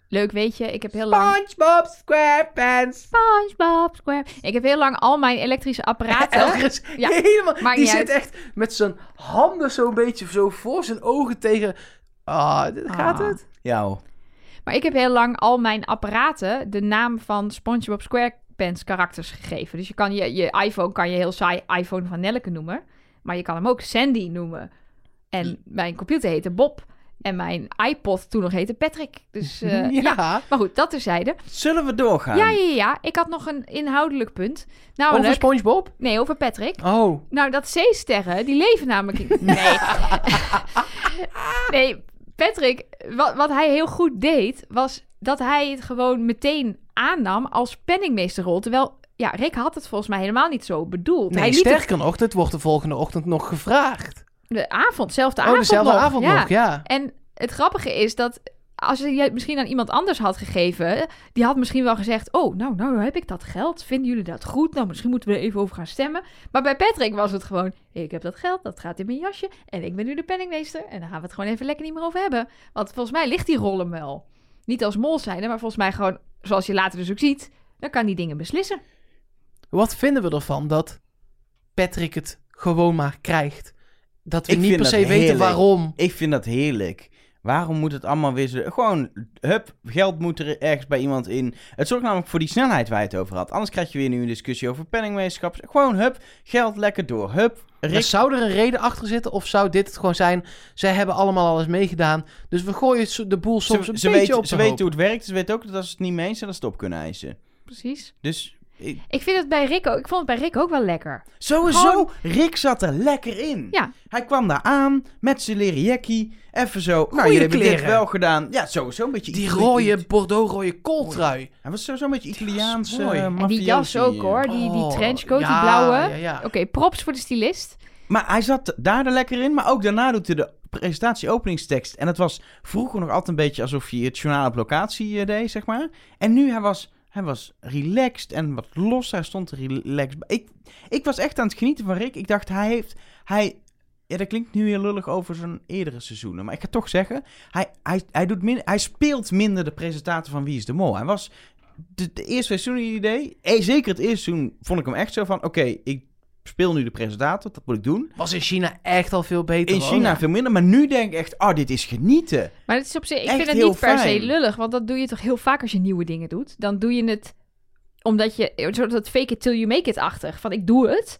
[SPEAKER 2] Leuk weet je, ik heb heel lang.
[SPEAKER 3] SpongeBob SquarePants.
[SPEAKER 2] SpongeBob SquarePants. Ik heb heel lang al mijn elektrische apparaten.
[SPEAKER 3] Elgers,
[SPEAKER 2] Ja,
[SPEAKER 3] helemaal.
[SPEAKER 2] maakt
[SPEAKER 3] die
[SPEAKER 2] niet
[SPEAKER 3] zit
[SPEAKER 2] uit.
[SPEAKER 3] echt met zijn handen zo'n beetje zo voor zijn ogen tegen. Ah, dit gaat
[SPEAKER 2] Ah.
[SPEAKER 3] het?
[SPEAKER 1] Ja, hoor.
[SPEAKER 2] maar ik heb heel lang al mijn apparaten de naam van SpongeBob SquarePants karakters gegeven. Dus je kan je, je iPhone kan je heel saai iPhone van Nelke noemen. Maar je kan hem ook Sandy noemen. En mijn computer heette Bob. En mijn iPod toen nog heette Patrick. Dus eh,
[SPEAKER 3] ja.
[SPEAKER 2] ja. Maar goed, dat terzijde.
[SPEAKER 1] Zullen we doorgaan?
[SPEAKER 2] Ja, ja, ja. Ik had nog een inhoudelijk punt. Nou,
[SPEAKER 3] Ehm, Over SpongeBob?
[SPEAKER 2] Nee, over Patrick.
[SPEAKER 3] Oh.
[SPEAKER 2] Nou, dat zeesterren, die leven namelijk... in- Nee. nee, Patrick, wat, wat hij heel goed deed... was dat hij het gewoon meteen aannam als penningmeesterrol. Terwijl, ja, Rick had het volgens mij helemaal niet zo bedoeld. hij
[SPEAKER 3] Nee,
[SPEAKER 2] liet het
[SPEAKER 3] sterker nog, dit wordt de volgende ochtend nog gevraagd.
[SPEAKER 2] de avond, zelfde
[SPEAKER 3] oh,
[SPEAKER 2] avond
[SPEAKER 3] dezelfde
[SPEAKER 2] nog.
[SPEAKER 3] avond
[SPEAKER 2] Ja.
[SPEAKER 3] nog, ja.
[SPEAKER 2] En het grappige is dat als je het misschien aan iemand anders had gegeven, die had misschien wel gezegd: Oh, nou, nou heb ik dat geld. Vinden jullie dat goed? Nou, misschien moeten we er even over gaan stemmen. Maar bij Patrick was het gewoon: Ik heb dat geld, dat gaat in mijn jasje. En ik ben nu de penningmeester. En daar gaan we het gewoon even lekker niet meer over hebben. Want volgens mij ligt die rol hem wel. Niet als mol zijn, maar volgens mij gewoon, zoals je later dus ook ziet, dan kan die dingen beslissen.
[SPEAKER 3] Wat vinden we ervan dat Patrick het gewoon maar krijgt? Dat we
[SPEAKER 1] Ik
[SPEAKER 3] niet
[SPEAKER 1] vind
[SPEAKER 3] per
[SPEAKER 1] dat
[SPEAKER 3] se weten
[SPEAKER 1] heerlijk.
[SPEAKER 3] waarom.
[SPEAKER 1] Ik vind dat heerlijk. Waarom moet het allemaal weer zo... Gewoon, hup, geld moet er ergens bij iemand in. Het zorgt namelijk voor die snelheid waar je het over had. Anders krijg je weer nu een discussie over penningmeesterschap. Gewoon, hup, geld lekker door. Hup,
[SPEAKER 3] Maar
[SPEAKER 1] Rick...
[SPEAKER 3] Zou er een reden achter zitten of zou dit het gewoon zijn? Zij hebben allemaal alles meegedaan, dus we gooien zo- de boel soms een
[SPEAKER 1] ze
[SPEAKER 3] beetje
[SPEAKER 1] weten,
[SPEAKER 3] op
[SPEAKER 1] ze
[SPEAKER 3] de
[SPEAKER 1] weten
[SPEAKER 3] hoop.
[SPEAKER 1] hoe het werkt. Ze weten ook dat als ze het niet mee eens zijn, dat ze het op kunnen eisen.
[SPEAKER 2] Precies.
[SPEAKER 1] Dus... ik-
[SPEAKER 2] Ik vind het bij Rick ook, ik vond het bij Rick ook wel lekker.
[SPEAKER 1] Sowieso,
[SPEAKER 2] Gewoon-
[SPEAKER 1] Rick zat er lekker in.
[SPEAKER 2] Ja.
[SPEAKER 1] Hij kwam daar aan met zijn leren jackie. Even zo. nou,
[SPEAKER 3] Goeie
[SPEAKER 1] jullie hebben dit
[SPEAKER 3] kleren.
[SPEAKER 1] wel gedaan. Ja, sowieso een beetje
[SPEAKER 3] Die
[SPEAKER 1] Itali-
[SPEAKER 3] rode Bordeaux-rode kooltrui.
[SPEAKER 1] Hij was sowieso een beetje Italiaanse
[SPEAKER 3] mooi.
[SPEAKER 1] eh,
[SPEAKER 3] En
[SPEAKER 2] En die jas
[SPEAKER 1] mafiosi,
[SPEAKER 2] ook
[SPEAKER 1] eh.
[SPEAKER 2] hoor, die, die
[SPEAKER 3] Oh,
[SPEAKER 2] trenchcoat,
[SPEAKER 3] ja,
[SPEAKER 2] die blauwe.
[SPEAKER 3] ja, ja.
[SPEAKER 2] Oké, props voor de stylist.
[SPEAKER 1] Maar hij zat daar er lekker in. Maar ook daarna doet hij de presentatie openingstekst. En het was vroeger nog altijd een beetje alsof je het journaal op locatie eh, deed, zeg maar. En nu, hij was, hij was relaxed en wat los. Hij stond er relaxed. bij. Ik, ik was echt aan het genieten van Rick. Ik dacht, hij heeft... Hij, ja, dat klinkt nu heel lullig over zijn eerdere seizoenen. Maar ik ga toch zeggen, hij, hij, hij, doet min, hij speelt minder de presentator van Wie is de Mol. Hij was... De, de eerste seizoen die hij deed, eh, zeker het eerste seizoen, vond ik hem echt zo van... Oké, ik speel nu de presentator, dat moet ik doen.
[SPEAKER 3] Was in China echt al veel beter.
[SPEAKER 1] In
[SPEAKER 3] hoor.
[SPEAKER 1] China veel minder, maar nu denk ik echt, oh, dit is genieten.
[SPEAKER 2] Maar het is op zich, ik
[SPEAKER 1] Echt
[SPEAKER 2] vind het
[SPEAKER 1] heel
[SPEAKER 2] niet per
[SPEAKER 1] fijn.
[SPEAKER 2] se lullig, want dat doe je toch heel vaak als je nieuwe dingen doet. Dan doe je het omdat je, een soort dat fake it till you make it-achtig. Van ik doe het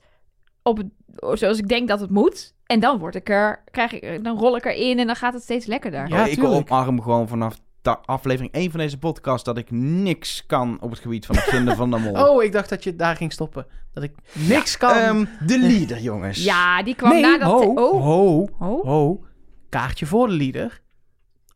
[SPEAKER 2] op, het- zoals ik denk dat het moet. En dan word ik er, krijg ik, er- dan rol ik erin en dan gaat het steeds lekkerder.
[SPEAKER 3] Ja,
[SPEAKER 1] ik
[SPEAKER 3] tuurlijk.
[SPEAKER 1] omarm gewoon vanaf da- aflevering 1 van deze podcast dat ik niks kan op het gebied van het vinden van de mol.
[SPEAKER 3] Oh, ik dacht dat je daar ging stoppen. Dat ik niks kan.
[SPEAKER 1] Ehm, de leader, jongens.
[SPEAKER 2] Ja, die kwam
[SPEAKER 3] Nee,
[SPEAKER 2] nadat...
[SPEAKER 3] ho,
[SPEAKER 2] oh,
[SPEAKER 3] ho,
[SPEAKER 2] oh,
[SPEAKER 3] ho. Kaartje voor de leader.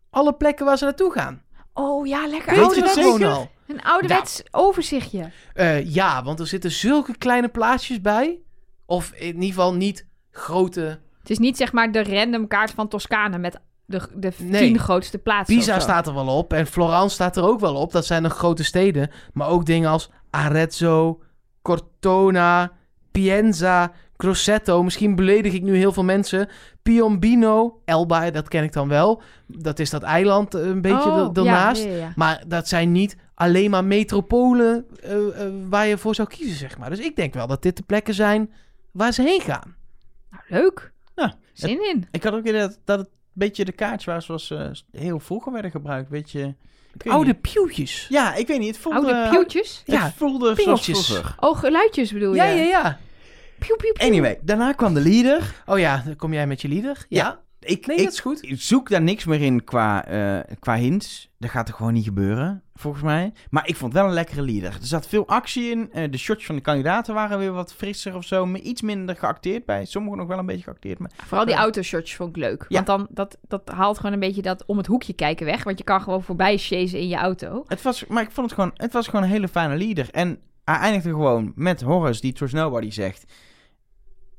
[SPEAKER 3] Alle plekken waar ze naartoe gaan.
[SPEAKER 2] oh, ja, lekker.
[SPEAKER 1] Weet je
[SPEAKER 3] Weet je
[SPEAKER 1] dat
[SPEAKER 2] ouderwets-
[SPEAKER 3] dat gewoon
[SPEAKER 1] zeker?
[SPEAKER 3] al?
[SPEAKER 2] Een ouderwets overzichtje.
[SPEAKER 3] Eh, ja, want er zitten zulke kleine plaatsjes bij. Of in ieder geval niet grote.
[SPEAKER 2] Het is niet zeg maar de random kaart van Toscane met de, de
[SPEAKER 3] Nee.
[SPEAKER 2] tien grootste plaatsen. of
[SPEAKER 3] Pisa
[SPEAKER 2] zo.
[SPEAKER 3] staat er wel op en Florence staat er ook wel op. Dat zijn nog grote steden. Maar ook dingen als Arezzo, Cortona, Pienza, Grosseto. Misschien beledig ik nu heel veel mensen. Piombino, Elba, dat ken ik dan wel. Dat is dat eiland eh, een beetje
[SPEAKER 2] Oh,
[SPEAKER 3] da-
[SPEAKER 2] ja,
[SPEAKER 3] daarnaast.
[SPEAKER 2] ja, ja, ja.
[SPEAKER 3] Maar dat zijn niet alleen maar metropolen eh, eh, waar je voor zou kiezen, zeg maar. Dus ik denk wel dat dit de plekken zijn waar ze heen gaan.
[SPEAKER 2] Nou, leuk.
[SPEAKER 1] Ja,
[SPEAKER 2] Zin in.
[SPEAKER 1] Ik had ook idee dat, dat het een beetje de kaartjes waren zoals ze heel vroeger werden gebruikt. Beetje, ik weet
[SPEAKER 3] Oude
[SPEAKER 1] niet.
[SPEAKER 3] pieuwtjes.
[SPEAKER 1] Ja, ik weet niet. Het voelde...
[SPEAKER 2] Oude pieuwtjes?
[SPEAKER 1] Het
[SPEAKER 3] Ja,
[SPEAKER 1] voelde zoals
[SPEAKER 3] pingeltjes.
[SPEAKER 1] vroeger.
[SPEAKER 2] Oh, geluidjes bedoel je?
[SPEAKER 3] Ja, ja, ja.
[SPEAKER 2] Pieuw, pieuw, pieuw.
[SPEAKER 1] Anyway, daarna kwam de leader.
[SPEAKER 3] Oh ja, dan kom jij met je leader? Ja.
[SPEAKER 1] Ja, Ik,
[SPEAKER 3] Nee,
[SPEAKER 1] ik,
[SPEAKER 3] dat is goed.
[SPEAKER 1] Ik zoek daar niks meer in qua, eh, qua hints. Dat gaat er gewoon niet gebeuren, volgens mij. Maar ik vond wel een lekkere leader. Er zat veel actie in. Eh, de shots van de kandidaten waren weer wat frisser of zo. maar Iets minder geacteerd bij. Sommigen nog wel een beetje geacteerd. Maar...
[SPEAKER 2] Vooral die autoshirts vond ik leuk.
[SPEAKER 1] Ja.
[SPEAKER 2] Want dan, dat, dat haalt gewoon een beetje dat om het hoekje kijken weg. Want je kan gewoon voorbij chasen in je auto.
[SPEAKER 1] Het was, maar ik vond het gewoon, het was gewoon een hele fijne leader. En hij eindigde gewoon met Horace die Trust Nobody zegt.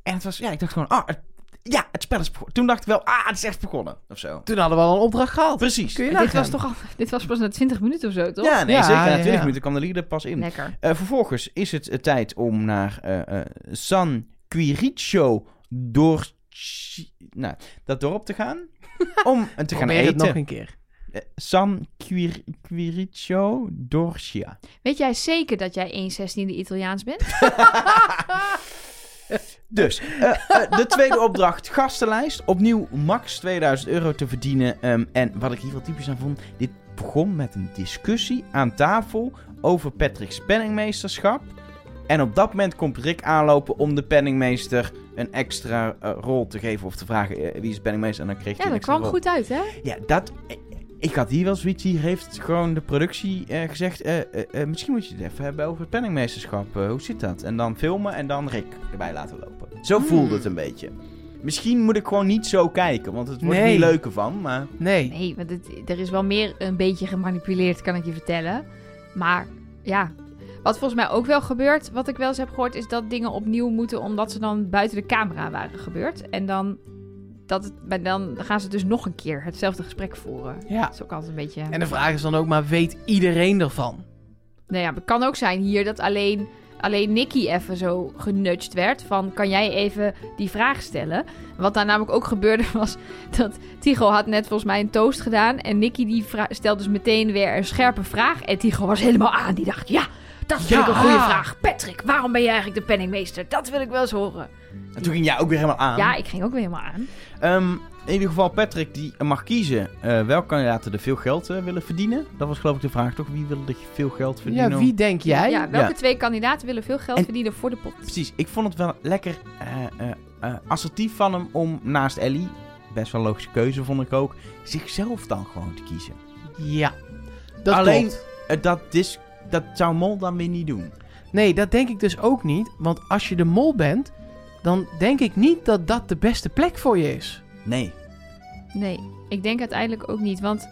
[SPEAKER 1] En het was, ja, ik dacht gewoon, ah, het- ja, het spel is begonnen. Toen dacht ik wel, ah, het is echt begonnen. Of zo.
[SPEAKER 3] Toen hadden we al een opdracht gehad.
[SPEAKER 1] Precies.
[SPEAKER 3] Kun je
[SPEAKER 2] Dit
[SPEAKER 3] nagaan.
[SPEAKER 2] was, toch al, dit was pas na 20 minuten of zo, toch?
[SPEAKER 1] Ja, nee,
[SPEAKER 3] Ja,
[SPEAKER 1] zeker. Na
[SPEAKER 3] ja,
[SPEAKER 1] 20
[SPEAKER 3] ja.
[SPEAKER 1] minuten kwam de leader pas in.
[SPEAKER 2] Lekker.
[SPEAKER 1] Eh, vervolgens is het eh, tijd om naar eh, eh, San Quiricho door... Nou, dat dorp te gaan. Om eh, te gaan
[SPEAKER 3] Probeer het
[SPEAKER 1] eten.
[SPEAKER 3] nog een keer.
[SPEAKER 1] Eh, San Quir Quiricho Dorcia.
[SPEAKER 2] Weet jij zeker dat jij 1,16 Italiaans bent?
[SPEAKER 1] Dus, eh, eh, de tweede opdracht, gastenlijst. Opnieuw max 2000 euro te verdienen. Ehm, en wat ik hier wel typisch aan vond, dit begon met een discussie aan tafel over Patrick's penningmeesterschap. En op dat moment komt Rick aanlopen om de penningmeester een extra eh, rol te geven of te vragen eh, wie is de penningmeester. En dan kreeg hij
[SPEAKER 2] Ja,
[SPEAKER 1] een
[SPEAKER 2] dat
[SPEAKER 1] extra
[SPEAKER 2] kwam
[SPEAKER 1] rol.
[SPEAKER 2] goed uit, hè?
[SPEAKER 1] Ja, dat... eh, Ik had hier wel zoiets, hier heeft gewoon de productie eh, gezegd, eh, eh, eh, misschien moet je het even hebben over het penningmeesterschap, eh, hoe zit dat? En dan filmen en dan Rick erbij laten lopen.
[SPEAKER 3] Hmm.
[SPEAKER 1] Zo voelde het een beetje. Misschien moet ik gewoon niet zo kijken, want het wordt er
[SPEAKER 3] Nee.
[SPEAKER 1] niet leuker van, maar...
[SPEAKER 3] Nee.
[SPEAKER 2] Nee, want het, er is wel meer een beetje gemanipuleerd, kan ik je vertellen. Maar ja, wat volgens mij ook wel gebeurt, wat ik wel eens heb gehoord, is dat dingen opnieuw moeten omdat ze dan buiten de camera waren gebeurd. En dan, dat het, maar dan gaan ze dus nog een keer hetzelfde gesprek voeren.
[SPEAKER 3] Ja.
[SPEAKER 2] Dat is ook altijd een beetje.
[SPEAKER 3] En de vraag is dan ook maar, weet iedereen ervan?
[SPEAKER 2] Nou ja, het kan ook zijn hier dat alleen, alleen Nicky even zo genudged werd. Van, kan jij even die vraag stellen? Wat daar namelijk ook gebeurde was dat Tigo had net volgens mij een toast gedaan. En Nicky die vra- stelde dus meteen weer een scherpe vraag. En Tigo was helemaal aan. Die dacht, ja, dat vind ik
[SPEAKER 3] Ja.
[SPEAKER 2] een goede vraag. Patrick, waarom ben jij eigenlijk de penningmeester? Dat wil ik wel eens horen.
[SPEAKER 1] En toen ging jij ook weer helemaal aan.
[SPEAKER 2] Ja, ik ging ook weer helemaal aan.
[SPEAKER 1] Ehm, in ieder geval, Patrick die mag kiezen eh welke kandidaten er veel geld eh, willen verdienen. Dat was geloof ik de vraag, toch? Wie wil er veel geld verdienen?
[SPEAKER 3] Ja, wie denk jij?
[SPEAKER 2] Ja, welke
[SPEAKER 1] Ja.
[SPEAKER 2] twee kandidaten willen veel geld
[SPEAKER 1] En-
[SPEAKER 2] verdienen voor de pot?
[SPEAKER 1] Precies, ik vond het wel lekker eh, eh, eh, assertief van hem om naast Ellie, best wel logische keuze vond ik ook, zichzelf dan gewoon te kiezen.
[SPEAKER 3] Ja. Dat
[SPEAKER 1] Alleen-
[SPEAKER 3] klopt.
[SPEAKER 1] Eh, dat, is, dat zou Mol dan weer niet doen.
[SPEAKER 3] Nee, dat denk ik dus ook niet. Want als je de mol bent, dan denk ik niet dat dat de beste plek voor je is.
[SPEAKER 1] Nee.
[SPEAKER 2] Nee, ik denk uiteindelijk ook niet. Want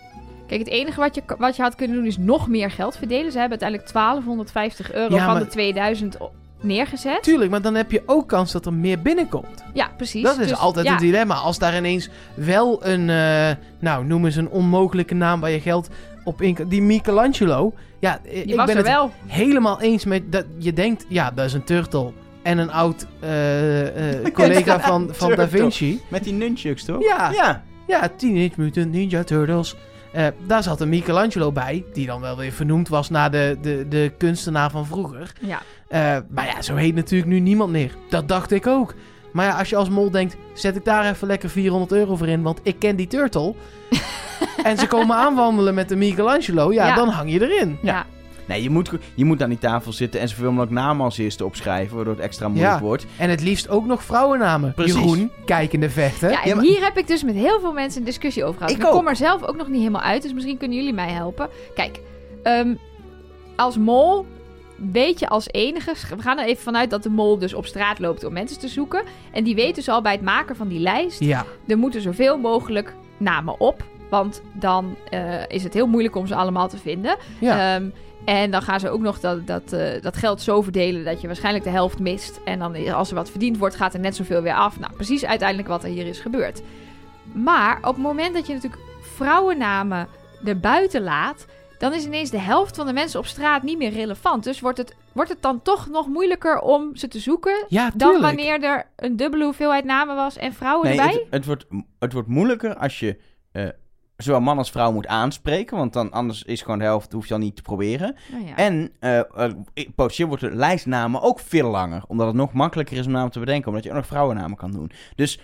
[SPEAKER 2] kijk, het enige wat je, wat je had kunnen doen is nog meer geld verdelen. Ze hebben uiteindelijk 1250 euro
[SPEAKER 3] Ja,
[SPEAKER 2] van
[SPEAKER 3] maar-
[SPEAKER 2] de 2000 o- neergezet.
[SPEAKER 3] Tuurlijk, maar dan heb je ook kans dat er meer binnenkomt.
[SPEAKER 2] Ja, precies.
[SPEAKER 3] Dat is
[SPEAKER 2] Dus,
[SPEAKER 3] altijd
[SPEAKER 2] ja,
[SPEAKER 3] een dilemma. Als daar ineens wel een, eh, nou noem eens een onmogelijke naam waar je geld op in kan. Die Michelangelo, ja, eh,
[SPEAKER 2] Je
[SPEAKER 3] ik
[SPEAKER 2] was
[SPEAKER 3] ben
[SPEAKER 2] er
[SPEAKER 3] het
[SPEAKER 2] wel.
[SPEAKER 3] helemaal eens met dat je denkt, ja, dat is een turtle. En een oud eh, eh, collega van, van Da
[SPEAKER 1] Turtle.
[SPEAKER 3] Vinci.
[SPEAKER 1] Met die nunchucks, toch?
[SPEAKER 3] Ja.
[SPEAKER 1] Ja.
[SPEAKER 3] Ja, Teenage Mutant Ninja Turtles. Eh, daar zat een Michelangelo bij, die dan wel weer vernoemd was naar de, de, de kunstenaar van vroeger.
[SPEAKER 2] Ja.
[SPEAKER 3] Eh, maar ja, zo heet natuurlijk nu niemand meer. Dat dacht ik ook. Maar ja, als je als mol denkt, zet ik daar even lekker 400 euro voor in, want ik ken die turtle. en ze komen aanwandelen met de Michelangelo, ja,
[SPEAKER 2] Ja.
[SPEAKER 3] dan hang je erin.
[SPEAKER 2] Ja.
[SPEAKER 1] Nee, je moet, je moet aan die tafel zitten en zoveel mogelijk namen als eerste opschrijven, waardoor het extra moeilijk
[SPEAKER 3] Ja.
[SPEAKER 1] wordt.
[SPEAKER 3] En het liefst ook nog vrouwennamen.
[SPEAKER 1] Precies.
[SPEAKER 3] Jeroen, kijkende vechten.
[SPEAKER 2] Ja, en
[SPEAKER 1] Ja, maar-
[SPEAKER 2] hier heb ik dus met heel veel mensen een discussie over gehad.
[SPEAKER 1] Ik
[SPEAKER 2] Ik, kom
[SPEAKER 1] ook.
[SPEAKER 2] er zelf ook nog niet helemaal uit, dus misschien kunnen jullie mij helpen. Kijk, ehm, als mol weet je als enige... We gaan er even vanuit dat de mol dus op straat loopt om mensen te zoeken. En die weet dus al bij het maken van die lijst...
[SPEAKER 3] Ja.
[SPEAKER 2] er moeten zoveel mogelijk namen op. Want dan eh, is het heel moeilijk om ze allemaal te vinden.
[SPEAKER 3] ja.
[SPEAKER 2] Ehm, en dan gaan ze ook nog dat, dat, eh, dat geld zo verdelen dat je waarschijnlijk de helft mist. En dan eh, als er wat verdiend wordt, gaat er net zoveel weer af. Nou, precies uiteindelijk wat er hier is gebeurd. Maar op het moment dat je natuurlijk vrouwennamen erbuiten laat, dan is ineens de helft van de mensen op straat niet meer relevant. Dus wordt het, wordt het dan toch nog moeilijker om ze te zoeken
[SPEAKER 3] ja,
[SPEAKER 2] dan
[SPEAKER 3] tuurlijk.
[SPEAKER 2] wanneer er een dubbele hoeveelheid namen was en vrouwen
[SPEAKER 1] Nee,
[SPEAKER 2] erbij?
[SPEAKER 1] het, het, wordt, het wordt moeilijker als je eh, zowel man als vrouw moet aanspreken, want dan anders is gewoon de helft, hoef je al niet te proberen.
[SPEAKER 2] Nou ja.
[SPEAKER 1] En eh eh, potentieel wordt de lijstnamen ook veel langer. Omdat het nog makkelijker is om namen te bedenken. Omdat je ook nog vrouwennamen kan doen. Dus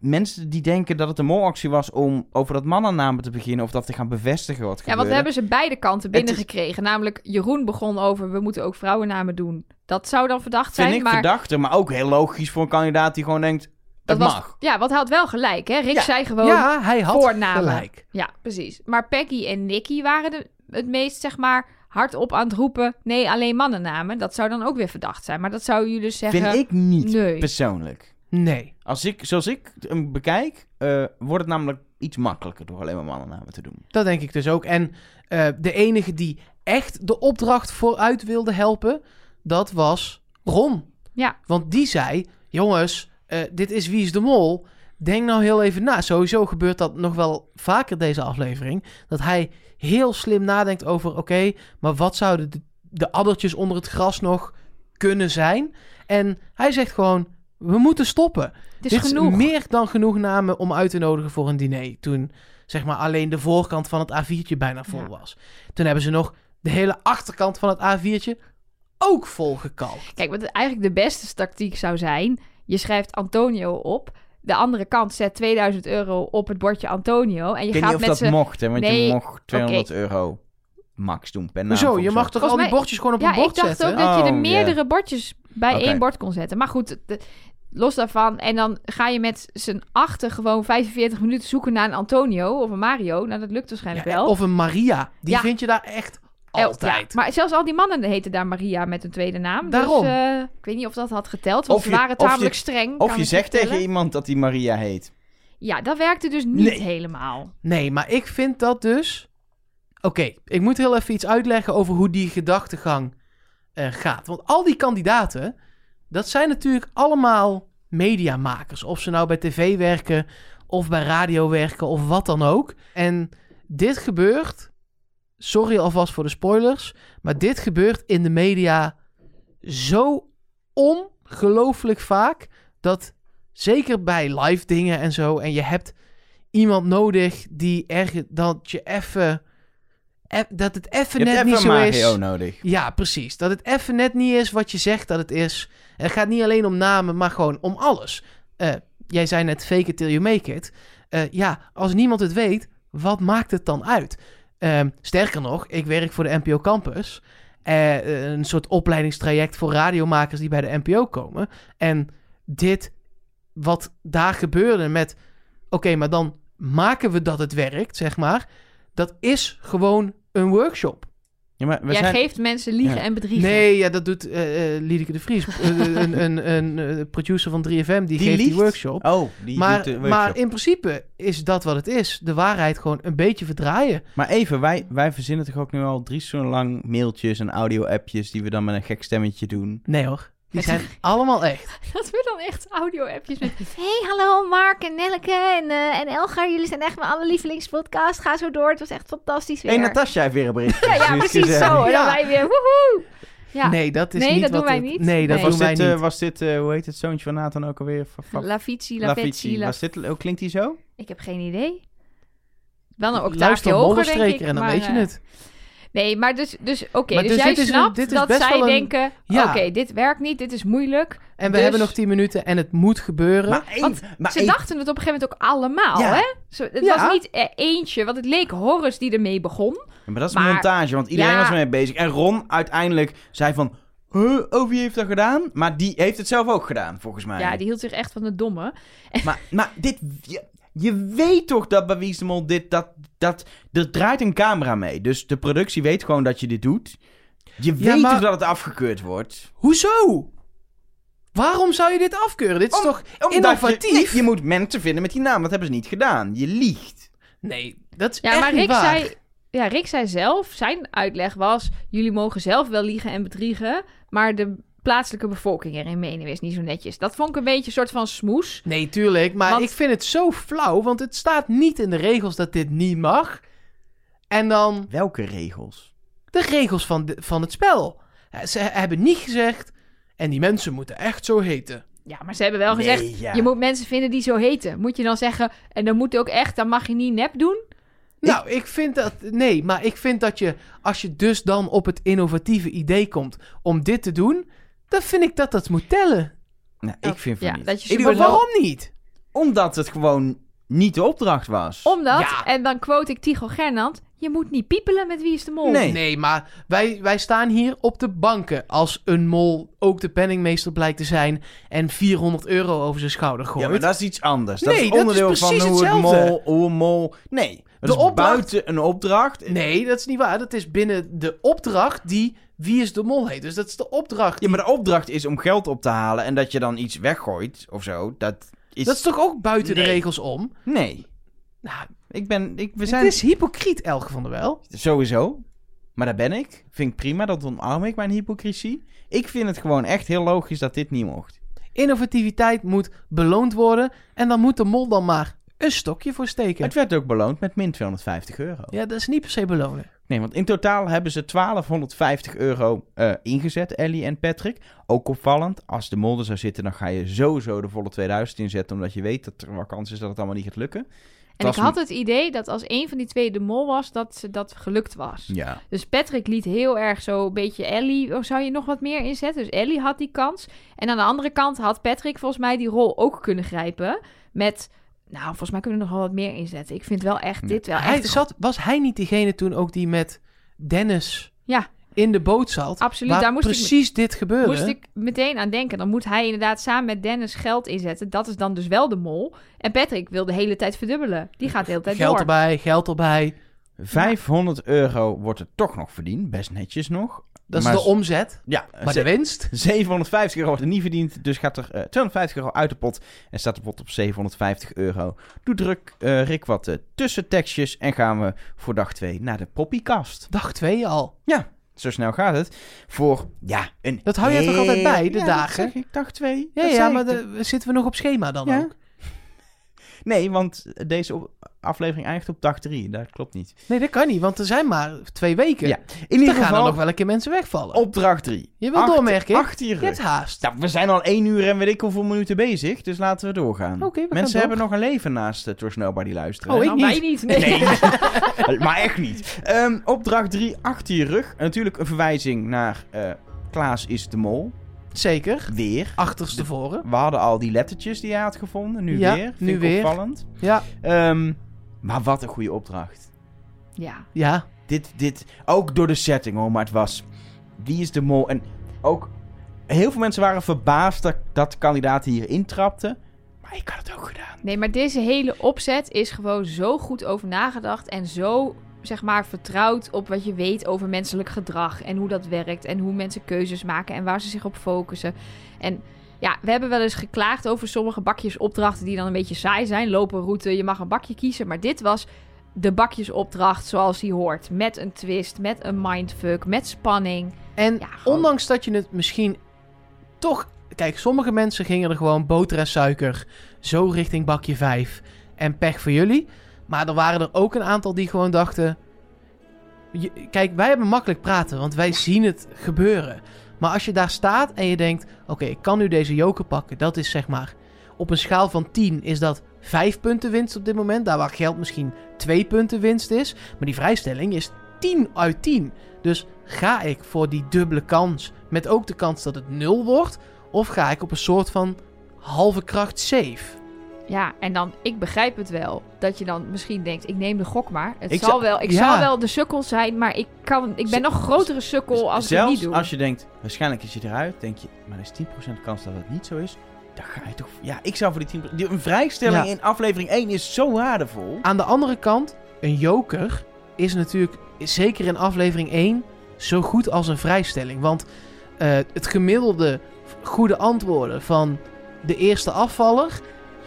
[SPEAKER 1] mensen die denken dat het een molactie was om over dat mannennamen te beginnen. Of dat te gaan bevestigen wat
[SPEAKER 2] Ja, want
[SPEAKER 1] gebeurde.
[SPEAKER 2] we hebben ze beide kanten
[SPEAKER 1] Het is-
[SPEAKER 2] binnengekregen. Namelijk, Jeroen begon over, we moeten ook vrouwennamen doen. Dat zou dan verdacht
[SPEAKER 1] Vind
[SPEAKER 2] zijn,
[SPEAKER 1] ik
[SPEAKER 2] maar...
[SPEAKER 1] verdachter, maar ook heel logisch voor een kandidaat die gewoon denkt, dat
[SPEAKER 2] was,
[SPEAKER 1] mag.
[SPEAKER 2] Ja, want hij had wel gelijk, hè? Rick
[SPEAKER 1] Ja.
[SPEAKER 2] zei gewoon... Ja.
[SPEAKER 3] ja, hij had
[SPEAKER 2] voornamen.
[SPEAKER 3] gelijk.
[SPEAKER 2] precies. Maar Peggy en Nicky waren de, het meest, zeg maar, hardop aan het roepen... nee, alleen mannennamen. Dat zou dan ook weer verdacht zijn. Maar dat zou je dus zeggen...
[SPEAKER 1] Vind ik niet,
[SPEAKER 2] nee.
[SPEAKER 1] persoonlijk.
[SPEAKER 3] Nee.
[SPEAKER 1] Als ik, zoals ik hem bekijk, eh, wordt het namelijk iets makkelijker door alleen maar mannennamen te doen.
[SPEAKER 3] Dat denk ik dus ook. En eh, de enige die echt de opdracht vooruit wilde helpen, dat was Ron.
[SPEAKER 2] Ja.
[SPEAKER 3] Want die zei, jongens, eh, dit is Wie is de Mol. Denk nou heel even na. Sowieso gebeurt dat nog wel vaker deze aflevering. Dat hij heel slim nadenkt over, oké, maar wat zouden de, de addertjes onder het gras nog kunnen zijn? En hij zegt gewoon, we moeten stoppen.
[SPEAKER 2] het is
[SPEAKER 3] Dit
[SPEAKER 2] genoeg.
[SPEAKER 3] is meer dan genoeg namen om uit te nodigen voor een diner. Toen zeg maar alleen de voorkant van het A4'tje bijna vol
[SPEAKER 2] Ja.
[SPEAKER 3] was. Toen hebben ze nog de hele achterkant van het A4'tje ook vol gekalkt.
[SPEAKER 2] Kijk, wat eigenlijk de beste tactiek zou zijn... je schrijft Antonio op... de andere kant zet 2000 euro op het bordje Antonio... en je
[SPEAKER 1] ik weet
[SPEAKER 2] gaat
[SPEAKER 1] niet of
[SPEAKER 2] met
[SPEAKER 1] dat
[SPEAKER 2] ze...
[SPEAKER 1] mocht, hè, want
[SPEAKER 2] Nee,
[SPEAKER 1] je mocht 200 euro max doen per naam.
[SPEAKER 3] Hoezo?
[SPEAKER 1] Nou, volgens
[SPEAKER 3] Je
[SPEAKER 1] mij.
[SPEAKER 3] mag toch
[SPEAKER 2] Volgens
[SPEAKER 3] al die
[SPEAKER 2] mij-
[SPEAKER 3] bordjes gewoon op
[SPEAKER 2] Ja,
[SPEAKER 3] een
[SPEAKER 2] ik
[SPEAKER 3] bord
[SPEAKER 2] dacht
[SPEAKER 3] zetten?
[SPEAKER 2] ook dat je er
[SPEAKER 1] Oh,
[SPEAKER 2] meerdere
[SPEAKER 1] ja.
[SPEAKER 2] bordjes bij
[SPEAKER 1] Oké.
[SPEAKER 2] één bord kon zetten. Maar goed, de- los daarvan. En dan ga je met z'n achter gewoon 45 minuten zoeken naar een Antonio of een Mario. Nou, dat lukt waarschijnlijk
[SPEAKER 3] Ja,
[SPEAKER 2] wel.
[SPEAKER 3] of een Maria. Die
[SPEAKER 2] Ja.
[SPEAKER 3] vind je daar echt
[SPEAKER 2] Eh,
[SPEAKER 3] altijd.
[SPEAKER 2] ja, maar zelfs al die mannen heten daar Maria met een tweede naam.
[SPEAKER 3] Daarom.
[SPEAKER 2] Dus eh, ik weet niet of dat had geteld, want
[SPEAKER 1] Of
[SPEAKER 2] ze
[SPEAKER 1] je-
[SPEAKER 2] waren
[SPEAKER 1] of je-
[SPEAKER 2] tamelijk streng.
[SPEAKER 1] Of
[SPEAKER 2] kan
[SPEAKER 1] je
[SPEAKER 2] ik
[SPEAKER 1] zegt tegen
[SPEAKER 2] vertellen.
[SPEAKER 1] iemand dat hij Maria heet.
[SPEAKER 2] Ja, dat werkte dus niet
[SPEAKER 1] Nee.
[SPEAKER 2] helemaal.
[SPEAKER 3] Nee, maar ik vind dat dus... Oké, ik moet heel even iets uitleggen over hoe die gedachtegang eh, gaat. Want al die kandidaten, dat zijn natuurlijk allemaal mediamakers. Of ze nou bij tv werken, of bij radio werken, of wat dan ook. En dit gebeurt, sorry alvast voor de spoilers, maar dit gebeurt in de media zo ongelooflijk vaak... dat zeker bij live dingen en zo... en je hebt iemand nodig die erg dat je even eff- dat het even
[SPEAKER 1] Je
[SPEAKER 3] net
[SPEAKER 1] hebt even
[SPEAKER 3] niet
[SPEAKER 1] een
[SPEAKER 3] zo
[SPEAKER 1] Mario
[SPEAKER 3] is.
[SPEAKER 1] nodig.
[SPEAKER 3] Ja, precies. Dat het even net niet is wat je zegt dat het is. En het gaat niet alleen om namen, maar gewoon om alles. Eh, jij zei net fake it till you make it. Eh, ja, als niemand het weet, wat maakt het dan uit? Ehm, sterker nog, ik werk voor de NPO Campus. Eh, een soort opleidingstraject voor radiomakers die bij de NPO komen. En dit, wat daar gebeurde met... Oké, maar dan maken we dat het werkt, zeg maar. Dat is gewoon een workshop.
[SPEAKER 1] Ja, maar we
[SPEAKER 2] Jij
[SPEAKER 1] zijn...
[SPEAKER 2] geeft mensen liegen
[SPEAKER 1] Ja.
[SPEAKER 2] en bedriegen.
[SPEAKER 3] Nee, ja, dat doet eh eh, Liedeke de Vries. Eh, een, een, een eh, producer van 3FM, die, geeft die
[SPEAKER 1] liegt.
[SPEAKER 3] workshop.
[SPEAKER 1] Oh, die
[SPEAKER 3] maar,
[SPEAKER 1] doet de workshop.
[SPEAKER 3] maar in principe is dat wat het is. De waarheid gewoon een beetje verdraaien.
[SPEAKER 1] Maar even, wij, wij verzinnen toch ook nu al drie zo lang mailtjes en audio-appjes die we dan met een gek stemmetje doen.
[SPEAKER 3] Nee hoor. Die zijn allemaal echt.
[SPEAKER 2] Dat we dan echt audio-appjes met... Hey, hallo Mark en Nelleke en, eh, en Elgar. Jullie zijn echt mijn allerlievelingspodcast. Ga zo door. Het was echt fantastisch weer.
[SPEAKER 1] Hey, Natasja heeft weer een bericht.
[SPEAKER 2] ja, ja, precies zo. En dan
[SPEAKER 3] Ja.
[SPEAKER 2] wij weer, woehoe. Ja,
[SPEAKER 3] Nee, dat is
[SPEAKER 2] Nee,
[SPEAKER 3] niet
[SPEAKER 2] dat
[SPEAKER 3] wat
[SPEAKER 2] doen wij
[SPEAKER 3] het-
[SPEAKER 2] niet.
[SPEAKER 3] Nee, dat
[SPEAKER 2] Nee.
[SPEAKER 1] Was
[SPEAKER 3] doen wij
[SPEAKER 1] dit, eh,
[SPEAKER 3] niet.
[SPEAKER 1] was dit eh, hoe heet het zoontje van Nathan ook alweer? Fa- fa- Lavici.
[SPEAKER 2] Lavici, Lavetsi, La...
[SPEAKER 1] Was dit, hoe klinkt die zo?
[SPEAKER 2] Ik heb geen idee. Wel een octaafje
[SPEAKER 3] Luister
[SPEAKER 2] hoger, denk ik.
[SPEAKER 3] Modderstreker en dan
[SPEAKER 2] maar,
[SPEAKER 3] weet je
[SPEAKER 2] eh,
[SPEAKER 3] het.
[SPEAKER 2] Nee, maar dus, dus oké.
[SPEAKER 3] Maar
[SPEAKER 2] dus,
[SPEAKER 3] dus
[SPEAKER 2] jij
[SPEAKER 3] dit is een-
[SPEAKER 2] snapt
[SPEAKER 3] dit is
[SPEAKER 2] dat
[SPEAKER 3] best
[SPEAKER 2] zij
[SPEAKER 3] wel een-
[SPEAKER 2] denken...
[SPEAKER 3] Ja.
[SPEAKER 2] Oké, dit werkt niet. Dit is moeilijk.
[SPEAKER 3] En we
[SPEAKER 2] dus-
[SPEAKER 3] hebben nog 10 minuten en het moet gebeuren.
[SPEAKER 1] één-
[SPEAKER 2] Want
[SPEAKER 1] maar
[SPEAKER 2] Ze
[SPEAKER 1] één-
[SPEAKER 2] dachten het op een gegeven moment ook allemaal,
[SPEAKER 1] Ja.
[SPEAKER 2] hè? Zo, het
[SPEAKER 3] Ja.
[SPEAKER 2] was niet eh, eentje, want het leek Horus die ermee begon.
[SPEAKER 1] Ja, Maar dat is
[SPEAKER 2] Maar-
[SPEAKER 1] montage, want iedereen
[SPEAKER 2] Ja.
[SPEAKER 1] was ermee bezig. En Ron uiteindelijk zei van... Huh, oh, wie heeft dat gedaan? Maar die heeft het zelf ook gedaan, volgens mij.
[SPEAKER 2] Ja, die hield zich echt van de domme.
[SPEAKER 1] Maar, maar dit... Je, je weet toch dat bij Wie is de Mol dit... Dat, dat, er draait een camera mee. Dus de productie weet gewoon dat je dit doet. Je
[SPEAKER 3] Ja,
[SPEAKER 1] weet
[SPEAKER 3] maar-
[SPEAKER 1] toch dat het afgekeurd wordt?
[SPEAKER 3] Hoezo? Waarom zou je dit afkeuren? Dit is
[SPEAKER 1] Om-
[SPEAKER 3] toch
[SPEAKER 1] Omdat
[SPEAKER 3] innovatief?
[SPEAKER 1] Je, nee, je moet mensen vinden met die naam. Dat hebben ze niet gedaan. Je liegt.
[SPEAKER 3] Nee, dat is
[SPEAKER 2] Ja,
[SPEAKER 3] echt
[SPEAKER 2] maar
[SPEAKER 3] niet
[SPEAKER 2] Rick
[SPEAKER 3] waar.
[SPEAKER 2] zei, ja, Rick zei zelf, zijn uitleg was: jullie mogen zelf wel liegen en bedriegen, maar de plaatselijke bevolking erin meenemen is niet zo netjes. Dat vond ik een beetje een soort van smoes.
[SPEAKER 3] Nee, tuurlijk. Maar
[SPEAKER 2] Want-
[SPEAKER 3] ik vind het zo flauw, want het staat niet in de regels dat dit niet mag. En dan
[SPEAKER 1] Welke regels?
[SPEAKER 3] de regels van, de- van het spel. Eh, Ze hebben niet gezegd, en die mensen moeten echt zo heten.
[SPEAKER 2] Ja, maar ze hebben wel gezegd:
[SPEAKER 1] Nee, ja.
[SPEAKER 2] je moet mensen vinden die zo heten. Moet je dan zeggen, en dan moet ook echt, dan mag je niet nep doen?
[SPEAKER 3] Nou, ik vind dat... Nee, maar ik vind dat je, als je dus dan op het innovatieve idee komt om dit te doen, dan vind ik dat dat moet tellen.
[SPEAKER 1] Nou, ik vind van
[SPEAKER 2] ja,
[SPEAKER 1] niet.
[SPEAKER 2] dat je
[SPEAKER 1] Ik
[SPEAKER 2] ze
[SPEAKER 1] wil
[SPEAKER 3] Maar
[SPEAKER 1] wel-
[SPEAKER 3] waarom niet?
[SPEAKER 1] Omdat het gewoon niet de opdracht was.
[SPEAKER 2] Omdat,
[SPEAKER 3] Ja.
[SPEAKER 2] en dan quote ik Tycho Gernand, je moet niet piepelen met wie is de mol.
[SPEAKER 1] Nee.
[SPEAKER 3] Nee, maar wij, wij staan hier op de banken als een mol ook de penningmeester blijkt te zijn en 400 euro over zijn schouder gooit.
[SPEAKER 1] Ja, maar dat is iets anders. Dat
[SPEAKER 3] Nee,
[SPEAKER 1] is
[SPEAKER 3] dat is
[SPEAKER 1] onderdeel van
[SPEAKER 3] precies
[SPEAKER 1] hoe het
[SPEAKER 3] hetzelfde.
[SPEAKER 1] mol, hoe een mol... Nee, dat
[SPEAKER 3] De
[SPEAKER 1] is
[SPEAKER 3] opdracht-
[SPEAKER 1] buiten een opdracht.
[SPEAKER 3] Nee, dat is niet waar. Dat is binnen de opdracht die Wie is de Mol heet. Dus dat is de opdracht.
[SPEAKER 1] Ja, maar de opdracht is om geld op te halen en dat je dan iets weggooit of zo. Dat is...
[SPEAKER 3] Dat is toch ook buiten
[SPEAKER 1] Nee.
[SPEAKER 3] de regels om?
[SPEAKER 1] Nee.
[SPEAKER 3] Nou,
[SPEAKER 1] Ik ben... Ik, we
[SPEAKER 3] het
[SPEAKER 1] zijn
[SPEAKER 3] is hypocriet, Elke van der Wel.
[SPEAKER 1] sowieso. Maar daar ben ik. Vind ik prima. Dat omarm ik mijn hypocrisie. Ik vind het gewoon echt heel logisch dat dit niet mocht.
[SPEAKER 3] Innovativiteit moet beloond worden. En dan moet de mol dan maar een stokje voor steken.
[SPEAKER 1] Het werd ook beloond met min 250 euro.
[SPEAKER 3] Ja, dat is niet per se belonen.
[SPEAKER 1] Nee, want in totaal hebben ze 1250 euro eh, ingezet, Ellie en Patrick. Ook opvallend, als de molder zou zitten, dan ga je sowieso de volle 2000 inzetten, omdat je weet dat er wel kans is dat het allemaal niet gaat lukken.
[SPEAKER 2] En ik had het idee dat als een van die twee de mol was, dat ze dat gelukt was.
[SPEAKER 1] Ja.
[SPEAKER 2] Dus Patrick liet heel erg zo een beetje Ellie, oh, zou je nog wat meer inzetten? Dus Ellie had die kans. En aan de andere kant had Patrick volgens mij die rol ook kunnen grijpen met... Nou, volgens mij kunnen we nog wel wat meer inzetten. Ik vind wel echt dit wel
[SPEAKER 3] Hij
[SPEAKER 2] echt...
[SPEAKER 3] zat, was hij niet diegene toen ook die met Dennis
[SPEAKER 2] Ja.
[SPEAKER 3] in de boot zat?
[SPEAKER 2] Absoluut,
[SPEAKER 3] waar
[SPEAKER 2] daar moest ik me-
[SPEAKER 3] precies dit gebeuren.
[SPEAKER 2] Moest ik meteen aan denken. Dan moet hij inderdaad samen met Dennis geld inzetten. Dat is dan dus wel de mol. En Patrick wil de hele tijd verdubbelen. Die gaat de hele tijd
[SPEAKER 3] geld
[SPEAKER 2] door.
[SPEAKER 3] erbij, geld erbij.
[SPEAKER 1] 500 euro wordt er toch nog verdiend, best netjes nog.
[SPEAKER 3] Dat is
[SPEAKER 1] Maar
[SPEAKER 3] de
[SPEAKER 1] s-
[SPEAKER 3] omzet.
[SPEAKER 1] Ja,
[SPEAKER 3] Maar de
[SPEAKER 1] ze-
[SPEAKER 3] winst?
[SPEAKER 1] 750 euro wordt er niet verdiend, dus gaat er eh, 250 euro uit de pot en staat de pot op 750 euro. Doe druk, eh, Rick, wat eh, tussentekstjes en gaan we voor dag 2 naar de poppiekast.
[SPEAKER 3] Dag twee al.
[SPEAKER 1] Ja, zo snel gaat het. Voor, ja, een...
[SPEAKER 3] Dat hou jij toch altijd bij, de
[SPEAKER 1] Ja,
[SPEAKER 3] dagen?
[SPEAKER 1] Dat zeg ik, dag twee.
[SPEAKER 3] Ja,
[SPEAKER 1] Dat
[SPEAKER 3] ja
[SPEAKER 1] zei
[SPEAKER 3] maar
[SPEAKER 1] ik toch.
[SPEAKER 3] de- zitten we nog op schema dan
[SPEAKER 1] Ja.
[SPEAKER 3] ook?
[SPEAKER 1] Nee, want deze op- aflevering eindigt op dag drie. Dat klopt niet.
[SPEAKER 3] Nee, dat kan niet, want er zijn maar twee weken.
[SPEAKER 1] Ja. In
[SPEAKER 3] Dan
[SPEAKER 1] ieder
[SPEAKER 3] Dus gaan er nog
[SPEAKER 1] geval,
[SPEAKER 3] wel een keer mensen wegvallen.
[SPEAKER 1] opdracht drie.
[SPEAKER 3] Je wilt
[SPEAKER 1] Acht-
[SPEAKER 3] doormerken?
[SPEAKER 1] Achter je
[SPEAKER 3] Je hebt
[SPEAKER 1] rug.
[SPEAKER 3] haast.
[SPEAKER 1] Nou, we zijn al één uur en weet ik hoeveel minuten bezig, dus laten we doorgaan.
[SPEAKER 3] Oké, we gaan
[SPEAKER 1] Mensen
[SPEAKER 3] door.
[SPEAKER 1] hebben nog een leven naast uh, Tours Nobody luisteren.
[SPEAKER 3] Oh,
[SPEAKER 1] hè?
[SPEAKER 3] ik
[SPEAKER 2] Nou, wij niet. Nee.
[SPEAKER 1] Eh, maar echt niet. Ehm, opdracht 3, achter je rug. Natuurlijk een verwijzing naar eh, Klaas is de mol.
[SPEAKER 3] Zeker.
[SPEAKER 1] Weer.
[SPEAKER 3] Achterstevoren.
[SPEAKER 1] We hadden al die lettertjes die hij had gevonden. Nu
[SPEAKER 3] Ja,
[SPEAKER 1] weer. Vind
[SPEAKER 3] nu
[SPEAKER 1] ik
[SPEAKER 3] weer.
[SPEAKER 1] opvallend.
[SPEAKER 3] Ja.
[SPEAKER 1] Ehm, maar wat een goede opdracht.
[SPEAKER 2] Ja.
[SPEAKER 3] Ja.
[SPEAKER 1] Dit, dit, ook door de setting hoor, maar het was... Wie is de mol? En ook... Heel veel mensen waren verbaasd dat, dat kandidaten hier intrapten. Maar ik had het ook gedaan.
[SPEAKER 2] Nee, maar deze hele opzet is gewoon zo goed over nagedacht en zo zeg maar vertrouwd op wat je weet over menselijk gedrag en hoe dat werkt en hoe mensen keuzes maken en waar ze zich op focussen. En ja, we hebben wel eens geklaagd over sommige bakjesopdrachten die dan een beetje saai zijn. Lopen route, je mag een bakje kiezen, maar dit was de bakjesopdracht zoals die hoort, met een twist, met een mindfuck, met spanning.
[SPEAKER 3] En
[SPEAKER 2] Ja, gewoon-
[SPEAKER 3] ondanks dat je het misschien toch, kijk, sommige mensen gingen er gewoon boter en suiker zo richting bakje 5 en pech voor jullie. Maar er waren er ook een aantal die gewoon dachten: je- kijk, wij hebben makkelijk praten, want wij zien het gebeuren. Maar als je daar staat en je denkt: oké, ik kan nu deze joker pakken, dat is zeg maar op een schaal van 10 is dat 5 punten winst op dit moment. Daar waar geld misschien 2 punten winst is. Maar die vrijstelling is 10 uit 10. Dus ga ik voor die dubbele kans met ook de kans dat het 0 wordt? Of ga ik op een soort van halve kracht safe?
[SPEAKER 2] Ja, en dan, ik begrijp het wel. Dat je dan misschien denkt, ik neem de gok maar. Het
[SPEAKER 1] Ik
[SPEAKER 2] zal
[SPEAKER 1] zou-
[SPEAKER 2] wel, ik
[SPEAKER 3] ja.
[SPEAKER 2] zal wel de sukkel zijn, maar ik, kan, ik ben nog een grotere sukkel als ik het
[SPEAKER 1] Dus Zelfs
[SPEAKER 2] niet doe.
[SPEAKER 1] als je denkt, waarschijnlijk is je eruit, denk je, maar er is 10% kans dat het niet zo is. Dan ga je toch... Ja, ik zou voor die 10%... die- Een vrijstelling
[SPEAKER 3] Ja.
[SPEAKER 1] in aflevering 1 is zo waardevol.
[SPEAKER 3] Aan de andere kant, een joker is natuurlijk, zeker in aflevering 1, zo goed als een vrijstelling. Want eh, het gemiddelde goede antwoorden van de eerste afvaller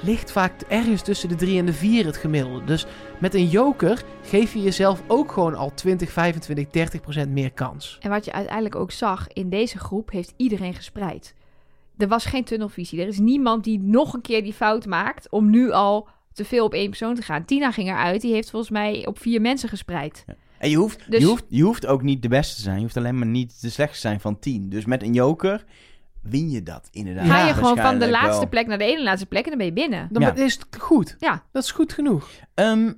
[SPEAKER 3] ligt vaak ergens tussen de 3 en de 4 het gemiddelde. Dus met een joker geef je jezelf ook gewoon al 20, 25, 30 procent meer kans.
[SPEAKER 2] En wat je uiteindelijk ook zag, in deze groep heeft iedereen gespreid. Er was geen tunnelvisie. Er is niemand die nog een keer die fout maakt om nu al te veel op één persoon te gaan. Tina ging eruit, die heeft volgens mij op vier mensen gespreid.
[SPEAKER 1] En je hoeft,
[SPEAKER 2] Dus-
[SPEAKER 1] je, hoeft, je hoeft ook niet de beste te zijn. Je hoeft alleen maar niet de slechtste te zijn van 10. Dus met een joker win je dat inderdaad.
[SPEAKER 2] Ga je gewoon van de
[SPEAKER 1] waarschijnlijk
[SPEAKER 2] laatste
[SPEAKER 1] wel.
[SPEAKER 2] plek naar de ene laatste plek en dan ben je binnen.
[SPEAKER 3] Dan
[SPEAKER 1] Ja.
[SPEAKER 3] is het goed.
[SPEAKER 2] Ja.
[SPEAKER 3] Dat is goed genoeg.
[SPEAKER 1] Ehm,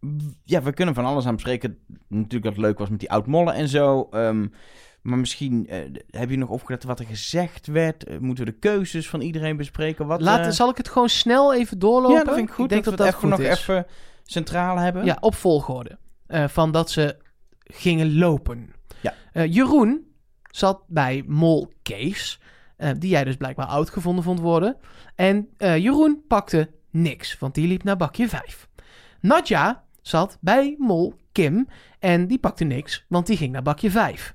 [SPEAKER 1] w- ja, we kunnen van alles aan bespreken. Natuurlijk dat het leuk was met die oud-mollen en zo. ehm, maar misschien eh, heb je nog opgelet wat er gezegd werd. Eh, moeten we de keuzes van iedereen bespreken? Wat,
[SPEAKER 3] Laat,
[SPEAKER 1] eh,
[SPEAKER 3] Zal ik het gewoon snel even doorlopen?
[SPEAKER 1] Ja, dat vind ik goed.
[SPEAKER 3] denk dat dat,
[SPEAKER 1] we het
[SPEAKER 3] goed
[SPEAKER 1] even nog
[SPEAKER 3] is.
[SPEAKER 1] even centraal hebben.
[SPEAKER 3] Ja, op volgorde. Eh, van dat ze gingen lopen.
[SPEAKER 1] Ja.
[SPEAKER 3] Eh, Jeroen zat bij Mol Kees. eh, die jij dus blijkbaar oud gevonden vond worden. En eh, Jeroen pakte niks, want die liep naar bakje 5. Nadja zat bij Mol Kim. En die pakte niks, want die ging naar bakje 5.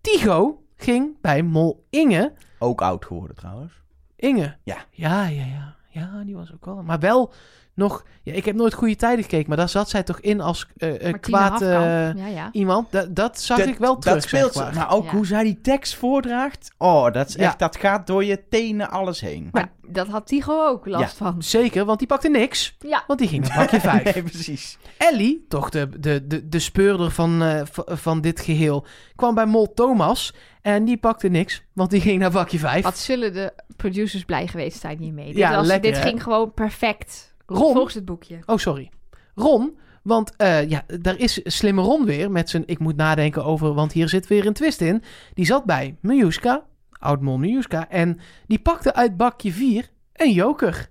[SPEAKER 3] Tigo ging bij Mol Inge.
[SPEAKER 1] Ook oud geworden trouwens.
[SPEAKER 3] Inge.
[SPEAKER 1] Ja.
[SPEAKER 3] Ja, ja, ja. Ja, die was ook wel. Maar wel nog. Ja, ik heb nooit goede tijden gekeken, maar daar zat zij toch in als eh, eh,
[SPEAKER 2] Martina
[SPEAKER 3] kwaad eh,
[SPEAKER 2] Hafkamp, ja, ja.
[SPEAKER 3] iemand. Dat, dat zag
[SPEAKER 1] Dat-
[SPEAKER 3] ik wel terug.
[SPEAKER 1] Dat speelt
[SPEAKER 3] zeg
[SPEAKER 1] ze. nou.
[SPEAKER 3] maar.
[SPEAKER 1] Maar ook
[SPEAKER 2] Ja.
[SPEAKER 1] hoe zij die tekst voordraagt. Oh, dat, is
[SPEAKER 3] Ja.
[SPEAKER 1] echt, dat gaat door je tenen alles heen.
[SPEAKER 2] Maar dat had Tigo ook last van.
[SPEAKER 3] Zeker, want die pakte niks.
[SPEAKER 2] Ja.
[SPEAKER 3] Want die ging naar bakje 5.
[SPEAKER 1] Nee, precies.
[SPEAKER 3] Ellie, toch de, de, de, de speurder van, eh, v- van dit geheel, kwam bij Mol Thomas. En die pakte niks, want die ging naar bakje 5.
[SPEAKER 2] Wat zullen de producers blij geweest zijn hiermee? Dit,
[SPEAKER 3] Ja,
[SPEAKER 2] was,
[SPEAKER 3] lekker,
[SPEAKER 2] dit
[SPEAKER 3] hè?
[SPEAKER 2] ging gewoon perfect.
[SPEAKER 3] Ron?
[SPEAKER 2] Volgens het boekje.
[SPEAKER 3] Oh, sorry. Ron, want eh, ja, daar is slimme Ron weer met zijn... Ik moet nadenken over, want hier zit weer een twist in. Die zat bij Miljuska, oud-mol Miljuska. En die pakte uit bakje 4 een joker.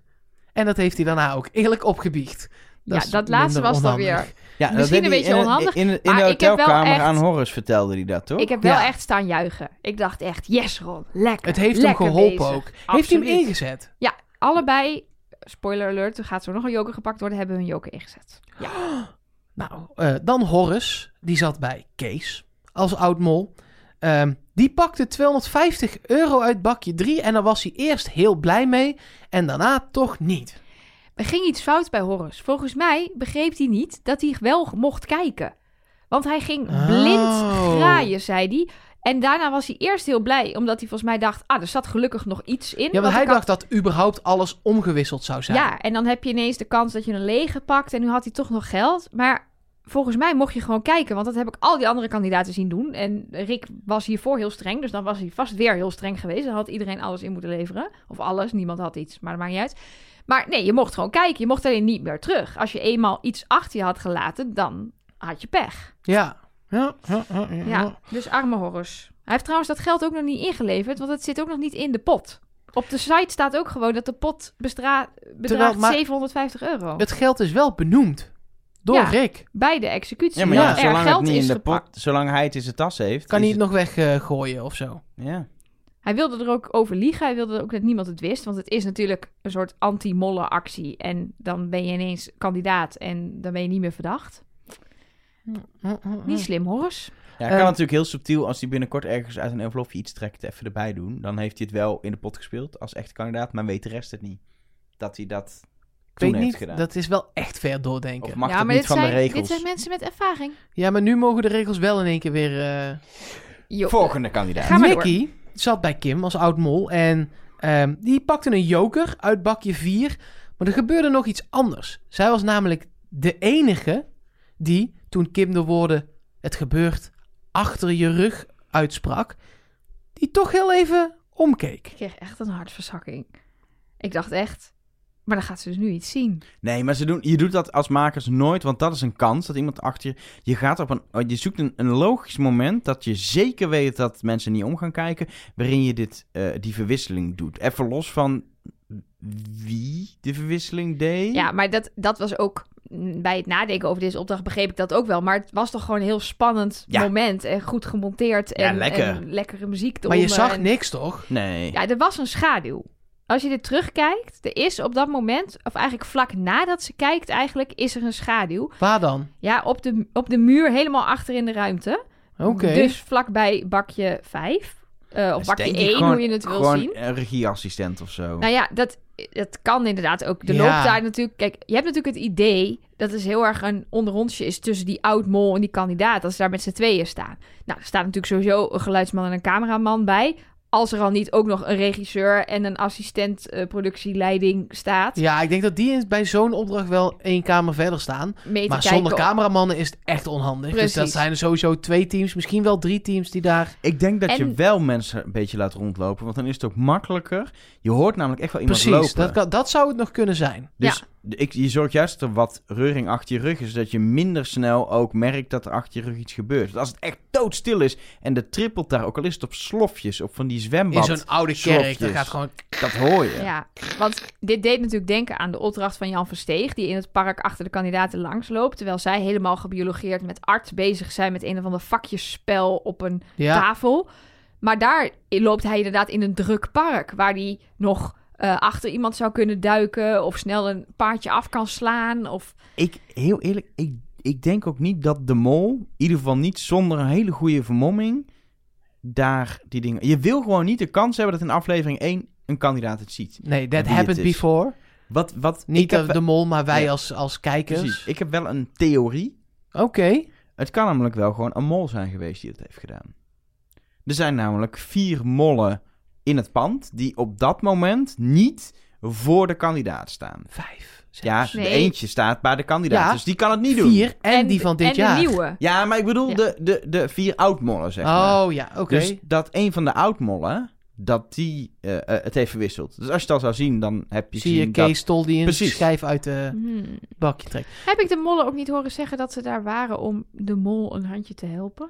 [SPEAKER 3] En dat heeft hij daarna ook eerlijk opgebiecht.
[SPEAKER 2] Ja,
[SPEAKER 3] is
[SPEAKER 2] dat laatste
[SPEAKER 3] minder
[SPEAKER 2] was dan
[SPEAKER 3] onhandig.
[SPEAKER 2] weer-
[SPEAKER 1] Ja,
[SPEAKER 2] Misschien
[SPEAKER 1] deed
[SPEAKER 2] een
[SPEAKER 1] hij
[SPEAKER 2] beetje
[SPEAKER 1] in
[SPEAKER 2] onhandig,
[SPEAKER 1] In, in,
[SPEAKER 2] maar
[SPEAKER 1] de
[SPEAKER 2] ik heb wel
[SPEAKER 1] hotelkamer
[SPEAKER 2] echt-
[SPEAKER 1] aan Horus vertelde hij dat, toch?
[SPEAKER 2] Ik heb wel
[SPEAKER 3] Ja.
[SPEAKER 2] echt staan juichen. Ik dacht echt, yes Ron, lekker.
[SPEAKER 3] Het heeft
[SPEAKER 2] lekker
[SPEAKER 3] hem geholpen
[SPEAKER 2] bezig.
[SPEAKER 3] ook. Heeft hij hem
[SPEAKER 2] Absoluut.
[SPEAKER 3] ingezet?
[SPEAKER 2] Allebei, spoiler alert, er gaat zo nog een joker gepakt worden, hebben we een joker ingezet.
[SPEAKER 3] Nou, eh, dan Horus, die zat bij Kees als oud-mol. Ehm, die pakte 250 euro uit bakje 3 en daar was hij eerst heel blij mee en daarna toch niet.
[SPEAKER 2] Er ging iets fout bij Horus. Volgens mij begreep hij niet dat hij wel mocht kijken. Want hij ging blind
[SPEAKER 3] Oh.
[SPEAKER 2] graaien, zei hij. En daarna was hij eerst heel blij, omdat hij volgens mij dacht... ah, er zat gelukkig nog iets in.
[SPEAKER 3] Ja,
[SPEAKER 2] want
[SPEAKER 3] want hij
[SPEAKER 2] ik had-
[SPEAKER 3] dacht dat überhaupt alles omgewisseld zou zijn.
[SPEAKER 2] Ja, en dan heb je ineens de kans dat je een lege pakt. En nu had hij toch nog geld. Maar volgens mij mocht je gewoon kijken. Want dat heb ik al die andere kandidaten zien doen. En Rick was hiervoor heel streng. Dus dan was hij vast weer heel streng geweest. Dan had iedereen alles in moeten leveren. Of alles. Niemand had iets. Maar dat maakt niet uit. Maar nee, je mocht gewoon kijken. Je mocht alleen niet meer terug. Als je eenmaal iets achter je had gelaten, dan had je pech.
[SPEAKER 3] Ja. Ja, ja, ja, ja,
[SPEAKER 2] Ja,
[SPEAKER 3] ja.
[SPEAKER 2] dus arme Horus. Hij heeft trouwens dat geld ook nog niet ingeleverd. Want het zit ook nog niet in de pot. Op de site staat ook gewoon dat de pot bestra- bedraagt
[SPEAKER 3] maar-
[SPEAKER 2] 750 euro.
[SPEAKER 3] Het geld is wel benoemd. Door
[SPEAKER 2] Ja.
[SPEAKER 3] Rick.
[SPEAKER 2] bij de executie.
[SPEAKER 1] Ja, maar
[SPEAKER 3] Ja.
[SPEAKER 1] ja,
[SPEAKER 2] er
[SPEAKER 1] zolang, het
[SPEAKER 2] geld
[SPEAKER 1] niet
[SPEAKER 2] is
[SPEAKER 1] in de
[SPEAKER 2] gepakt.
[SPEAKER 1] pot, zolang hij het in zijn tas heeft...
[SPEAKER 3] Kan
[SPEAKER 1] is
[SPEAKER 3] hij het nog weggooien of zo?
[SPEAKER 1] Ja.
[SPEAKER 2] Hij wilde er ook over liegen. Hij wilde ook dat niemand het wist. Want het is natuurlijk een soort anti-molle actie. En dan ben je ineens kandidaat en dan ben je niet meer verdacht.
[SPEAKER 3] Hm,
[SPEAKER 2] Niet slim, Horus.
[SPEAKER 1] ja, hij
[SPEAKER 3] Eh,
[SPEAKER 1] kan natuurlijk heel subtiel, als hij binnenkort ergens uit een envelopje iets trekt, even erbij doen. Dan heeft hij het wel in de pot gespeeld als echte kandidaat, maar weet de rest het niet. Dat hij dat
[SPEAKER 3] Ik
[SPEAKER 1] toen
[SPEAKER 3] weet
[SPEAKER 1] heeft
[SPEAKER 3] niet.
[SPEAKER 1] gedaan.
[SPEAKER 3] Dat is wel echt ver
[SPEAKER 1] Of
[SPEAKER 3] doordenken.
[SPEAKER 1] mag
[SPEAKER 2] ja,
[SPEAKER 1] het
[SPEAKER 2] maar
[SPEAKER 1] niet
[SPEAKER 2] dit,
[SPEAKER 1] van
[SPEAKER 2] zijn,
[SPEAKER 1] de regels?
[SPEAKER 2] dit zijn mensen met ervaring.
[SPEAKER 3] Ja, maar nu mogen de regels wel in één keer weer... eh
[SPEAKER 2] Jo.
[SPEAKER 1] Volgende kandidaat.
[SPEAKER 2] Ga maar door.
[SPEAKER 3] Nicky, zat bij Kim als oud mol. En ehm, die pakte een joker uit bakje 4. Maar er gebeurde nog iets anders. Zij was namelijk de enige die, toen Kim de woorden het gebeurt achter je rug uitsprak, die toch heel even omkeek.
[SPEAKER 2] Ik kreeg echt een hartverzakking. Ik dacht echt, maar dan gaat ze dus nu iets zien.
[SPEAKER 1] Nee, maar ze doen, je doet dat als makers nooit, want dat is een kans dat iemand achter je. Je, gaat op een, oh, je zoekt een, een logisch moment dat je zeker weet dat mensen niet om gaan kijken, waarin je dit, eh, die verwisseling doet. Even los van wie de verwisseling deed.
[SPEAKER 2] Ja, maar dat, dat was ook mm, bij het nadenken over deze opdracht begreep ik dat ook wel. Maar het was toch gewoon een heel spannend
[SPEAKER 1] Ja.
[SPEAKER 2] moment en goed gemonteerd en,
[SPEAKER 1] Ja, lekker.
[SPEAKER 2] en lekkere muziek
[SPEAKER 3] Maar je
[SPEAKER 2] eronder
[SPEAKER 3] zag
[SPEAKER 2] en-
[SPEAKER 3] niks, toch?
[SPEAKER 1] Nee.
[SPEAKER 2] Ja, er was een schaduw. Als je dit terugkijkt, er is op dat moment, of eigenlijk vlak nadat ze kijkt eigenlijk, is er een schaduw.
[SPEAKER 3] Waar dan?
[SPEAKER 2] Ja, op de, op de muur helemaal achter in de ruimte.
[SPEAKER 3] Oké.
[SPEAKER 2] Dus vlakbij bakje 5. of
[SPEAKER 1] Dus
[SPEAKER 2] bakje
[SPEAKER 1] denk ik
[SPEAKER 2] 1,
[SPEAKER 1] gewoon-
[SPEAKER 2] hoe je het wil
[SPEAKER 1] Gewoon
[SPEAKER 2] zien.
[SPEAKER 1] een regieassistent of zo.
[SPEAKER 2] Nou ja, dat, dat kan inderdaad ook. Er
[SPEAKER 3] Ja.
[SPEAKER 2] loopt daar natuurlijk... Kijk, je hebt natuurlijk het idee... dat is heel erg een onderrondje is tussen die oud-mol en die kandidaat... als ze daar met z'n tweeën staan. Nou, er staat natuurlijk sowieso een geluidsman en een cameraman bij... als er al niet ook nog een regisseur en een assistent eh, productieleiding staat...
[SPEAKER 3] Ja, ik denk dat die in- bij zo'n opdracht wel één kamer verder staan.
[SPEAKER 2] mee te
[SPEAKER 3] Maar
[SPEAKER 2] kijken.
[SPEAKER 3] zonder cameramannen is het echt onhandig. Dus dat
[SPEAKER 2] Precies.
[SPEAKER 3] zijn er sowieso twee teams, misschien wel drie teams die daar...
[SPEAKER 1] Ik denk dat je
[SPEAKER 2] En-
[SPEAKER 1] wel mensen een beetje laat rondlopen, want dan is het ook makkelijker. Je hoort namelijk echt wel iemand
[SPEAKER 3] Precies,
[SPEAKER 1] lopen.
[SPEAKER 3] dat, kan- dat zou het nog kunnen zijn.
[SPEAKER 1] Dus de- ik, je zorgt juist dat er wat reuring achter je rug is, zodat je minder snel ook merkt dat er achter je rug iets gebeurt. Want als het echt doodstil is en de trippelt daar, ook al is het op slofjes, op van die
[SPEAKER 3] In
[SPEAKER 1] zwembad,
[SPEAKER 3] zo'n oude kerk,
[SPEAKER 1] slofjes.
[SPEAKER 3] dat gaat gewoon...
[SPEAKER 1] dat hoor je.
[SPEAKER 2] Ja, want dit deed natuurlijk denken aan de opdracht van Jan Versteeg... die in het park achter de kandidaten langsloopt... terwijl zij helemaal gebiologeerd met arts bezig zijn... met een of ander vakjesspel op een
[SPEAKER 3] Ja,
[SPEAKER 2] tafel. Maar daar loopt hij inderdaad in een druk park... waar hij nog eh, achter iemand zou kunnen duiken... of snel een paardje af kan slaan. Of...
[SPEAKER 1] Ik, heel eerlijk, ik, ik denk ook niet dat de mol, in ieder geval niet zonder een hele goede vermomming, daar die dingen... Je wil gewoon niet de kans hebben dat in aflevering 1 een kandidaat het ziet.
[SPEAKER 3] nee, that
[SPEAKER 1] Wie het
[SPEAKER 3] happened
[SPEAKER 1] is.
[SPEAKER 3] before.
[SPEAKER 1] Wat, wat
[SPEAKER 3] Niet
[SPEAKER 1] ik heb,
[SPEAKER 3] de, de mol, maar wij
[SPEAKER 1] Ja.
[SPEAKER 3] als, als kijkers.
[SPEAKER 1] Precies, ik heb wel een theorie.
[SPEAKER 3] Oké.
[SPEAKER 1] Het kan namelijk wel gewoon een mol zijn geweest die het heeft gedaan. Er zijn namelijk vier mollen in het pand die op dat moment niet voor de kandidaat staan.
[SPEAKER 3] Vijf.
[SPEAKER 1] Ja,
[SPEAKER 3] zes,
[SPEAKER 1] de
[SPEAKER 2] Nee.
[SPEAKER 1] eentje staat bij de kandidaat,
[SPEAKER 3] Ja.
[SPEAKER 1] dus die kan het niet doen.
[SPEAKER 3] Vier en, die van dit
[SPEAKER 2] en
[SPEAKER 3] jaar.
[SPEAKER 2] de nieuwe.
[SPEAKER 1] Ja, maar ik bedoel
[SPEAKER 2] Ja.
[SPEAKER 1] de, de, de vier oudmollen, zeg maar.
[SPEAKER 3] Oh ja, oké.
[SPEAKER 1] Dus dat een van de oudmollen, dat die eh, eh, het heeft verwisseld. Dus als je dat zou zien, dan heb je
[SPEAKER 3] Zie je
[SPEAKER 1] zien dat-
[SPEAKER 3] Kees Tol die een
[SPEAKER 1] Precies.
[SPEAKER 3] schijf uit de
[SPEAKER 2] Hmm.
[SPEAKER 3] bakje trekt.
[SPEAKER 2] Heb ik de mollen ook niet horen zeggen dat ze daar waren... om de mol een handje te helpen?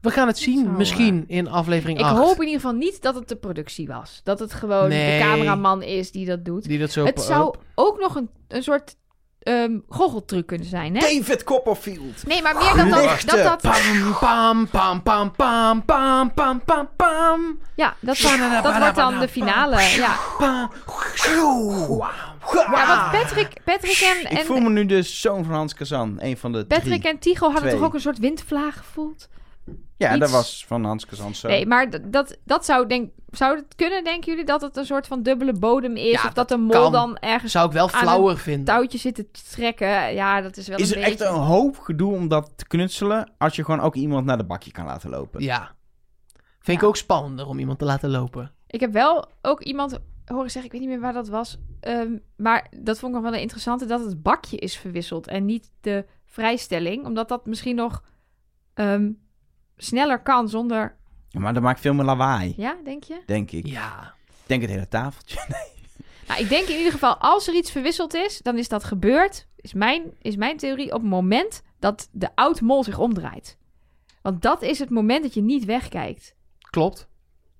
[SPEAKER 3] We gaan het zien,
[SPEAKER 2] Zo, eh.
[SPEAKER 3] misschien in aflevering
[SPEAKER 2] Ik
[SPEAKER 3] 8.
[SPEAKER 2] hoop in ieder geval niet dat het de productie was. Dat het gewoon
[SPEAKER 3] Nee.
[SPEAKER 2] de cameraman is die dat doet.
[SPEAKER 3] die dat zo
[SPEAKER 2] het zou ook nog een, een soort ehm goocheltruc kunnen zijn, hè?
[SPEAKER 1] David Copperfield!
[SPEAKER 2] Nee, maar meer dat dat,
[SPEAKER 1] Lichten.
[SPEAKER 2] dat, dat,
[SPEAKER 3] Pam, pam, pam, pam, pam, pam, pam, pam, pam.
[SPEAKER 2] ja, dat, dat wordt dan de finale. Ja,
[SPEAKER 3] Pam.
[SPEAKER 2] ja want Patrick, Patrick en,
[SPEAKER 1] Ik voel
[SPEAKER 2] en,
[SPEAKER 1] me nu de zoon van Hans Kazan, een van de drie.
[SPEAKER 2] Patrick en Tigo hadden
[SPEAKER 1] twee.
[SPEAKER 2] toch ook een soort windvlaag gevoeld?
[SPEAKER 1] Ja,
[SPEAKER 2] Iets-
[SPEAKER 1] dat was van Hans Kazan zo.
[SPEAKER 2] Nee, maar d- dat, dat zou, denk, zou het kunnen, denken jullie, dat het een soort van dubbele bodem is?
[SPEAKER 3] Ja,
[SPEAKER 2] of dat,
[SPEAKER 3] dat
[SPEAKER 2] de mol
[SPEAKER 3] kan.
[SPEAKER 2] dan ergens
[SPEAKER 3] Zou ik wel
[SPEAKER 2] Aan
[SPEAKER 3] flauwer vinden.
[SPEAKER 2] touwtje zit te trekken? Ja, dat is wel
[SPEAKER 1] is
[SPEAKER 2] een
[SPEAKER 1] er
[SPEAKER 2] beetje...
[SPEAKER 1] echt een hoop gedoe om dat te knutselen als je gewoon ook iemand naar de bakje kan laten lopen?
[SPEAKER 3] Ja. Vind ik ook spannender om iemand te laten lopen.
[SPEAKER 2] Ik heb wel ook iemand horen zeggen, ik weet niet meer waar dat was. ehm, maar dat vond ik nog wel een interessante, dat het bakje is verwisseld en niet de vrijstelling. Omdat dat misschien nog ehm, sneller kan zonder...
[SPEAKER 1] Maar dat maakt veel meer lawaai,
[SPEAKER 2] Ja, denk je?
[SPEAKER 1] denk ik.
[SPEAKER 3] Ja.
[SPEAKER 1] Ik denk het hele tafeltje.
[SPEAKER 2] Nou, ik denk in ieder geval, als er iets verwisseld is, dan is dat gebeurd. Is mijn, is mijn theorie op het moment dat de oud-mol zich omdraait. Want dat is het moment dat je niet wegkijkt.
[SPEAKER 3] Klopt.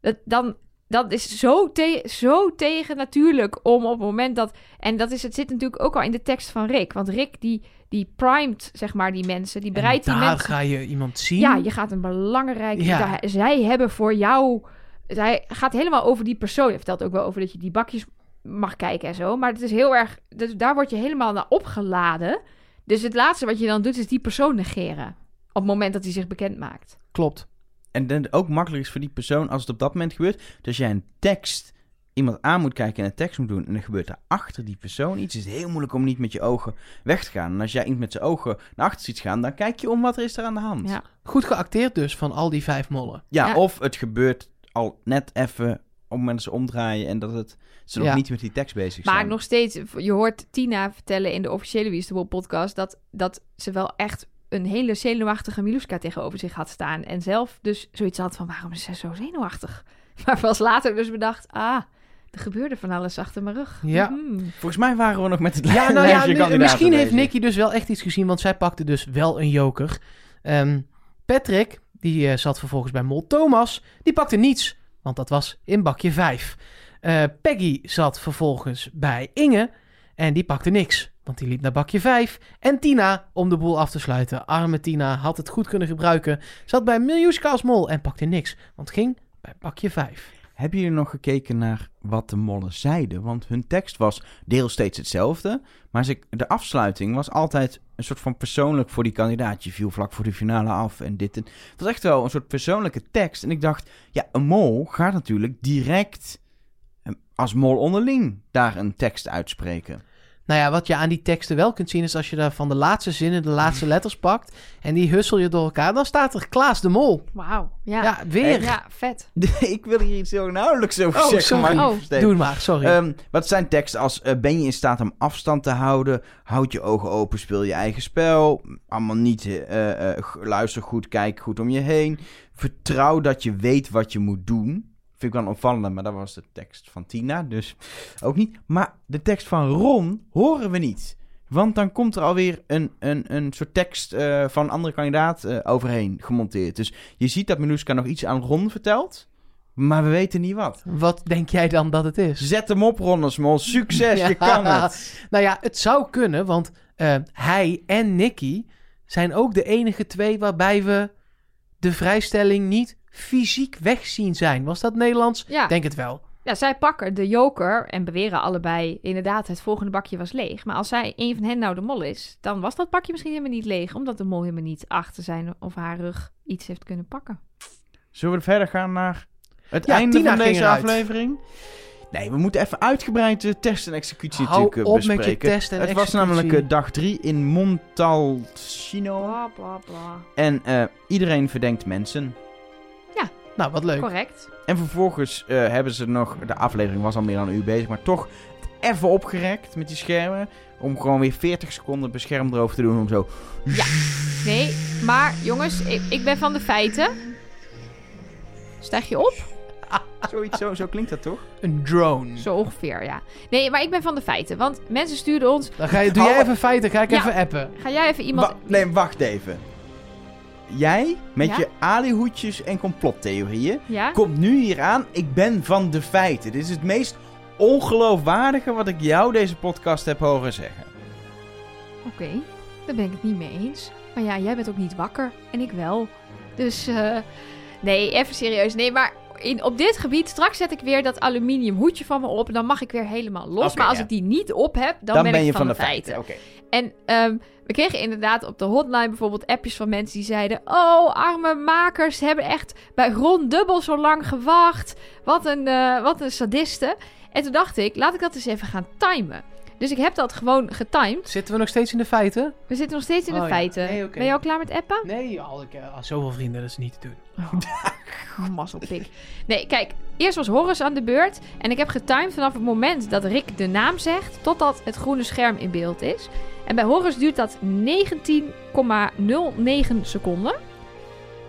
[SPEAKER 2] Dat, dan, dat is zo, te, zo tegen natuurlijk om op het moment dat... En dat is, het zit natuurlijk ook al in de tekst van Rick. Want Rick die, die primed, zeg maar, die mensen. Die
[SPEAKER 3] En
[SPEAKER 2] bereidt die
[SPEAKER 3] daar
[SPEAKER 2] mensen...
[SPEAKER 3] ga je iemand zien.
[SPEAKER 2] Ja, je gaat een belangrijke...
[SPEAKER 3] Ja.
[SPEAKER 2] daar- zij hebben voor jou... Zij gaat helemaal over die persoon. Hij vertelt ook wel over dat je die bakjes mag kijken en zo. Maar het is heel erg... Dus daar word je helemaal naar opgeladen. Dus het laatste wat je dan doet is die persoon negeren. Op het moment dat hij zich bekend maakt.
[SPEAKER 3] Klopt.
[SPEAKER 1] En dan ook makkelijk is voor die persoon als het op dat moment gebeurt. Dus als jij een tekst iemand aan moet kijken en een tekst moet doen en er gebeurt daar achter die persoon iets, is het heel moeilijk om niet met je ogen weg te gaan. En als jij iemand met zijn ogen naar achter ziet gaan, dan kijk je om wat er is er aan de hand.
[SPEAKER 2] Ja.
[SPEAKER 3] Goed geacteerd dus van al die vijf mollen.
[SPEAKER 1] Ja,
[SPEAKER 2] Ja.
[SPEAKER 1] of het gebeurt al net even op het moment dat ze omdraaien en dat het, ze
[SPEAKER 3] Ja.
[SPEAKER 1] nog niet met die tekst bezig zijn.
[SPEAKER 2] Maar nog steeds, je hoort Tina vertellen in de officiële Wie is de Mol podcast... Dat, dat ze wel echt een hele zenuwachtige Miluska tegenover zich had staan. En zelf dus zoiets had van, waarom is ze zo zenuwachtig? Maar pas later dus bedacht, ah, er gebeurde van alles achter mijn rug.
[SPEAKER 3] Ja.
[SPEAKER 2] Mhm.
[SPEAKER 1] Volgens mij waren we nog met het
[SPEAKER 3] Ja, nou ja,
[SPEAKER 1] lijstje
[SPEAKER 3] mi-
[SPEAKER 1] kandidaten
[SPEAKER 3] misschien heeft
[SPEAKER 1] bezig.
[SPEAKER 3] Nicky dus wel echt iets gezien, want zij pakte dus wel een joker. Ehm, Patrick, die eh, zat vervolgens bij Mol Thomas, die pakte niets, want dat was in bakje 5. Peggy zat vervolgens bij Inge en die pakte niks, want die liep naar bakje 5. En Tina, om de boel af te sluiten, arme Tina, had het goed kunnen gebruiken, zat bij Miljuska als Mol en pakte niks, want ging bij bakje 5.
[SPEAKER 1] Hebben jullie nog gekeken naar wat de mollen zeiden? Want hun tekst was deels steeds hetzelfde. Maar ze, de afsluiting was altijd een soort van persoonlijk voor die kandidaat. Je viel vlak voor de finale af en dit en... Het was echt wel een soort persoonlijke tekst. En ik dacht, ja, een mol gaat natuurlijk direct eh, als mol onderling daar een tekst uitspreken.
[SPEAKER 3] Nou ja, wat je aan die teksten wel kunt zien is als je daar van de laatste zinnen de laatste letters pakt en die hussel je door elkaar, dan staat er Klaas de Mol.
[SPEAKER 2] Wauw,
[SPEAKER 3] Ja,
[SPEAKER 2] ja.
[SPEAKER 3] weer.
[SPEAKER 2] Ja, vet.
[SPEAKER 1] ik wil hier iets heel nauwelijks over
[SPEAKER 3] Oh,
[SPEAKER 1] zeggen. Maar
[SPEAKER 3] sorry.
[SPEAKER 1] niet
[SPEAKER 2] Oh,
[SPEAKER 1] versteken.
[SPEAKER 3] Doe maar, sorry.
[SPEAKER 1] Ehm, wat zijn teksten als eh, ben je in staat om afstand te houden? Houd je ogen open, speel je eigen spel. Allemaal niet. eh, eh, g- luister goed, kijk goed om je heen. Vertrouw dat je weet wat je moet doen. Vind ik wel opvallend, maar dat was de tekst van Tina, dus ook niet. Maar de tekst van Ron horen we niet. Want dan komt er alweer een, een, een soort tekst eh, van een andere kandidaat eh, overheen gemonteerd. Dus je ziet dat Meluska nog iets aan Ron vertelt, maar we weten niet wat.
[SPEAKER 3] Wat denk jij dan dat het is?
[SPEAKER 1] Zet hem op, Rondersmol. Succes, je
[SPEAKER 3] Ja.
[SPEAKER 1] kan het.
[SPEAKER 3] Nou ja, het zou kunnen, want eh, hij en Nicky zijn ook de enige twee waarbij we de vrijstelling niet fysiek weg zien zijn. Was dat Nederlands?
[SPEAKER 2] Ja.
[SPEAKER 3] Denk het wel.
[SPEAKER 2] Ja, zij pakken de joker en beweren allebei inderdaad het volgende bakje was leeg. Maar als zij een van hen nou de mol is, dan was dat bakje misschien helemaal niet leeg. Omdat de mol helemaal niet achter zijn of haar rug iets heeft kunnen pakken.
[SPEAKER 1] Zullen we verder gaan naar het
[SPEAKER 3] Ja,
[SPEAKER 1] einde
[SPEAKER 3] Tina
[SPEAKER 1] van
[SPEAKER 3] ging
[SPEAKER 1] deze
[SPEAKER 3] eruit.
[SPEAKER 1] aflevering? Nee, we moeten even uitgebreid de test en executie
[SPEAKER 3] Hou
[SPEAKER 1] natuurlijk eh,
[SPEAKER 3] op met je
[SPEAKER 1] bespreken.
[SPEAKER 3] test en
[SPEAKER 1] het was
[SPEAKER 3] executie.
[SPEAKER 1] namelijk eh, dag 3 in Montalcino.
[SPEAKER 2] Bla, bla, bla.
[SPEAKER 1] En eh, iedereen verdenkt mensen.
[SPEAKER 3] Nou, wat leuk.
[SPEAKER 2] Correct.
[SPEAKER 1] En vervolgens eh, hebben ze nog, de aflevering was al meer dan een uur bezig, maar toch het even opgerekt met die schermen. Om gewoon weer 40 seconden bescherm erover te doen. Om zo.
[SPEAKER 2] Nee, maar jongens, ik, ik ben van de feiten. Stijg je op?
[SPEAKER 1] Zoiets, zo, zo klinkt dat toch?
[SPEAKER 3] Een drone.
[SPEAKER 2] Zo ongeveer, ja. Nee, maar ik ben van de feiten. Want mensen stuurden ons...
[SPEAKER 3] Dan ga je, doe jij
[SPEAKER 1] Hou-
[SPEAKER 3] even feiten, ga ik
[SPEAKER 2] Ja.
[SPEAKER 3] even appen.
[SPEAKER 2] Ga jij even iemand...
[SPEAKER 1] Wa- nee, wacht even. Jij, met
[SPEAKER 2] Ja?
[SPEAKER 1] je alihoedjes en complottheorieën,
[SPEAKER 2] Ja?
[SPEAKER 1] komt nu hier aan. Ik ben van de feiten. Dit is het meest ongeloofwaardige wat ik jou deze podcast heb horen zeggen.
[SPEAKER 2] Oké, daar ben ik het niet mee eens. Maar ja, jij bent ook niet wakker en ik wel. Dus eh, nee, even serieus. Nee, maar in, op dit gebied, straks zet ik weer dat aluminium hoedje van me op. En dan mag ik weer helemaal los.
[SPEAKER 1] Oké,
[SPEAKER 2] maar als
[SPEAKER 1] ja.
[SPEAKER 2] ik die niet op heb, dan,
[SPEAKER 1] Dan,
[SPEAKER 2] ben,
[SPEAKER 1] ben
[SPEAKER 2] ik
[SPEAKER 1] je
[SPEAKER 2] van, de feiten.
[SPEAKER 1] Oké.
[SPEAKER 2] En ehm, we kregen inderdaad op de hotline bijvoorbeeld appjes van mensen die zeiden... Oh, arme makers hebben echt bij Ron dubbel zo lang gewacht. Wat een, eh, wat een sadiste. En toen dacht ik, laat ik dat eens even gaan timen. Dus ik heb dat gewoon getimed.
[SPEAKER 3] Zitten we nog steeds in de feiten?
[SPEAKER 2] We zitten nog steeds in de
[SPEAKER 3] Oh ja.
[SPEAKER 2] feiten.
[SPEAKER 3] Nee, oké.
[SPEAKER 2] Ben je al klaar met appen?
[SPEAKER 3] Nee, al, ik, eh, zoveel vrienden, dat is niet te doen.
[SPEAKER 2] Oh, mazzelpik. Nee, kijk. Eerst was Horus aan de beurt. En ik heb getimed vanaf het moment dat Rick de naam zegt... totdat het groene scherm in beeld is. En bij Horus duurt dat 19,09 seconden.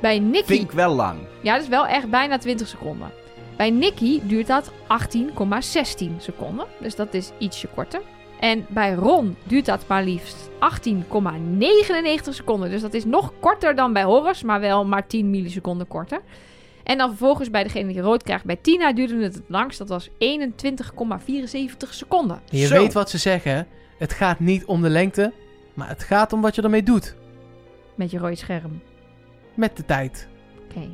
[SPEAKER 2] Bij Nicky...
[SPEAKER 1] Vind ik wel lang.
[SPEAKER 2] Ja, dat is wel echt bijna 20 seconden. Bij Nicky duurt dat 18,16 seconden. Dus dat is ietsje korter. En bij Ron duurt dat maar liefst 18,99 seconden. Dus dat is nog korter dan bij Horus, maar wel maar 10 milliseconden korter. En dan vervolgens bij degene die rood krijgt. Bij Tina duurde het het langst. Dat was 21,74 seconden.
[SPEAKER 3] Je
[SPEAKER 1] Zo.
[SPEAKER 3] weet wat ze zeggen. hè? Het gaat niet om de lengte, maar het gaat om wat je ermee doet.
[SPEAKER 2] Met je rode scherm.
[SPEAKER 3] Met de tijd.
[SPEAKER 2] Oké.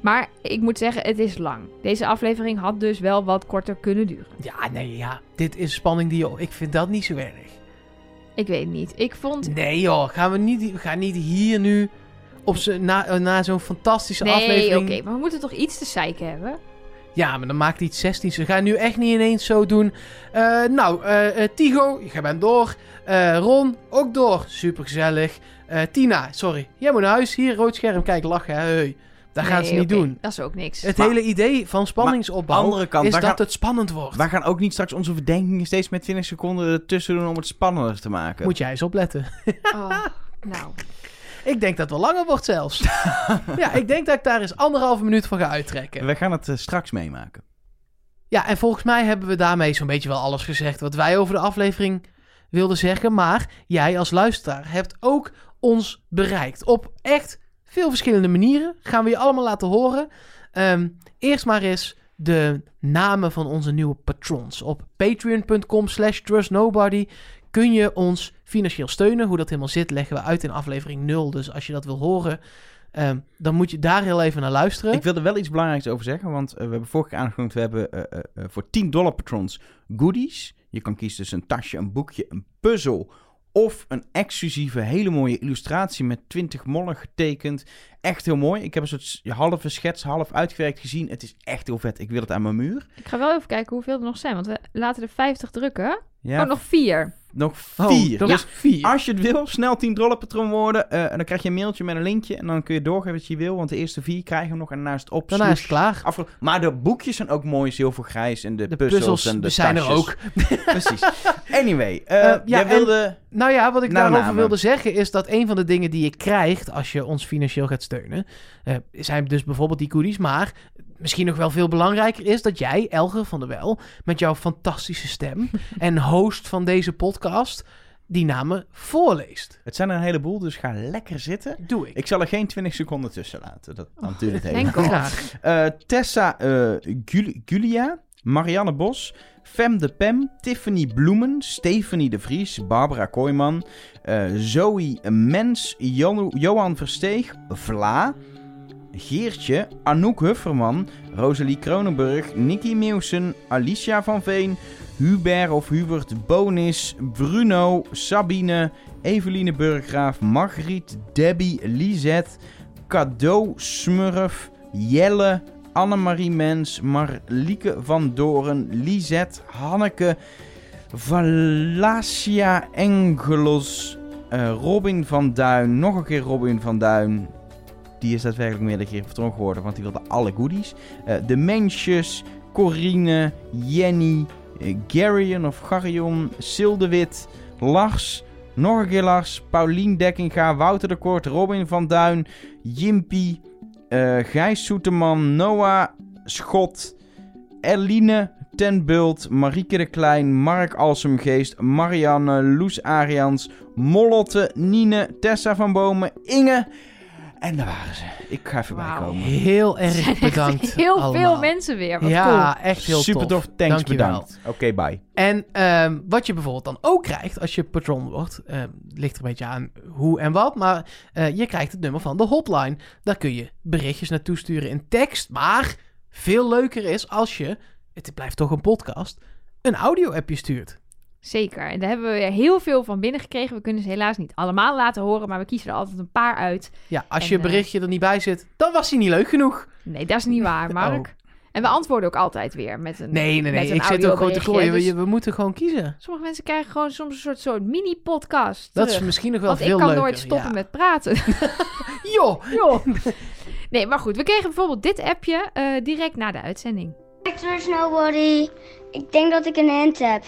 [SPEAKER 2] Maar ik moet zeggen, het is lang. Deze aflevering had dus wel wat korter kunnen duren.
[SPEAKER 3] Ja, nee, ja. Dit is spanning die... joh, Ik vind dat niet zo erg.
[SPEAKER 2] Ik weet het niet. Ik vond
[SPEAKER 3] Nee joh, gaan we niet, we gaan niet hier nu... Op ze, na, eh, na zo'n fantastische
[SPEAKER 2] nee,
[SPEAKER 3] aflevering...
[SPEAKER 2] oké, maar we moeten toch iets te zeiken hebben?
[SPEAKER 3] Ja, maar dan maakt hij het 16. Ze gaan nu echt niet ineens zo doen. Eh, nou, eh, eh, Tigo, je bent door. Eh, Ron, ook door. Supergezellig. Eh Tina, sorry. Jij moet naar huis. Hier, rood scherm. Kijk, lachen. hè, Hey. Dat gaan ze
[SPEAKER 2] Nee,
[SPEAKER 3] niet
[SPEAKER 2] oké,
[SPEAKER 3] doen.
[SPEAKER 2] Dat is ook niks.
[SPEAKER 3] Het
[SPEAKER 1] Maar-
[SPEAKER 3] hele idee van spanningsopbouw
[SPEAKER 1] andere kant,
[SPEAKER 3] is
[SPEAKER 1] daar
[SPEAKER 3] dat
[SPEAKER 1] gaat-
[SPEAKER 3] het spannend wordt.
[SPEAKER 1] Wij gaan ook niet straks onze verdenkingen steeds met 20 seconden ertussen doen om het spannender te maken.
[SPEAKER 3] Moet jij eens opletten.
[SPEAKER 2] Oh, nou,
[SPEAKER 3] Ik denk dat het wel langer wordt zelfs. ja, ik denk dat ik daar eens anderhalve minuut van ga uittrekken.
[SPEAKER 1] We gaan het eh, straks meemaken.
[SPEAKER 3] Ja, en volgens mij hebben we daarmee zo'n beetje wel alles gezegd wat wij over de aflevering wilden zeggen. Maar jij als luisteraar hebt ook ons bereikt. Op echt veel verschillende manieren. Gaan we je allemaal laten horen. Ehm, eerst maar eens de namen van onze nieuwe patrons. Op patreon.com slash trustnobody kun je ons financieel steunen. Hoe dat helemaal zit leggen we uit in aflevering 0. Dus als je dat wil horen, ehm, dan moet je daar heel even naar luisteren.
[SPEAKER 1] Ik wil er wel iets belangrijks over zeggen, want eh, we hebben vorige keer aangekondigd... we hebben eh, eh, eh, voor 10 dollar patrons goodies. Je kan kiezen tussen een tasje, een boekje, een puzzel... of een exclusieve, hele mooie illustratie met 20 mollen getekend. Echt heel mooi. Ik heb een soort s- halve schets, half uitgewerkt gezien. Het is echt heel vet. Ik wil het aan mijn muur.
[SPEAKER 2] ik ga wel even kijken hoeveel er nog zijn. Want we laten er 50 drukken.
[SPEAKER 1] Ja,
[SPEAKER 2] Oh, nog vier.
[SPEAKER 1] nog
[SPEAKER 3] Oh,
[SPEAKER 1] vier.
[SPEAKER 3] dat
[SPEAKER 1] Ja.
[SPEAKER 3] is vier.
[SPEAKER 1] Als je het wil, snel 10 dollar patroon worden. eh, en dan krijg je een mailtje met een linkje. En dan kun je doorgeven wat je wil. Want de eerste vier krijgen we nog. En daarna is het op. Dus-
[SPEAKER 3] Daarna is
[SPEAKER 1] sloes,
[SPEAKER 3] het klaar.
[SPEAKER 1] afge- Maar de boekjes zijn ook mooi zilvergrijs. En de,
[SPEAKER 3] De
[SPEAKER 1] puzzels,
[SPEAKER 3] puzzels
[SPEAKER 1] en de
[SPEAKER 3] zijn er
[SPEAKER 1] tasjes.
[SPEAKER 3] ook.
[SPEAKER 1] Precies. Anyway, eh,
[SPEAKER 3] Eh, ja,
[SPEAKER 1] jij
[SPEAKER 3] en-
[SPEAKER 1] wilde...
[SPEAKER 3] Nou ja, wat ik
[SPEAKER 1] Nou,
[SPEAKER 3] daarover
[SPEAKER 1] namen.
[SPEAKER 3] wilde zeggen is dat een van de dingen die je krijgt als je ons financieel gaat steunen, eh, zijn dus bijvoorbeeld die goodies, maar misschien nog wel veel belangrijker is dat jij, Elger van der Wel, met jouw fantastische stem en host van deze podcast, die namen voorleest.
[SPEAKER 1] Het zijn er een heleboel, dus ga lekker zitten.
[SPEAKER 3] Doe ik.
[SPEAKER 1] Ik zal er geen 20 seconden tussen laten. Dat dan duurt het even.
[SPEAKER 2] Denk al.
[SPEAKER 3] Graag.
[SPEAKER 1] Eh, Tessa eh, Gul- Gulia, Marianne Bos, Fem de Pem, Tiffany Bloemen, Stephanie de Vries, Barbara Kooijman, eh, Zoe Mens, Jo- Johan Versteeg, Vla, Geertje, Anouk Hufferman, Rosalie Kronenburg, Nicky Meeuwsen, Alicia van Veen, Hubert of Hubert Bonis, Bruno, Sabine, Eveline Burggraaf, Margriet, Debbie, Lisette, Cadeau Smurf, Jelle, Annemarie Mens, Marlieke van Doren, Lisette, Hanneke, Valacia Engelos, eh, Robin van Duin, nog een keer Robin van Duin. Die is daadwerkelijk meerdere keer vertrokken geworden, want die wilde alle goodies. Eh, de Mensjes, Corine, Jenny, eh, Garion of Garion, Sildewit, Lars, nog een keer Lars, Paulien Dekkinga, Wouter de Kort, Robin van Duin, Jimpie, eh, Gijs Soeterman, Noah Schot, Eline Ten Bult, Marieke de Klein, Mark Alsemgeest, Marianne, Loes Arians, Molotte, Nine, Tessa van Bomen, Inge. En daar waren ze. Ik ga even
[SPEAKER 2] Wauw.
[SPEAKER 1] bijkomen.
[SPEAKER 3] Heel
[SPEAKER 2] Er zijn
[SPEAKER 3] erg
[SPEAKER 2] echt
[SPEAKER 3] bedankt.
[SPEAKER 2] heel
[SPEAKER 3] allemaal.
[SPEAKER 2] veel mensen weer. Wat cool.
[SPEAKER 3] Ja, echt heel
[SPEAKER 1] Super
[SPEAKER 3] tof.
[SPEAKER 1] tof, thanks,
[SPEAKER 3] Dankjewel.
[SPEAKER 1] bedankt. Oké, bye.
[SPEAKER 3] En ehm, wat je bijvoorbeeld dan ook krijgt als je patron wordt, ehm, ligt er een beetje aan hoe en wat, maar eh, je krijgt het nummer van de hotline. Daar kun je berichtjes naartoe sturen in tekst, maar veel leuker is als je, het blijft toch een podcast, een audio-appje stuurt.
[SPEAKER 2] Zeker. En daar hebben we weer heel veel van binnengekregen. We kunnen ze helaas niet allemaal laten horen, maar we kiezen er altijd een paar uit.
[SPEAKER 3] Ja, als
[SPEAKER 2] En,
[SPEAKER 3] je
[SPEAKER 2] eh,
[SPEAKER 3] berichtje er niet bij zit, dan was hij niet leuk genoeg.
[SPEAKER 2] Nee, dat is niet waar, Mark. En we antwoorden ook altijd weer met een.
[SPEAKER 3] Oh. Nee, nee,
[SPEAKER 2] met
[SPEAKER 3] nee,
[SPEAKER 2] een
[SPEAKER 3] ik zit ook gewoon te
[SPEAKER 2] audioberichtje,
[SPEAKER 3] klooien.
[SPEAKER 2] dus
[SPEAKER 3] We, we moeten gewoon kiezen.
[SPEAKER 2] Sommige mensen krijgen gewoon soms een soort, soort mini-podcast.
[SPEAKER 3] Dat is
[SPEAKER 2] terug.
[SPEAKER 3] misschien nog wel
[SPEAKER 2] Want ik
[SPEAKER 3] veel
[SPEAKER 2] kan
[SPEAKER 3] leuker.
[SPEAKER 2] nooit stoppen
[SPEAKER 3] ja.
[SPEAKER 2] met praten.
[SPEAKER 3] Joh,
[SPEAKER 2] Joh. Nee, maar goed. We kregen bijvoorbeeld dit appje eh, direct na de uitzending.
[SPEAKER 9] Actors Nobody. Ik denk dat ik een hint heb.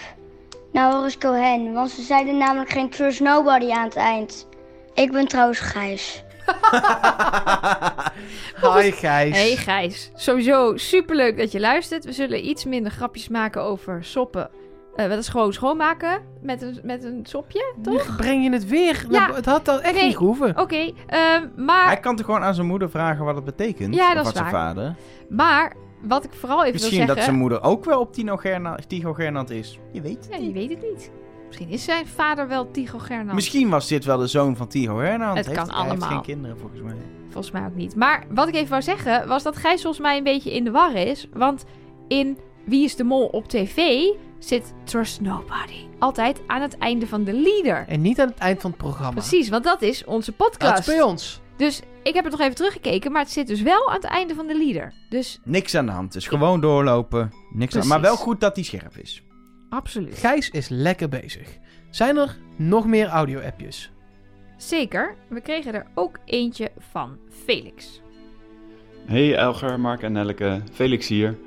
[SPEAKER 9] Nou, hoor eens Cohen, want ze zeiden namelijk geen Trust Nobody aan het eind. Ik ben trouwens Gijs.
[SPEAKER 3] hi Gijs.
[SPEAKER 2] Hey Gijs, sowieso superleuk dat je luistert. We zullen iets minder grapjes maken over soppen. Eh dat is gewoon schoonmaken met een, met een sopje, toch?
[SPEAKER 3] Breng je het weer?
[SPEAKER 2] Ja.
[SPEAKER 3] Het had dan echt
[SPEAKER 2] Nee.
[SPEAKER 3] niet gehoeven.
[SPEAKER 2] Oké, ehm, maar
[SPEAKER 1] Hij kan toch gewoon aan zijn moeder vragen wat het betekent?
[SPEAKER 2] Ja,
[SPEAKER 1] Of
[SPEAKER 2] dat is
[SPEAKER 1] aan zijn
[SPEAKER 2] waar.
[SPEAKER 1] vader.
[SPEAKER 2] Maar wat ik vooral even
[SPEAKER 1] Misschien
[SPEAKER 2] wil
[SPEAKER 1] dat
[SPEAKER 2] zeggen...
[SPEAKER 1] zijn moeder ook wel op Tino Gerna- Tycho Gernand is. Je weet het
[SPEAKER 2] Ja,
[SPEAKER 1] niet.
[SPEAKER 2] je weet het niet. Misschien is zijn vader wel Tycho Gernand.
[SPEAKER 1] Misschien was dit wel de zoon van Tycho Hernand.
[SPEAKER 2] Het
[SPEAKER 1] Heeft-
[SPEAKER 2] kan
[SPEAKER 1] Hij heeft
[SPEAKER 2] allemaal.
[SPEAKER 1] geen kinderen volgens mij.
[SPEAKER 2] Volgens mij ook niet. Maar wat ik even wou zeggen, was dat Gijs volgens mij een beetje in de war is. Want in Wie is de Mol op tv zit Trust Nobody. Altijd aan het einde van de leader.
[SPEAKER 3] En niet aan het eind van het programma.
[SPEAKER 2] Precies, want dat is onze
[SPEAKER 3] Dat is
[SPEAKER 2] podcast.
[SPEAKER 3] bij ons.
[SPEAKER 2] Dus ik heb het nog even teruggekeken, maar het zit dus wel aan het einde van de leader. Dus
[SPEAKER 1] Niks aan de hand. Dus gewoon doorlopen. Niks aan, maar wel
[SPEAKER 2] Precies.
[SPEAKER 1] goed dat die scherp is.
[SPEAKER 2] absoluut.
[SPEAKER 3] Gijs is lekker bezig. Zijn er nog meer audio-appjes?
[SPEAKER 2] Zeker, we kregen er ook eentje van Felix.
[SPEAKER 10] Hey Elger, Mark en Nelleke, Felix hier.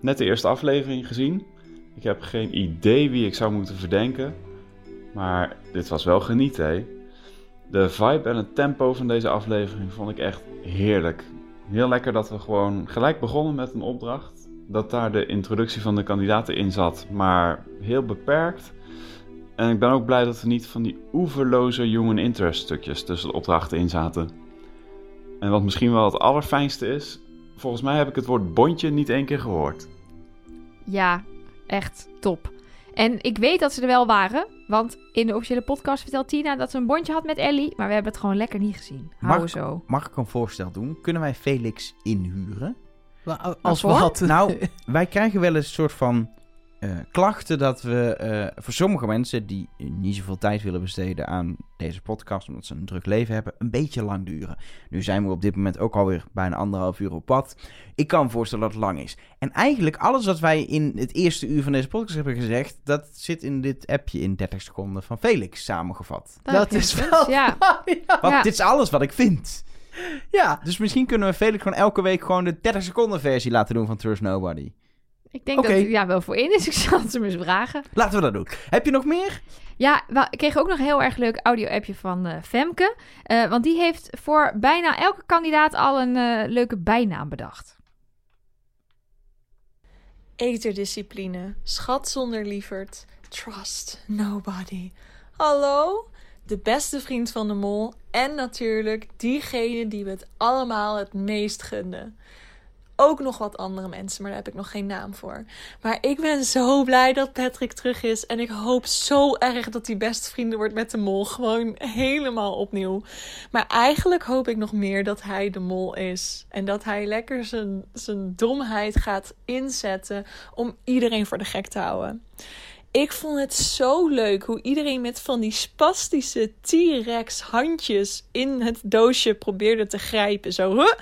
[SPEAKER 10] Net de eerste aflevering gezien. Ik heb geen idee wie ik zou moeten verdenken. Maar dit was wel genieten, hè? De vibe en het tempo van deze aflevering vond ik echt heerlijk. Heel lekker dat we gewoon gelijk begonnen met een opdracht. Dat daar de introductie van de kandidaten in zat, maar heel beperkt. En ik ben ook blij dat er niet van die oeverloze human interest stukjes tussen de opdrachten in zaten. En wat misschien wel het allerfijnste is, volgens mij heb ik het woord bondje niet één keer gehoord.
[SPEAKER 2] Ja, echt top. En ik weet dat ze er wel waren, want in de officiële podcast vertelt Tina dat ze een bondje had met Ellie, maar we hebben het gewoon lekker niet gezien. Hou
[SPEAKER 1] Mag,
[SPEAKER 2] zo.
[SPEAKER 1] mag ik een voorstel doen? Kunnen wij Felix inhuren?
[SPEAKER 3] Als
[SPEAKER 1] Waarvoor?
[SPEAKER 3] wat?
[SPEAKER 1] Nou, wij krijgen wel eens een soort van eh, klachten dat we eh, voor sommige mensen die niet zoveel tijd willen besteden aan deze podcast, omdat ze een druk leven hebben, een beetje lang duren. Nu zijn we op dit moment ook alweer bijna anderhalf uur op pad. Ik kan me voorstellen dat het lang is. En eigenlijk alles wat wij in het eerste uur van deze podcast hebben gezegd, dat zit in dit appje in 30 seconden van Felix samengevat.
[SPEAKER 2] Dan
[SPEAKER 3] Dat
[SPEAKER 2] heb je
[SPEAKER 3] is
[SPEAKER 2] een
[SPEAKER 3] wel-
[SPEAKER 2] punt, Ja.
[SPEAKER 1] Want
[SPEAKER 2] Ja.
[SPEAKER 1] dit is alles wat ik vind.
[SPEAKER 3] Ja,
[SPEAKER 1] Dus misschien kunnen we Felix gewoon elke week gewoon de 30 seconden versie laten doen van Trust Nobody.
[SPEAKER 2] Ik denk
[SPEAKER 1] Oké.
[SPEAKER 2] dat hij daar wel voor in is. Ik zal het hem eens vragen.
[SPEAKER 1] Laten we dat doen. Heb je nog meer?
[SPEAKER 2] Ja, we ik kreeg ook nog een heel erg leuk audio-appje van eh, Femke. Eh, want die heeft voor bijna elke kandidaat al een eh, leuke bijnaam bedacht.
[SPEAKER 11] Eterdiscipline, schat zonder lieverd, trust nobody. Hallo? De beste vriend van de mol en natuurlijk diegene die we het allemaal het meest gunden. Ook nog wat andere mensen, maar daar heb ik nog geen naam voor. Maar ik ben zo blij dat Patrick terug is en ik hoop zo erg dat hij beste vrienden wordt met de mol. Gewoon helemaal opnieuw. Maar eigenlijk hoop ik nog meer dat hij de mol is. En dat hij lekker zijn, zijn domheid gaat inzetten om iedereen voor de gek te houden. Ik vond het zo leuk hoe iedereen met van die spastische T-Rex handjes in het doosje probeerde te grijpen. Zo, huh?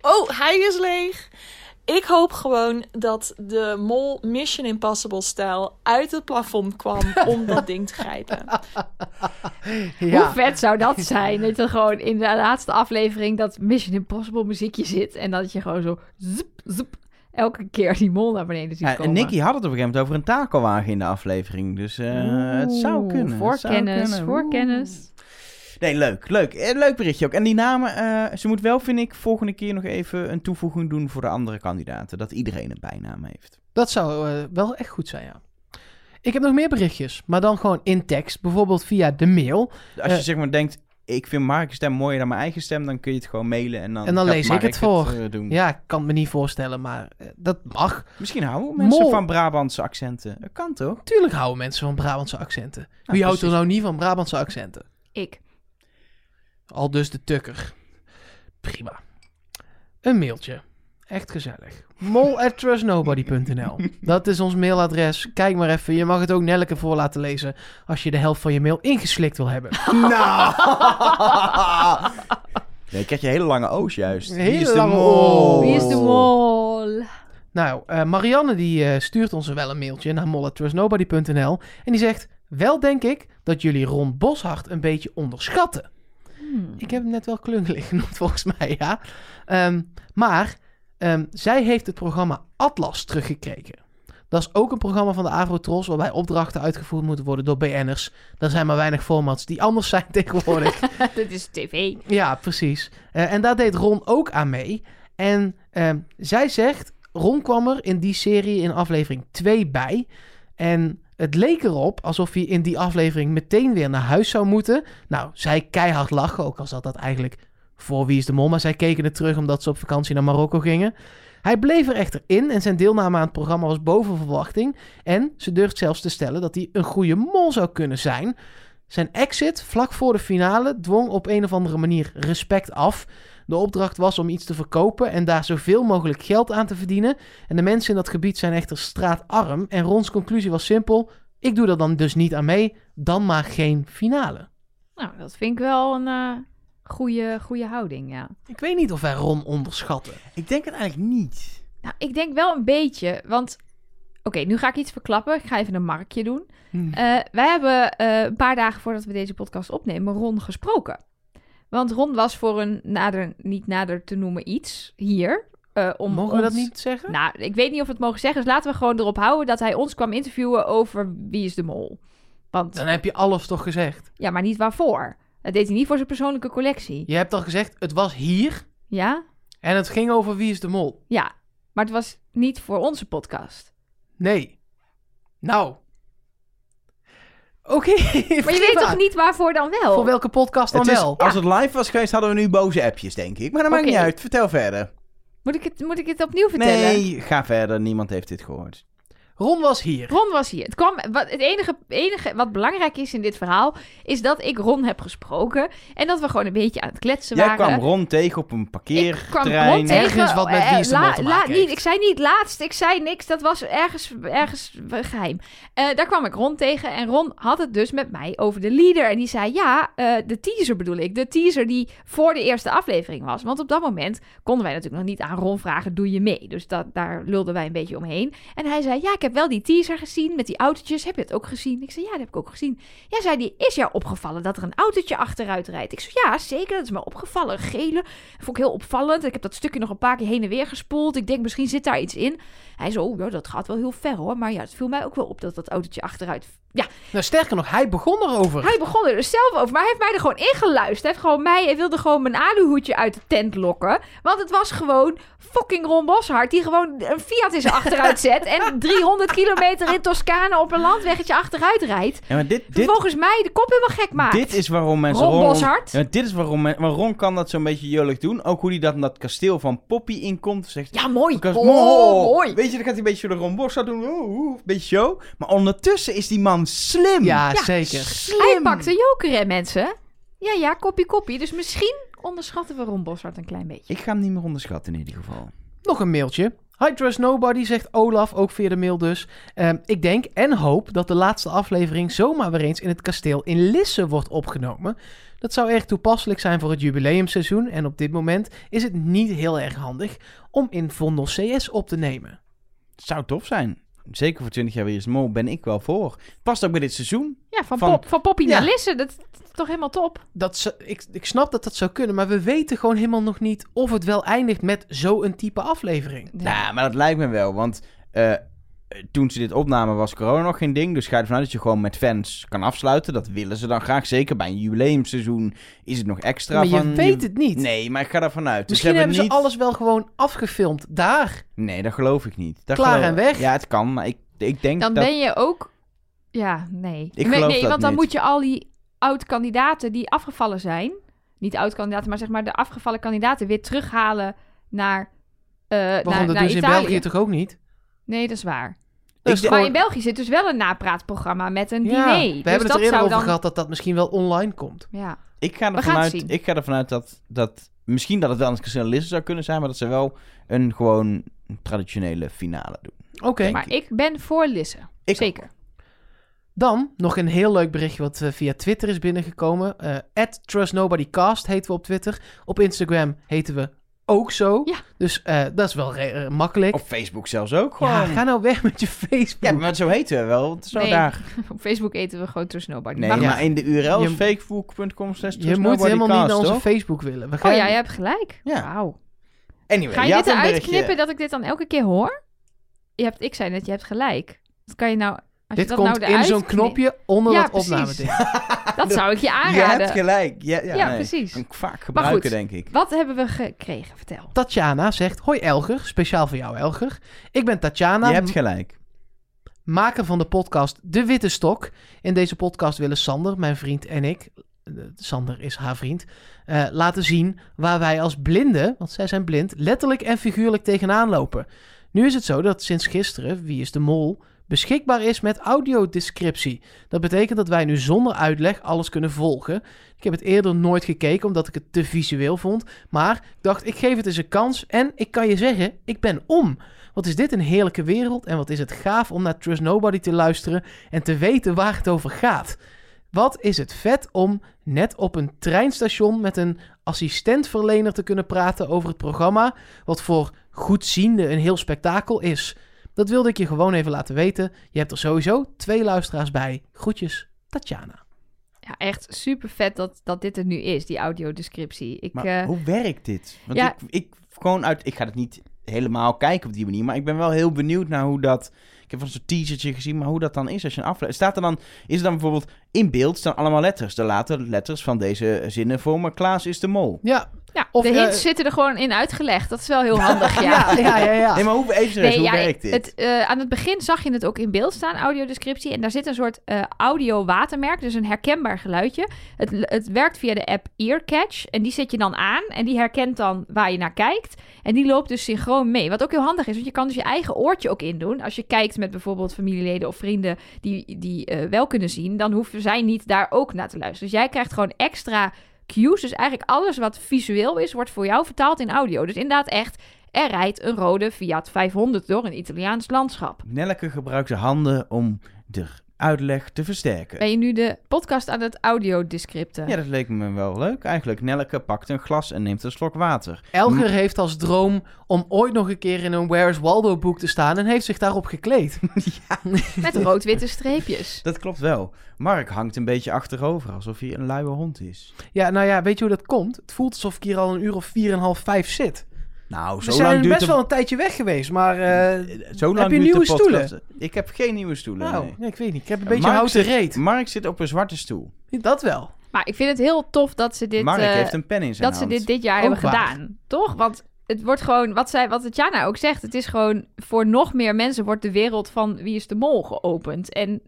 [SPEAKER 11] oh, hij is leeg. Ik hoop gewoon dat de mol Mission Impossible stijl uit het plafond kwam om dat ding te grijpen.
[SPEAKER 2] Hoe vet zou dat zijn? Dat er gewoon in de laatste aflevering dat Mission Impossible muziekje zit. En dat je gewoon zo zup, zup, elke keer die mol naar beneden ziet
[SPEAKER 1] Ja,
[SPEAKER 2] komen.
[SPEAKER 1] en Nicky had het op een gegeven moment over een takelwagen in de aflevering. Dus eh, het zou
[SPEAKER 2] Oeh,
[SPEAKER 1] kunnen. het zou
[SPEAKER 2] Voorkennis,
[SPEAKER 1] kunnen.
[SPEAKER 2] voorkennis.
[SPEAKER 1] Nee, leuk. Leuk. Eh, leuk berichtje ook. En die namen, eh, ze moet wel, vind ik, volgende keer nog even een toevoeging doen voor de andere kandidaten. Dat iedereen een bijnaam heeft.
[SPEAKER 3] dat zou eh, wel echt goed zijn, ja. Ik heb nog meer berichtjes, maar dan gewoon in tekst. Bijvoorbeeld via de mail.
[SPEAKER 1] Als je
[SPEAKER 3] Eh.
[SPEAKER 1] zeg maar denkt, ik vind Mark's stem mooier dan mijn eigen stem, dan kun je het gewoon mailen en dan,
[SPEAKER 3] en dan
[SPEAKER 1] gaat
[SPEAKER 3] lees ik
[SPEAKER 1] Mark
[SPEAKER 3] het voor.
[SPEAKER 1] eh, doen.
[SPEAKER 3] Ja, ik kan het me niet voorstellen, maar eh, dat mag.
[SPEAKER 1] Misschien houden mensen
[SPEAKER 3] Mol.
[SPEAKER 1] van Brabantse accenten. Dat kan toch?
[SPEAKER 3] Tuurlijk houden mensen van Brabantse accenten. Wie houdt er
[SPEAKER 1] precies.
[SPEAKER 3] nou niet van Brabantse accenten?
[SPEAKER 2] Ik.
[SPEAKER 3] Al dus de tukker. Prima. Een mailtje. Echt gezellig. Mol at trustnobody.nl. Dat is ons mailadres. Kijk maar even. Je mag het ook Nelleke voor laten lezen als je de helft van je mail ingeslikt wil hebben.
[SPEAKER 1] Nou. Nee, krijg je hele lange O's juist.
[SPEAKER 3] Een hele
[SPEAKER 1] Wie is de
[SPEAKER 3] lange
[SPEAKER 1] mol?
[SPEAKER 3] O.
[SPEAKER 2] Wie is de mol?
[SPEAKER 3] Nou, eh, Marianne die eh, stuurt ons wel een mailtje naar mol@trustnobody.nl en die zegt: "Wel denk ik dat jullie Ron Boshart een beetje onderschatten." Ik heb hem net wel klungelig genoemd volgens mij, ja. Ehm, maar ehm, zij heeft het programma Atlas teruggekregen. Dat is ook een programma van de Avrotros waarbij opdrachten uitgevoerd moeten worden door BN'ers. Er zijn maar weinig formats die anders zijn tegenwoordig.
[SPEAKER 2] Dit is tv.
[SPEAKER 3] Ja, precies. Eh, en daar deed Ron ook aan mee. En ehm, zij zegt, Ron kwam er in die serie in aflevering 2 bij. En het leek erop alsof hij in die aflevering meteen weer naar huis zou moeten. Nou, zij keihard lachen, ook al zat dat eigenlijk voor Wie is de Mol. Maar zij keken het terug omdat ze op vakantie naar Marokko gingen. Hij bleef er echter in en zijn deelname aan het programma was boven verwachting. En ze durft zelfs te stellen dat hij een goede mol zou kunnen zijn. Zijn exit vlak voor de finale dwong op een of andere manier respect af. De opdracht was om iets te verkopen en daar zoveel mogelijk geld aan te verdienen. En de mensen in dat gebied zijn echter straatarm. En Rons conclusie was simpel: ik doe er dan dus niet aan mee, dan maar geen finale.
[SPEAKER 2] Nou, dat vind ik wel een eh goede, goede houding, ja.
[SPEAKER 3] Ik weet niet of wij Ron onderschatten.
[SPEAKER 1] Ik denk het eigenlijk niet.
[SPEAKER 2] Nou, ik denk wel een beetje, want... Oké, nu ga ik iets verklappen. Ik ga even een markje doen. Eh, wij hebben eh, een paar dagen voordat we deze podcast opnemen Ron gesproken. Want Ron was voor een nader, niet nader te noemen iets hier. eh, om
[SPEAKER 3] Mogen we dat
[SPEAKER 2] ons-
[SPEAKER 3] niet zeggen?
[SPEAKER 2] Nou, ik weet niet of we het mogen zeggen. Dus laten we gewoon erop houden dat hij ons kwam interviewen over wie is de mol. Want,
[SPEAKER 3] Dan heb je alles toch gezegd?
[SPEAKER 2] Ja, maar niet waarvoor. Dat deed hij niet voor zijn persoonlijke collectie.
[SPEAKER 3] Je hebt al gezegd, het was hier
[SPEAKER 2] Ja?
[SPEAKER 3] en het ging over Wie is de Mol.
[SPEAKER 2] Ja. Maar het was niet voor onze podcast.
[SPEAKER 3] Nee. Nou. Oké.
[SPEAKER 2] Maar je weet toch niet waarvoor dan wel?
[SPEAKER 3] Voor welke podcast dan
[SPEAKER 1] Oh. Het is-
[SPEAKER 3] wel?
[SPEAKER 1] Als het live was geweest, hadden we nu boze appjes, denk ik. Maar dat maakt
[SPEAKER 2] Oké.
[SPEAKER 1] niet uit. Vertel verder.
[SPEAKER 2] Moet ik het, moet ik het opnieuw vertellen?
[SPEAKER 1] Nee, ga verder. Niemand heeft dit gehoord.
[SPEAKER 3] Ron was hier.
[SPEAKER 2] Ron was hier. Het, kwam, wat, het enige, enige wat belangrijk is in dit verhaal... is dat ik Ron heb gesproken... en dat we gewoon een beetje aan het kletsen
[SPEAKER 1] Jij
[SPEAKER 2] waren.
[SPEAKER 1] kwam Ron tegen op een
[SPEAKER 2] kwam
[SPEAKER 1] parkeerterrein.
[SPEAKER 2] Ron tegen.
[SPEAKER 3] Ergens wat met
[SPEAKER 2] eh,
[SPEAKER 3] Wie is de Mol
[SPEAKER 2] la-
[SPEAKER 3] te
[SPEAKER 2] la-
[SPEAKER 3] maken
[SPEAKER 2] niet,
[SPEAKER 3] heeft.
[SPEAKER 2] Ik zei niet laatst, ik zei niks. Dat was ergens, ergens eh, geheim. Eh, daar kwam ik Ron tegen en Ron had het dus met mij over de leader. En die zei, ja, eh, de teaser bedoel ik. De teaser die voor de eerste aflevering was. Want op dat moment konden wij natuurlijk nog niet aan Ron vragen, doe je mee? Dus dat, daar lulden wij een beetje omheen. En hij zei, ja, ik heb wel die teaser gezien met die autootjes. Heb je het ook gezien? Ik zei, ja, dat heb ik ook gezien. Ja, zei die is jou opgevallen dat er een autootje achteruit rijdt? Ik zei, ja, zeker, dat is me opgevallen. Een gele, vond ik heel opvallend. Ik heb dat stukje nog een paar keer heen en weer gespoeld. Ik denk, misschien zit daar iets in. Hij zo, oh, ja, dat gaat wel heel ver hoor. Maar ja, het viel mij ook wel op dat dat autootje achteruit... Ja,
[SPEAKER 3] Nou, sterker nog, hij begon erover.
[SPEAKER 2] hij begon er dus zelf over, maar hij heeft mij er gewoon ingeluisterd. Hij, heeft gewoon mij, hij wilde gewoon mijn aluhoedje uit de tent lokken. Want het was gewoon fucking Ron Boshart die gewoon een Fiat in zijn achteruit zet... en 300 kilometer in Toscane op een landweggetje achteruit rijdt.
[SPEAKER 1] Ja, maar dit, dit,
[SPEAKER 2] Vervolgens mij de kop helemaal gek maakt.
[SPEAKER 1] dit is waarom mensen
[SPEAKER 2] Ron
[SPEAKER 1] Ron...
[SPEAKER 2] Boshart.
[SPEAKER 1] Ja, maar dit is waarom, men- maar Ron kan dat zo'n beetje jolig doen. Ook hoe hij dat in dat kasteel van Poppy inkomt. Zegt,
[SPEAKER 2] Ja, mooi.
[SPEAKER 1] Kas-
[SPEAKER 2] Oh,
[SPEAKER 1] Mo-
[SPEAKER 2] mooi.
[SPEAKER 1] Weet je, dan gaat hij een beetje zo de Ron Boshart doen. Oeh, oeh, een beetje show. Maar ondertussen is die man slim.
[SPEAKER 3] Ja, zeker.
[SPEAKER 1] Slim.
[SPEAKER 2] Hij pakt de joker, hè, mensen? Ja, ja, koppie, koppie. Dus misschien onderschatten we Ron Boshart een klein beetje.
[SPEAKER 1] Ik ga hem niet meer onderschatten in ieder geval.
[SPEAKER 3] Nog een mailtje. Hi Trust Nobody, zegt Olaf, ook via de mail dus. Ehm, ik denk en hoop dat de laatste aflevering zomaar weer eens in het kasteel in Lisse wordt opgenomen. Dat zou erg toepasselijk zijn voor het jubileumseizoen en op dit moment is het niet heel erg handig om in Vondel CS op te nemen.
[SPEAKER 1] Zou tof zijn. Zeker voor 20 jaar weer eens mol ben ik wel voor. Past ook bij dit seizoen.
[SPEAKER 2] Ja, van,
[SPEAKER 1] Van-
[SPEAKER 2] Pop, van Poppy
[SPEAKER 3] Ja.
[SPEAKER 2] naar Lisse. Dat is toch helemaal top.
[SPEAKER 3] Dat ze- ik, ik snap dat dat zou kunnen, maar we weten gewoon helemaal nog niet of het wel eindigt met zo'n type aflevering.
[SPEAKER 1] Nou, maar dat lijkt me wel. Want eh, toen ze dit opnamen was corona nog geen ding. Dus ga je ervan uit dat je gewoon met fans kan afsluiten. Dat willen ze dan graag. Zeker bij een jubileumseizoen is het nog extra
[SPEAKER 3] maar je
[SPEAKER 1] van...
[SPEAKER 3] weet het niet.
[SPEAKER 1] Nee, maar ik ga ervan uit. Dus
[SPEAKER 3] Misschien hebben ze
[SPEAKER 1] niet...
[SPEAKER 3] alles wel gewoon afgefilmd daar.
[SPEAKER 1] Nee, dat geloof ik niet. Dat
[SPEAKER 3] Klaar
[SPEAKER 1] geloof-
[SPEAKER 3] en weg.
[SPEAKER 1] Ja, het kan. Maar ik, ik denk
[SPEAKER 2] Dan
[SPEAKER 1] dat...
[SPEAKER 2] ben je ook... Ja, nee.
[SPEAKER 1] Ik
[SPEAKER 2] nee,
[SPEAKER 1] geloof
[SPEAKER 2] nee
[SPEAKER 1] dat
[SPEAKER 2] want dan
[SPEAKER 1] niet.
[SPEAKER 2] moet je al die oud-kandidaten die afgevallen zijn... Niet oud-kandidaten, maar zeg maar de afgevallen kandidaten... weer terughalen naar, eh naar, naar
[SPEAKER 3] Waarom dat doen ze dus in
[SPEAKER 2] Italië.
[SPEAKER 3] België toch ook niet?
[SPEAKER 2] Nee, dat is waar.
[SPEAKER 3] Dat is
[SPEAKER 1] denk-
[SPEAKER 2] Maar
[SPEAKER 3] gewoon-
[SPEAKER 2] in België zit dus wel een napraatprogramma met een diner.
[SPEAKER 3] we
[SPEAKER 2] Dus
[SPEAKER 3] hebben het
[SPEAKER 2] dat
[SPEAKER 3] er eerder
[SPEAKER 2] zou
[SPEAKER 3] over
[SPEAKER 2] dan...
[SPEAKER 3] gehad dat dat misschien wel online komt.
[SPEAKER 2] Ja.
[SPEAKER 1] Ik ga
[SPEAKER 2] We
[SPEAKER 1] ervan
[SPEAKER 2] gaan het
[SPEAKER 1] uit,
[SPEAKER 2] zien.
[SPEAKER 1] ik ga ervan uit dat, dat misschien dat het wel een kasteel zou kunnen zijn, maar dat ze wel een gewoon traditionele finale doen.
[SPEAKER 3] Oké,
[SPEAKER 1] Denk
[SPEAKER 2] Maar ik ben voor Lisse.
[SPEAKER 1] Ik-
[SPEAKER 2] Zeker.
[SPEAKER 3] dan nog een heel leuk berichtje wat eh, via Twitter is binnengekomen. Eh @trustnobodycast heten we op Twitter. Op Instagram heten we ook zo.
[SPEAKER 2] Ja.
[SPEAKER 3] Dus eh, dat is wel re- eh, makkelijk.
[SPEAKER 1] Op Facebook zelfs ook gewoon.
[SPEAKER 3] ja,
[SPEAKER 1] Ja,
[SPEAKER 3] ga nou weg met je Facebook.
[SPEAKER 1] maar zo heten we wel. Het is wel
[SPEAKER 2] Nee.
[SPEAKER 1] daar.
[SPEAKER 2] Op Facebook eten we gewoon Trust Nobody.
[SPEAKER 1] Nee,
[SPEAKER 2] Maar
[SPEAKER 1] maar,
[SPEAKER 2] goed.
[SPEAKER 1] in de URL is
[SPEAKER 3] Je-
[SPEAKER 1] facebook.com slash
[SPEAKER 3] je moet helemaal niet naar onze Facebook willen. We gaan
[SPEAKER 2] Oh ja, je hebt gelijk.
[SPEAKER 1] Ja.
[SPEAKER 2] Wauw.
[SPEAKER 1] Anyway,
[SPEAKER 2] Ga je,
[SPEAKER 1] had
[SPEAKER 2] dit
[SPEAKER 1] een
[SPEAKER 2] eruit
[SPEAKER 1] berichtje.
[SPEAKER 2] knippen dat ik dit dan elke keer hoor? Je hebt, ik zei net, je hebt gelijk. Dat kan je nou... Als
[SPEAKER 3] Dit
[SPEAKER 2] je dat
[SPEAKER 3] komt
[SPEAKER 2] nou eruit
[SPEAKER 3] in zo'n
[SPEAKER 2] knipt-
[SPEAKER 3] knopje onder
[SPEAKER 2] Ja,
[SPEAKER 3] dat
[SPEAKER 2] precies.
[SPEAKER 3] opnameding.
[SPEAKER 2] Dat zou ik je
[SPEAKER 1] Je hebt
[SPEAKER 2] aanraden.
[SPEAKER 1] gelijk. Ja, ja,
[SPEAKER 2] Ja,
[SPEAKER 1] nee.
[SPEAKER 2] precies.
[SPEAKER 1] Kan ik vaak
[SPEAKER 2] Maar
[SPEAKER 1] gebruiken,
[SPEAKER 2] goed.
[SPEAKER 1] denk ik.
[SPEAKER 2] Wat hebben we gekregen? Vertel.
[SPEAKER 3] Tatjana zegt, hoi Elger, speciaal voor jou Elger. Ik ben Tatjana,
[SPEAKER 1] Je hebt gelijk.
[SPEAKER 3] maker van de podcast De Witte Stok. In deze podcast willen Sander, mijn vriend en ik, eh, Sander is haar vriend, eh, laten zien waar wij als blinden, want zij zijn blind, letterlijk en figuurlijk tegenaan lopen. Nu is het zo dat sinds gisteren Wie is de Mol beschikbaar is met audiodescriptie. Dat betekent dat wij nu zonder uitleg alles kunnen volgen. Ik heb het eerder nooit gekeken omdat ik het te visueel vond, maar ik dacht ik geef het eens een kans en ik kan je zeggen, ik ben om. Wat is dit een heerlijke wereld en wat is het gaaf om naar Trust Nobody te luisteren en te weten waar het over gaat. Wat is het vet om net op een treinstation met een assistentverlener te kunnen praten over het programma, wat voor goedzienden een heel spektakel is. Dat wilde ik je gewoon even laten weten. Je hebt er sowieso twee luisteraars bij. Groetjes, Tatjana.
[SPEAKER 2] Ja, echt super vet dat, dat dit er nu is, die audiodescriptie. Ik,
[SPEAKER 1] Maar
[SPEAKER 2] eh,
[SPEAKER 1] hoe werkt dit? Want
[SPEAKER 2] ja.
[SPEAKER 1] ik, ik gewoon uit, ik ga het niet helemaal kijken op die manier, maar ik ben wel heel benieuwd naar hoe dat. Ik heb van zo'n teasertje gezien, maar hoe dat dan is als je een aflevering. Staat er dan, is er dan bijvoorbeeld in beeld staan allemaal letters, de later letters van deze zinnen vormen. Klaas is de mol.
[SPEAKER 3] Ja,
[SPEAKER 2] ja,
[SPEAKER 3] of,
[SPEAKER 2] de
[SPEAKER 3] eh,
[SPEAKER 2] hints zitten er gewoon in uitgelegd. Dat is wel heel handig, ja.
[SPEAKER 3] Ja, ja, ja, ja.
[SPEAKER 1] Nee, maar hoe, even serieus, hoe
[SPEAKER 2] ja,
[SPEAKER 1] werkt dit?
[SPEAKER 2] Het, eh, aan het begin zag je het ook in beeld staan, audiodescriptie. En daar zit een soort eh audio-watermerk, dus een herkenbaar geluidje. Het, het werkt via de app Earcatch. En die zet je dan aan en die herkent dan waar je naar kijkt. En die loopt dus synchroon mee. Wat ook heel handig is, want je kan dus je eigen oortje ook indoen. Als je kijkt met bijvoorbeeld familieleden of vrienden die, die eh, wel kunnen zien, dan hoeven zij niet daar ook naar te luisteren. Dus jij krijgt gewoon extra cues. Dus eigenlijk alles wat visueel is, wordt voor jou vertaald in audio. Dus inderdaad echt, er rijdt een rode Fiat 500 door een Italiaans landschap.
[SPEAKER 1] Nelke gebruikt zijn handen om de uitleg te versterken.
[SPEAKER 2] Ben je nu de podcast aan het audiodescripten?
[SPEAKER 1] Ja, dat leek me wel leuk eigenlijk. Nelke pakt een glas en neemt een slok water.
[SPEAKER 3] Elger heeft als droom om ooit nog een keer in een Where's Waldo boek te staan en heeft zich daarop gekleed.
[SPEAKER 2] Met rood-witte streepjes.
[SPEAKER 1] Dat klopt wel. Mark hangt een beetje achterover, alsof hij een luie hond is.
[SPEAKER 3] Ja, nou ja, weet je hoe dat komt? Het voelt alsof ik hier al een uur of vier en een half vijf zit.
[SPEAKER 1] Nou,
[SPEAKER 3] We
[SPEAKER 1] zo
[SPEAKER 3] zijn
[SPEAKER 1] lang duurt
[SPEAKER 3] best
[SPEAKER 1] de...
[SPEAKER 3] wel een tijdje weg geweest, maar eh,
[SPEAKER 1] Zo lang
[SPEAKER 3] heb je
[SPEAKER 1] duurt
[SPEAKER 3] nieuwe
[SPEAKER 1] de podcast.
[SPEAKER 3] stoelen?
[SPEAKER 1] Ik heb geen nieuwe stoelen,
[SPEAKER 3] Nou,
[SPEAKER 1] nee.
[SPEAKER 3] nee, ik weet niet. Ik heb een beetje
[SPEAKER 1] Mark
[SPEAKER 3] houten
[SPEAKER 1] zit-
[SPEAKER 3] reet.
[SPEAKER 1] Mark zit op een zwarte stoel.
[SPEAKER 3] Dat wel.
[SPEAKER 2] Maar ik vind het heel tof dat ze dit,
[SPEAKER 1] Mark
[SPEAKER 2] eh,
[SPEAKER 1] heeft een pen in zijn
[SPEAKER 2] dat
[SPEAKER 1] hand.
[SPEAKER 2] ze dit dit jaar
[SPEAKER 1] Ook
[SPEAKER 2] hebben
[SPEAKER 1] waar.
[SPEAKER 2] gedaan. Toch? Want het wordt gewoon, wat, zij, wat Tatjana ook zegt, het is gewoon voor nog meer mensen wordt de wereld van Wie is de Mol geopend. En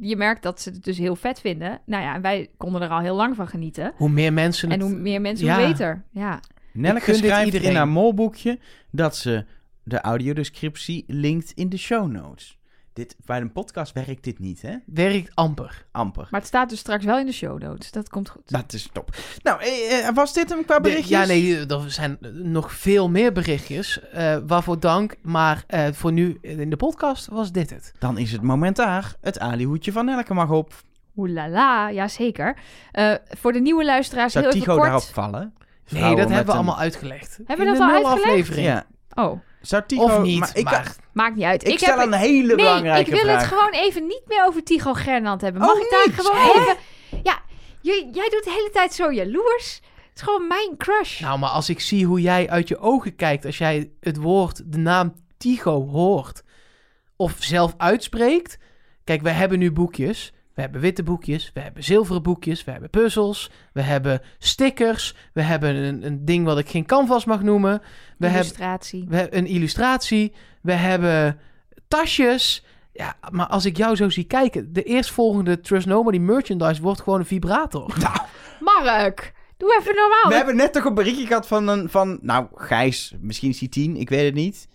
[SPEAKER 2] je merkt dat ze het dus heel vet vinden. Nou ja, en wij konden er al heel lang van genieten.
[SPEAKER 3] Hoe meer mensen
[SPEAKER 2] En
[SPEAKER 3] het...
[SPEAKER 2] hoe meer mensen,
[SPEAKER 3] Ja.
[SPEAKER 2] hoe beter. Ja.
[SPEAKER 3] Ik
[SPEAKER 1] Nelke
[SPEAKER 3] gun dit
[SPEAKER 1] schrijft in
[SPEAKER 3] iedereen.
[SPEAKER 1] haar molboekje dat ze de audiodescriptie linkt in de show notes. Dit, bij een podcast werkt dit niet, hè?
[SPEAKER 3] Werkt amper.
[SPEAKER 1] Amper.
[SPEAKER 2] Maar het staat dus straks wel in de show notes. Dat komt goed.
[SPEAKER 1] Dat is top. Nou, eh, eh, was dit hem qua
[SPEAKER 3] De-
[SPEAKER 1] berichtjes?
[SPEAKER 3] ja, nee, er zijn nog veel meer berichtjes. eh, waarvoor dank. Maar eh, voor nu in de podcast was dit het.
[SPEAKER 1] Dan is het moment daar. Het alihoedje van Nelke mag op.
[SPEAKER 2] Oelala, ja zeker. Eh, voor de nieuwe luisteraars
[SPEAKER 1] Zou
[SPEAKER 2] heel even
[SPEAKER 1] Tycho
[SPEAKER 2] kort.
[SPEAKER 1] daarop vallen?
[SPEAKER 3] Nee,
[SPEAKER 1] Vrouwen
[SPEAKER 3] dat
[SPEAKER 1] met
[SPEAKER 3] hebben we
[SPEAKER 1] een-
[SPEAKER 3] allemaal uitgelegd.
[SPEAKER 2] Hebben we
[SPEAKER 3] In
[SPEAKER 2] dat
[SPEAKER 3] de
[SPEAKER 2] al
[SPEAKER 3] nul
[SPEAKER 2] uitgelegd?
[SPEAKER 3] Aflevering.
[SPEAKER 1] Ja.
[SPEAKER 2] Oh,
[SPEAKER 1] Zou Tycho...
[SPEAKER 3] Of niet,
[SPEAKER 1] maar
[SPEAKER 3] maar...
[SPEAKER 1] ik,
[SPEAKER 2] maakt niet uit.
[SPEAKER 1] Ik stel een hele
[SPEAKER 2] nee,
[SPEAKER 1] belangrijke
[SPEAKER 2] ik wil
[SPEAKER 1] vraag.
[SPEAKER 2] het gewoon even niet meer over Tycho Gernand hebben. Mag
[SPEAKER 1] Oh,
[SPEAKER 2] ik daar
[SPEAKER 1] niet?
[SPEAKER 2] gewoon
[SPEAKER 1] Hè?
[SPEAKER 2] even... Ja, jij, jij doet de hele tijd zo jaloers. Het is gewoon mijn crush.
[SPEAKER 3] Nou, maar als ik zie hoe jij uit je ogen kijkt als jij het woord, de naam Tycho hoort of zelf uitspreekt. Kijk, we hebben nu boekjes. We hebben witte boekjes, we hebben zilveren boekjes, we hebben puzzels, we hebben stickers, we hebben een, een ding wat ik geen canvas mag noemen. We hebben
[SPEAKER 2] Illustratie.
[SPEAKER 3] We hebben een illustratie. We hebben tasjes. Ja, maar als ik jou zo zie kijken, de eerstvolgende Trust Nobody merchandise wordt gewoon een vibrator.
[SPEAKER 2] Mark, doe even normaal.
[SPEAKER 1] We hebben net toch een berichtje gehad van, een, van... Nou, Gijs, misschien is hij tien, ik weet het niet.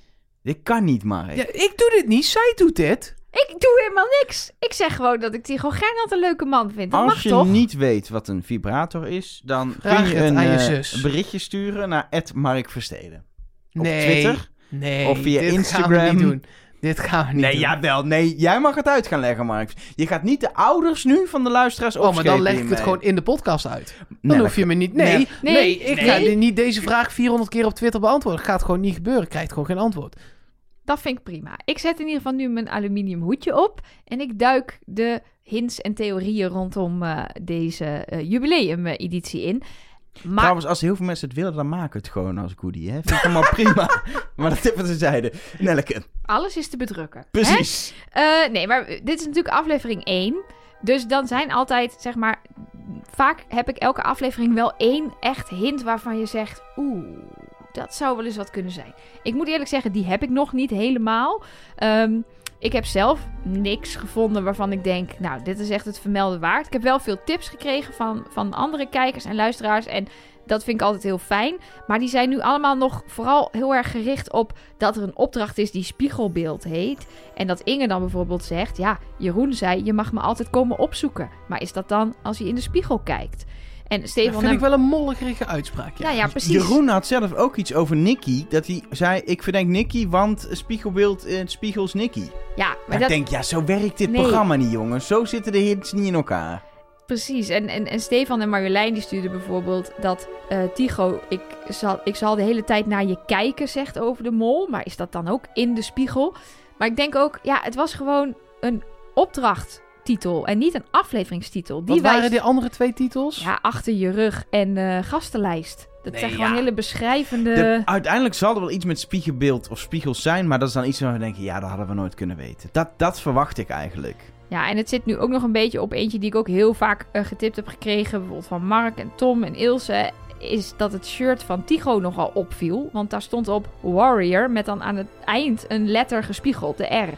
[SPEAKER 1] Dit kan niet, Mark.
[SPEAKER 3] Ja, ik doe dit niet, zij doet dit.
[SPEAKER 2] Ik doe helemaal niks. Ik zeg gewoon dat ik Tycho Gernand een leuke man vind. Dat
[SPEAKER 1] Als
[SPEAKER 2] mag
[SPEAKER 1] je
[SPEAKER 2] toch?
[SPEAKER 1] niet weet wat een vibrator is, dan
[SPEAKER 3] Vraag
[SPEAKER 1] kun je
[SPEAKER 3] het
[SPEAKER 1] een
[SPEAKER 3] aan je
[SPEAKER 1] eh,
[SPEAKER 3] zus.
[SPEAKER 1] berichtje sturen naar Mark Versteden. Op
[SPEAKER 3] nee,
[SPEAKER 1] Twitter?
[SPEAKER 3] nee,
[SPEAKER 1] Of via
[SPEAKER 3] dit
[SPEAKER 1] Instagram?
[SPEAKER 3] Gaan we niet doen. Dit gaan we niet
[SPEAKER 1] Nee,
[SPEAKER 3] doen. Oh,
[SPEAKER 1] jawel. Nee, jij mag het uit gaan leggen, Mark. Je gaat niet de ouders nu van de luisteraars
[SPEAKER 3] Oh, maar dan
[SPEAKER 1] opschepen
[SPEAKER 3] leg ik het
[SPEAKER 1] hiermee.
[SPEAKER 3] gewoon in Oh, de podcast uit. Dan
[SPEAKER 1] Nee,
[SPEAKER 3] hoef je me niet... Nee,
[SPEAKER 1] nee.
[SPEAKER 3] nee,
[SPEAKER 2] Nee,
[SPEAKER 3] ik
[SPEAKER 2] nee.
[SPEAKER 3] ga dit- niet deze vraag 400 keer op Twitter beantwoorden. Gaat gewoon niet gebeuren. Ik krijg gewoon geen antwoord.
[SPEAKER 2] Dat vind ik prima. Ik zet in ieder geval nu mijn aluminium hoedje op. En ik duik de hints en theorieën rondom eh, deze eh, jubileum-editie in. Maar
[SPEAKER 1] Trouwens, als heel veel mensen het willen, dan maak het gewoon als goodie. Hè? Vind ik allemaal prima. Maar dat tippen ze zeiden. Nelke,
[SPEAKER 2] alles is te bedrukken. hè?
[SPEAKER 1] precies.
[SPEAKER 2] Eh, nee, maar dit is natuurlijk aflevering 1. Dus dan zijn altijd, zeg maar... Vaak heb ik elke aflevering wel één echt hint waarvan je zegt... Oeh, dat zou wel eens wat kunnen zijn. Ik moet eerlijk zeggen, die heb ik nog niet helemaal. Ehm, ik heb zelf niks gevonden waarvan ik denk... Nou, dit is echt het vermelden waard. Ik heb wel veel tips gekregen van, van andere kijkers en luisteraars. En dat vind ik altijd heel fijn. Maar die zijn nu allemaal nog vooral heel erg gericht op... dat er een opdracht is die spiegelbeeld heet. En dat Inge dan bijvoorbeeld zegt: Ja, Jeroen zei: Je mag me altijd komen opzoeken. Maar is dat dan als hij in de spiegel kijkt? En
[SPEAKER 3] Dat
[SPEAKER 2] Stefan.
[SPEAKER 3] vind ik
[SPEAKER 2] en-
[SPEAKER 3] wel een mollerige uitspraak. Ja.
[SPEAKER 2] Ja, ja, precies.
[SPEAKER 1] Jeroen had zelf ook iets over Nicky. Dat hij zei, ik verdenk Nicky, want spiegelbeeld in het spiegel is Nicky.
[SPEAKER 2] Ja,
[SPEAKER 1] Maar
[SPEAKER 2] maar
[SPEAKER 1] ik
[SPEAKER 2] dat,
[SPEAKER 1] denk, ja, zo werkt dit
[SPEAKER 2] Nee.
[SPEAKER 1] programma niet, jongens. Zo zitten de hints niet in elkaar.
[SPEAKER 2] precies. En, en, en Stefan en Marjolein die stuurden bijvoorbeeld dat eh Tycho: ik zal, ik zal de hele tijd naar je kijken, zegt over de mol. Maar is dat dan ook in de spiegel? Maar ik denk ook: Ja, het was gewoon een opdracht. titel en niet een afleveringstitel. Die
[SPEAKER 3] Wat
[SPEAKER 2] wijst-
[SPEAKER 3] waren die andere twee titels?
[SPEAKER 2] Ja, achter je rug en eh, gastenlijst. Dat
[SPEAKER 3] Nee,
[SPEAKER 2] zijn gewoon
[SPEAKER 3] ja.
[SPEAKER 2] hele beschrijvende...
[SPEAKER 1] De- uiteindelijk zal er wel iets met spiegelbeeld of spiegels zijn, maar dat is dan iets waar we denken, ja, dat hadden we nooit kunnen weten. Dat, dat verwacht ik eigenlijk.
[SPEAKER 2] Ja, en het zit nu ook nog een beetje op eentje die ik ook heel vaak eh, getipt heb gekregen. Bijvoorbeeld van Mark en Tom en Ilse. Is dat het shirt van Tycho nogal opviel. Want daar stond op Warrior met dan aan het eind een letter gespiegeld, de R.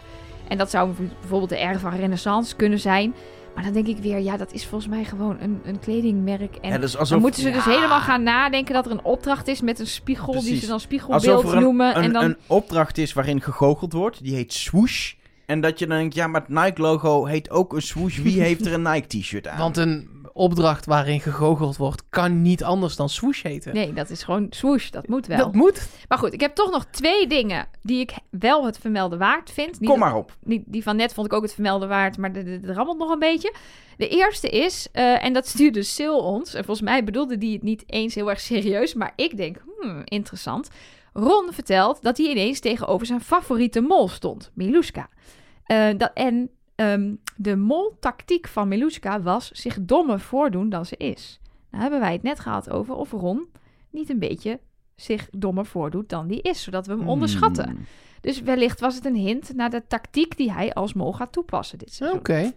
[SPEAKER 2] En dat zou bijvoorbeeld de R van Renaissance kunnen zijn. Maar dan denk ik weer, ja, dat is volgens mij gewoon een, een kledingmerk. En
[SPEAKER 1] Ja, dat is alsof-
[SPEAKER 2] dan moeten ze dus
[SPEAKER 1] Ja.
[SPEAKER 2] helemaal gaan nadenken dat er een opdracht is met een spiegel die ze dan spiegelbeeld
[SPEAKER 1] Alsof er een,
[SPEAKER 2] noemen.
[SPEAKER 1] een,
[SPEAKER 2] en dan...
[SPEAKER 1] een opdracht is waarin gegoocheld wordt, die heet swoosh. En dat je dan denkt, ja, maar het Nike-logo heet ook een swoosh. Wie heeft er een Nike-t-shirt aan?
[SPEAKER 3] Want een opdracht waarin gegoocheld wordt kan niet anders dan swoosh heten.
[SPEAKER 2] Nee, dat is gewoon swoosh. Dat moet wel.
[SPEAKER 3] Dat moet.
[SPEAKER 2] Maar goed, ik heb toch nog twee dingen die ik wel het vermelden waard vind. Niet
[SPEAKER 1] Kom maar op.
[SPEAKER 2] Die, die van net vond ik ook het vermelden waard, maar de- de- de rammelt nog een beetje. De eerste is, eh, en dat stuurde Sil ons, en volgens mij bedoelde die het niet eens heel erg serieus, maar ik denk, hmm, interessant. Ron vertelt dat hij ineens tegenover zijn favoriete mol stond, Miluska. Eh, dat, en ehm, de mol-tactiek van Miluska was zich dommer voordoen dan ze is. Nou hebben wij het net gehad over of Ron niet een beetje zich dommer voordoet dan die is, zodat we hem
[SPEAKER 1] Hmm.
[SPEAKER 2] onderschatten. Dus wellicht was het een hint naar de tactiek die hij als mol gaat toepassen dit seizoen.
[SPEAKER 3] Oké.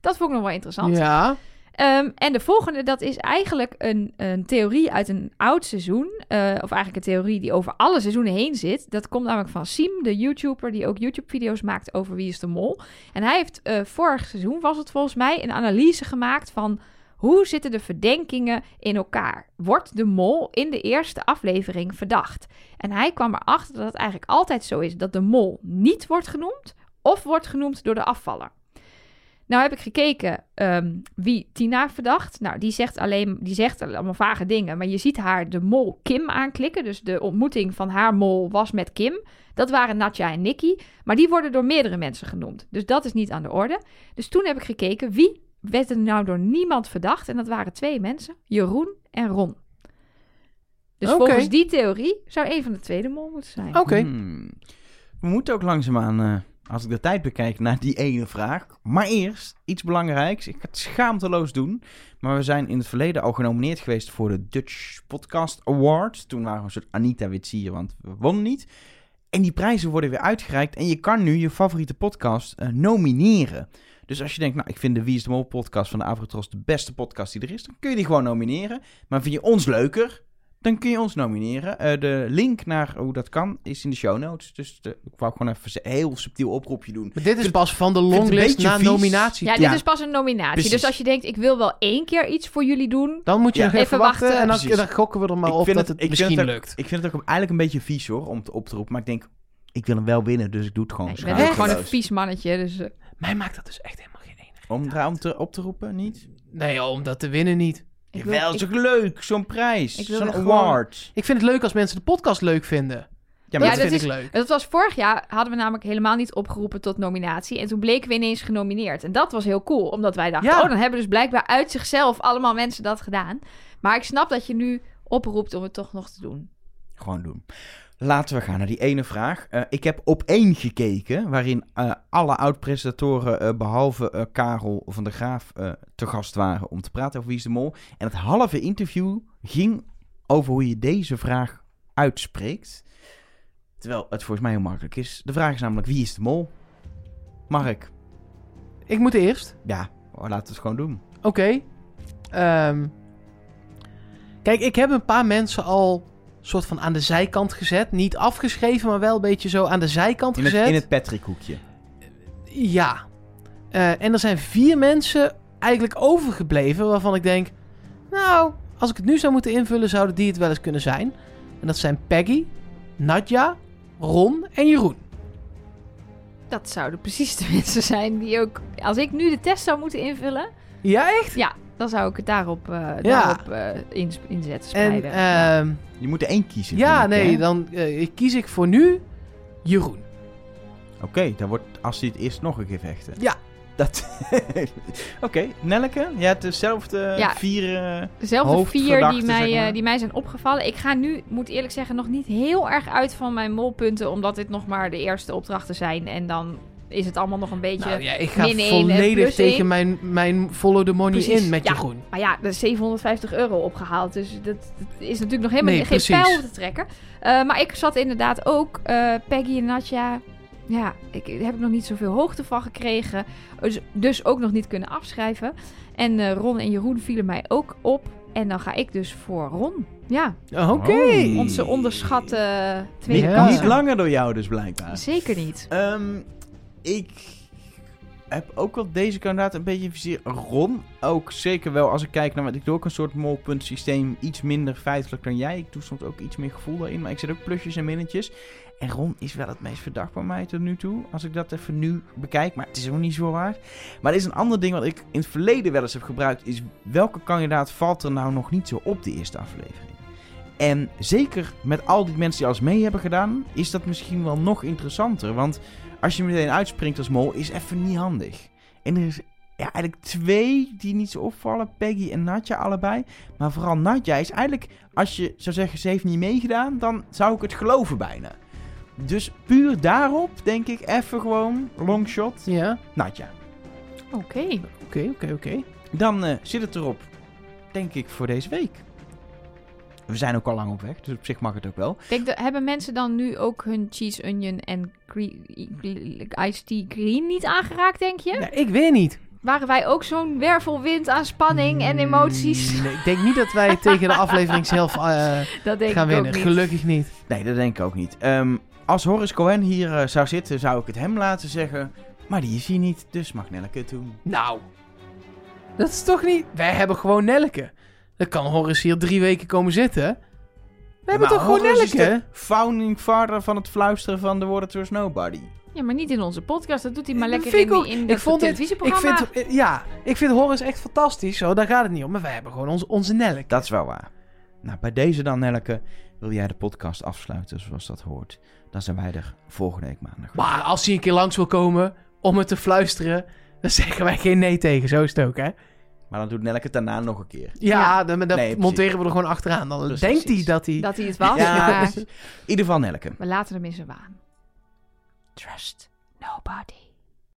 [SPEAKER 2] Dat vond ik nog wel interessant.
[SPEAKER 3] Ja.
[SPEAKER 2] Ehm, en de volgende, dat is eigenlijk een, een theorie uit een oud seizoen. eh, of eigenlijk een theorie die over alle seizoenen heen zit. Dat komt namelijk van Siem, de YouTuber die ook YouTube-video's maakt over Wie is de Mol. En hij heeft eh, vorig seizoen, was het volgens mij, een analyse gemaakt van... Hoe zitten de verdenkingen in elkaar? Wordt de mol in de eerste aflevering verdacht? En hij kwam erachter dat het eigenlijk altijd zo is dat de mol niet wordt genoemd of wordt genoemd door de afvaller. Nou heb ik gekeken ehm, wie Tina verdacht. Nou, die zegt, alleen, die zegt allemaal vage dingen. Maar je ziet haar de mol Kim aanklikken. Dus de ontmoeting van haar mol was met Kim. Dat waren Natja en Nicky. Maar die worden door meerdere mensen genoemd. Dus dat is niet aan de orde. Dus toen heb ik gekeken wie werd er nou door niemand verdacht. En dat waren twee mensen. Jeroen en Ron. Dus
[SPEAKER 3] Oké.
[SPEAKER 2] volgens die theorie zou een van de twee de mol moeten zijn.
[SPEAKER 3] Oké.
[SPEAKER 1] Hmm. We moeten ook langzaamaan, eh als ik de tijd bekijk, naar die ene vraag. Maar eerst iets belangrijks. Ik ga het schaamteloos doen. Maar we zijn in het verleden al genomineerd geweest voor de Dutch Podcast Award. Toen waren we een soort Anita Witsier, want we wonnen niet. En die prijzen worden weer uitgereikt. En je kan nu je favoriete podcast eh, nomineren. Dus als je denkt, nou, ik vind de Wie is de Mol podcast van de Avrotros de beste podcast die er is, dan kun je die gewoon nomineren. Maar vind je ons leuker? Dan kun je ons nomineren. Eh, de link naar hoe dat kan is in de show notes. Dus de- ik wou gewoon even een heel subtiel oproepje doen.
[SPEAKER 3] Maar dit is pas van de
[SPEAKER 1] vind het een
[SPEAKER 3] longlist
[SPEAKER 1] beetje
[SPEAKER 3] na
[SPEAKER 1] vies.
[SPEAKER 3] nominatie.
[SPEAKER 2] Ja, dit is pas een nominatie.
[SPEAKER 1] Precies.
[SPEAKER 2] Dus als je denkt, ik wil wel één keer iets voor jullie doen.
[SPEAKER 3] Dan moet je
[SPEAKER 1] Ja.
[SPEAKER 3] nog even,
[SPEAKER 2] Even
[SPEAKER 3] wachten,
[SPEAKER 2] wachten.
[SPEAKER 3] en dan,
[SPEAKER 1] Precies.
[SPEAKER 3] dan gokken we er maar
[SPEAKER 1] Ik
[SPEAKER 3] op
[SPEAKER 1] vind
[SPEAKER 3] dat het,
[SPEAKER 1] ik vind
[SPEAKER 3] misschien
[SPEAKER 1] ook-
[SPEAKER 3] lukt.
[SPEAKER 1] Ik vind het ook eigenlijk een beetje vies hoor, om het op te roepen. Maar ik denk, ik wil hem wel winnen, dus ik doe het gewoon.
[SPEAKER 2] Nee, ik ben ook
[SPEAKER 1] schaamteloos.
[SPEAKER 2] gewoon een vies mannetje. Dus, eh,
[SPEAKER 3] Mij maakt dat dus echt helemaal geen ene.
[SPEAKER 1] Om daar om te, op te roepen, niet?
[SPEAKER 3] Nee, joh, om dat te winnen niet.
[SPEAKER 2] ik wil-
[SPEAKER 1] Wel,
[SPEAKER 2] ik-
[SPEAKER 1] is ook leuk, zo'n prijs.
[SPEAKER 2] Ik wil
[SPEAKER 1] Zo'n
[SPEAKER 2] er
[SPEAKER 3] gewoon-
[SPEAKER 1] award.
[SPEAKER 3] Ik vind het leuk als mensen de podcast leuk vinden.
[SPEAKER 1] Ja,
[SPEAKER 3] dat
[SPEAKER 1] maar
[SPEAKER 2] Ja,
[SPEAKER 3] vind
[SPEAKER 2] dat
[SPEAKER 3] ik
[SPEAKER 2] is-
[SPEAKER 3] leuk.
[SPEAKER 2] Dat was vorig jaar, hadden we namelijk helemaal niet opgeroepen tot nominatie. En toen bleken we ineens genomineerd. En dat was heel cool, omdat wij dachten...
[SPEAKER 3] Ja.
[SPEAKER 2] oh, dan hebben dus blijkbaar uit zichzelf allemaal mensen dat gedaan. Maar ik snap dat je nu oproept om het toch nog te doen.
[SPEAKER 1] Gewoon doen. Laten we gaan naar die ene vraag. Eh, ik heb op één gekeken, waarin eh, alle oud-presentatoren, eh, behalve eh, Karel van der Graaf, eh, te gast waren om te praten over Wie is de Mol. En het halve interview ging over hoe je deze vraag uitspreekt. Terwijl het volgens mij heel makkelijk is. De vraag is namelijk, wie is de mol? Mark,
[SPEAKER 3] Ik moet eerst.
[SPEAKER 1] ja, oh, laten we het gewoon doen.
[SPEAKER 3] Oké. Ehm, kijk, ik heb een paar mensen al soort van aan de zijkant gezet. Niet afgeschreven, maar wel een beetje zo aan de zijkant
[SPEAKER 1] In het,
[SPEAKER 3] gezet.
[SPEAKER 1] in het Patrick-hoekje.
[SPEAKER 3] Ja. Eh, en er zijn vier mensen eigenlijk overgebleven waarvan ik denk... Nou, als ik het nu zou moeten invullen, zouden die het wel eens kunnen zijn. En dat zijn Peggy, Nadja, Ron en Jeroen.
[SPEAKER 2] Dat zouden precies de mensen zijn die ook... Als ik nu de test zou moeten invullen...
[SPEAKER 3] Ja, echt?
[SPEAKER 2] Ja, dan zou ik het daarop, eh,
[SPEAKER 3] Ja.
[SPEAKER 2] daarop eh, ins- inzetten,
[SPEAKER 3] En
[SPEAKER 2] spreiden.
[SPEAKER 3] ehm,
[SPEAKER 1] Je moet er één kiezen.
[SPEAKER 3] ja,
[SPEAKER 1] vind ik,
[SPEAKER 3] nee,
[SPEAKER 1] hè?
[SPEAKER 3] dan eh, kies ik voor nu Jeroen.
[SPEAKER 1] Oké, dan wordt Astrid het eerst nog een keer vechten.
[SPEAKER 3] Ja.
[SPEAKER 1] Dat... Oké, Nelleke, jij hebt dezelfde
[SPEAKER 2] Ja.
[SPEAKER 1] vier... eh,
[SPEAKER 2] Dezelfde vier
[SPEAKER 1] hoofdverdachten,
[SPEAKER 2] die mij,
[SPEAKER 1] zeg maar.
[SPEAKER 2] eh, die mij zijn opgevallen. Ik ga nu, moet eerlijk zeggen, nog niet heel erg uit van mijn molpunten. Omdat dit nog maar de eerste opdrachten zijn. En dan is het allemaal nog een beetje
[SPEAKER 3] Nou ja, ik ga
[SPEAKER 2] min één en
[SPEAKER 3] volledig
[SPEAKER 2] plus één.
[SPEAKER 3] tegen mijn, mijn follow the money
[SPEAKER 2] Precies,
[SPEAKER 3] in met
[SPEAKER 2] ja.
[SPEAKER 3] Jeroen.
[SPEAKER 2] Maar ja, er is 750 euro opgehaald. Dus dat, dat is natuurlijk nog helemaal
[SPEAKER 3] Nee,
[SPEAKER 2] geen
[SPEAKER 3] precies.
[SPEAKER 2] pijl te trekken. Eh, maar ik zat inderdaad ook eh, Peggy en Natja. Ja, ik daar heb ik nog niet zoveel hoogte van gekregen. Dus, dus ook nog niet kunnen afschrijven. En eh, Ron en Jeroen vielen mij ook op. En dan ga ik dus voor Ron. Ja.
[SPEAKER 3] Oh, Oké.
[SPEAKER 2] Onze onderschatte tweede
[SPEAKER 1] Niet,
[SPEAKER 2] kans.
[SPEAKER 1] niet langer door jou dus blijkbaar.
[SPEAKER 2] Zeker niet.
[SPEAKER 1] Ehm, ik heb ook wel deze kandidaat een beetje in vizier. Ron ook zeker wel. Als ik kijk naar wat ik doe, ook een soort molpuntensysteem. Iets minder feitelijk dan jij. Ik doe soms ook iets meer gevoel daarin. Maar ik zet ook plusjes en minnetjes. En Ron is wel het meest verdacht bij mij tot nu toe. Als ik dat even nu bekijk. Maar het is ook niet zo waar. Maar er is een ander ding wat ik in het verleden wel eens heb gebruikt. Is welke kandidaat valt er nou nog niet zo op de eerste aflevering? En zeker met al die mensen die alles mee hebben gedaan, is dat misschien wel nog interessanter. Want als je meteen uitspringt als mol, is even niet handig. En er is ja, eigenlijk twee die niet zo opvallen. Peggy en Nadja allebei. Maar vooral Nadja is eigenlijk, als je zou zeggen ze heeft niet meegedaan, dan zou ik het geloven bijna. Dus puur daarop denk ik even gewoon longshot
[SPEAKER 3] Ja,
[SPEAKER 1] Nadja.
[SPEAKER 2] Oké.
[SPEAKER 3] oké, oké, oké.
[SPEAKER 1] Dan eh, zit het erop, denk ik, voor deze week. We zijn ook al lang op weg, dus op zich mag het ook wel.
[SPEAKER 2] Kijk, de- hebben mensen dan nu ook hun cheese, onion en green, iced tea green niet aangeraakt, denk je?
[SPEAKER 3] Ja, ik weet niet.
[SPEAKER 2] Waren wij ook zo'n wervelwind aan spanning en emoties?
[SPEAKER 3] Mm, Nee, ik denk niet dat wij tegen de aflevering zelf eh,
[SPEAKER 2] Dat denk
[SPEAKER 3] gaan
[SPEAKER 2] ik ook
[SPEAKER 3] winnen.
[SPEAKER 2] niet.
[SPEAKER 3] Gelukkig niet.
[SPEAKER 1] Nee, dat denk ik ook niet. Ehm, als Horace Cohen hier eh, zou zitten, zou ik het hem laten zeggen. Maar die is hier niet, dus mag Nelleke het doen.
[SPEAKER 3] Nou, dat is toch niet... Wij hebben gewoon Nelke. Dan kan Horace hier drie weken komen zitten. We hebben toch gewoon
[SPEAKER 1] Horace is
[SPEAKER 3] Nelke?
[SPEAKER 1] de founding father van het fluisteren van de woorden Towards Nobody.
[SPEAKER 2] Ja, maar niet in onze podcast. Dat doet hij maar lekker
[SPEAKER 3] Vind
[SPEAKER 2] in,
[SPEAKER 3] ik ook-
[SPEAKER 2] die- in dat
[SPEAKER 3] ik
[SPEAKER 2] televisieprogramma.
[SPEAKER 3] vind, eh, Ja, ik vind Horace echt fantastisch. Zo, daar gaat het niet om. Maar wij hebben gewoon onze, onze Nelke.
[SPEAKER 1] Dat is wel waar. Nou, bij deze dan, Nelleke, wil jij de podcast afsluiten zoals dat hoort. Dan zijn wij er volgende week maandag.
[SPEAKER 3] Maar als hij een keer langs wil komen om het te fluisteren... dan zeggen wij geen nee tegen. Zo is het ook, hè?
[SPEAKER 1] Maar dan doet Nelleke het daarna nog een keer.
[SPEAKER 3] Ja, dan, dan
[SPEAKER 1] Nee, precies.
[SPEAKER 3] monteren we er gewoon achteraan. Dan
[SPEAKER 1] Dus
[SPEAKER 3] denkt
[SPEAKER 1] precies.
[SPEAKER 3] hij dat hij...
[SPEAKER 2] Dat hij het was,
[SPEAKER 1] Ja.
[SPEAKER 2] maar
[SPEAKER 1] In ieder geval Nelleke.
[SPEAKER 2] we laten hem in zijn waan. Trust nobody.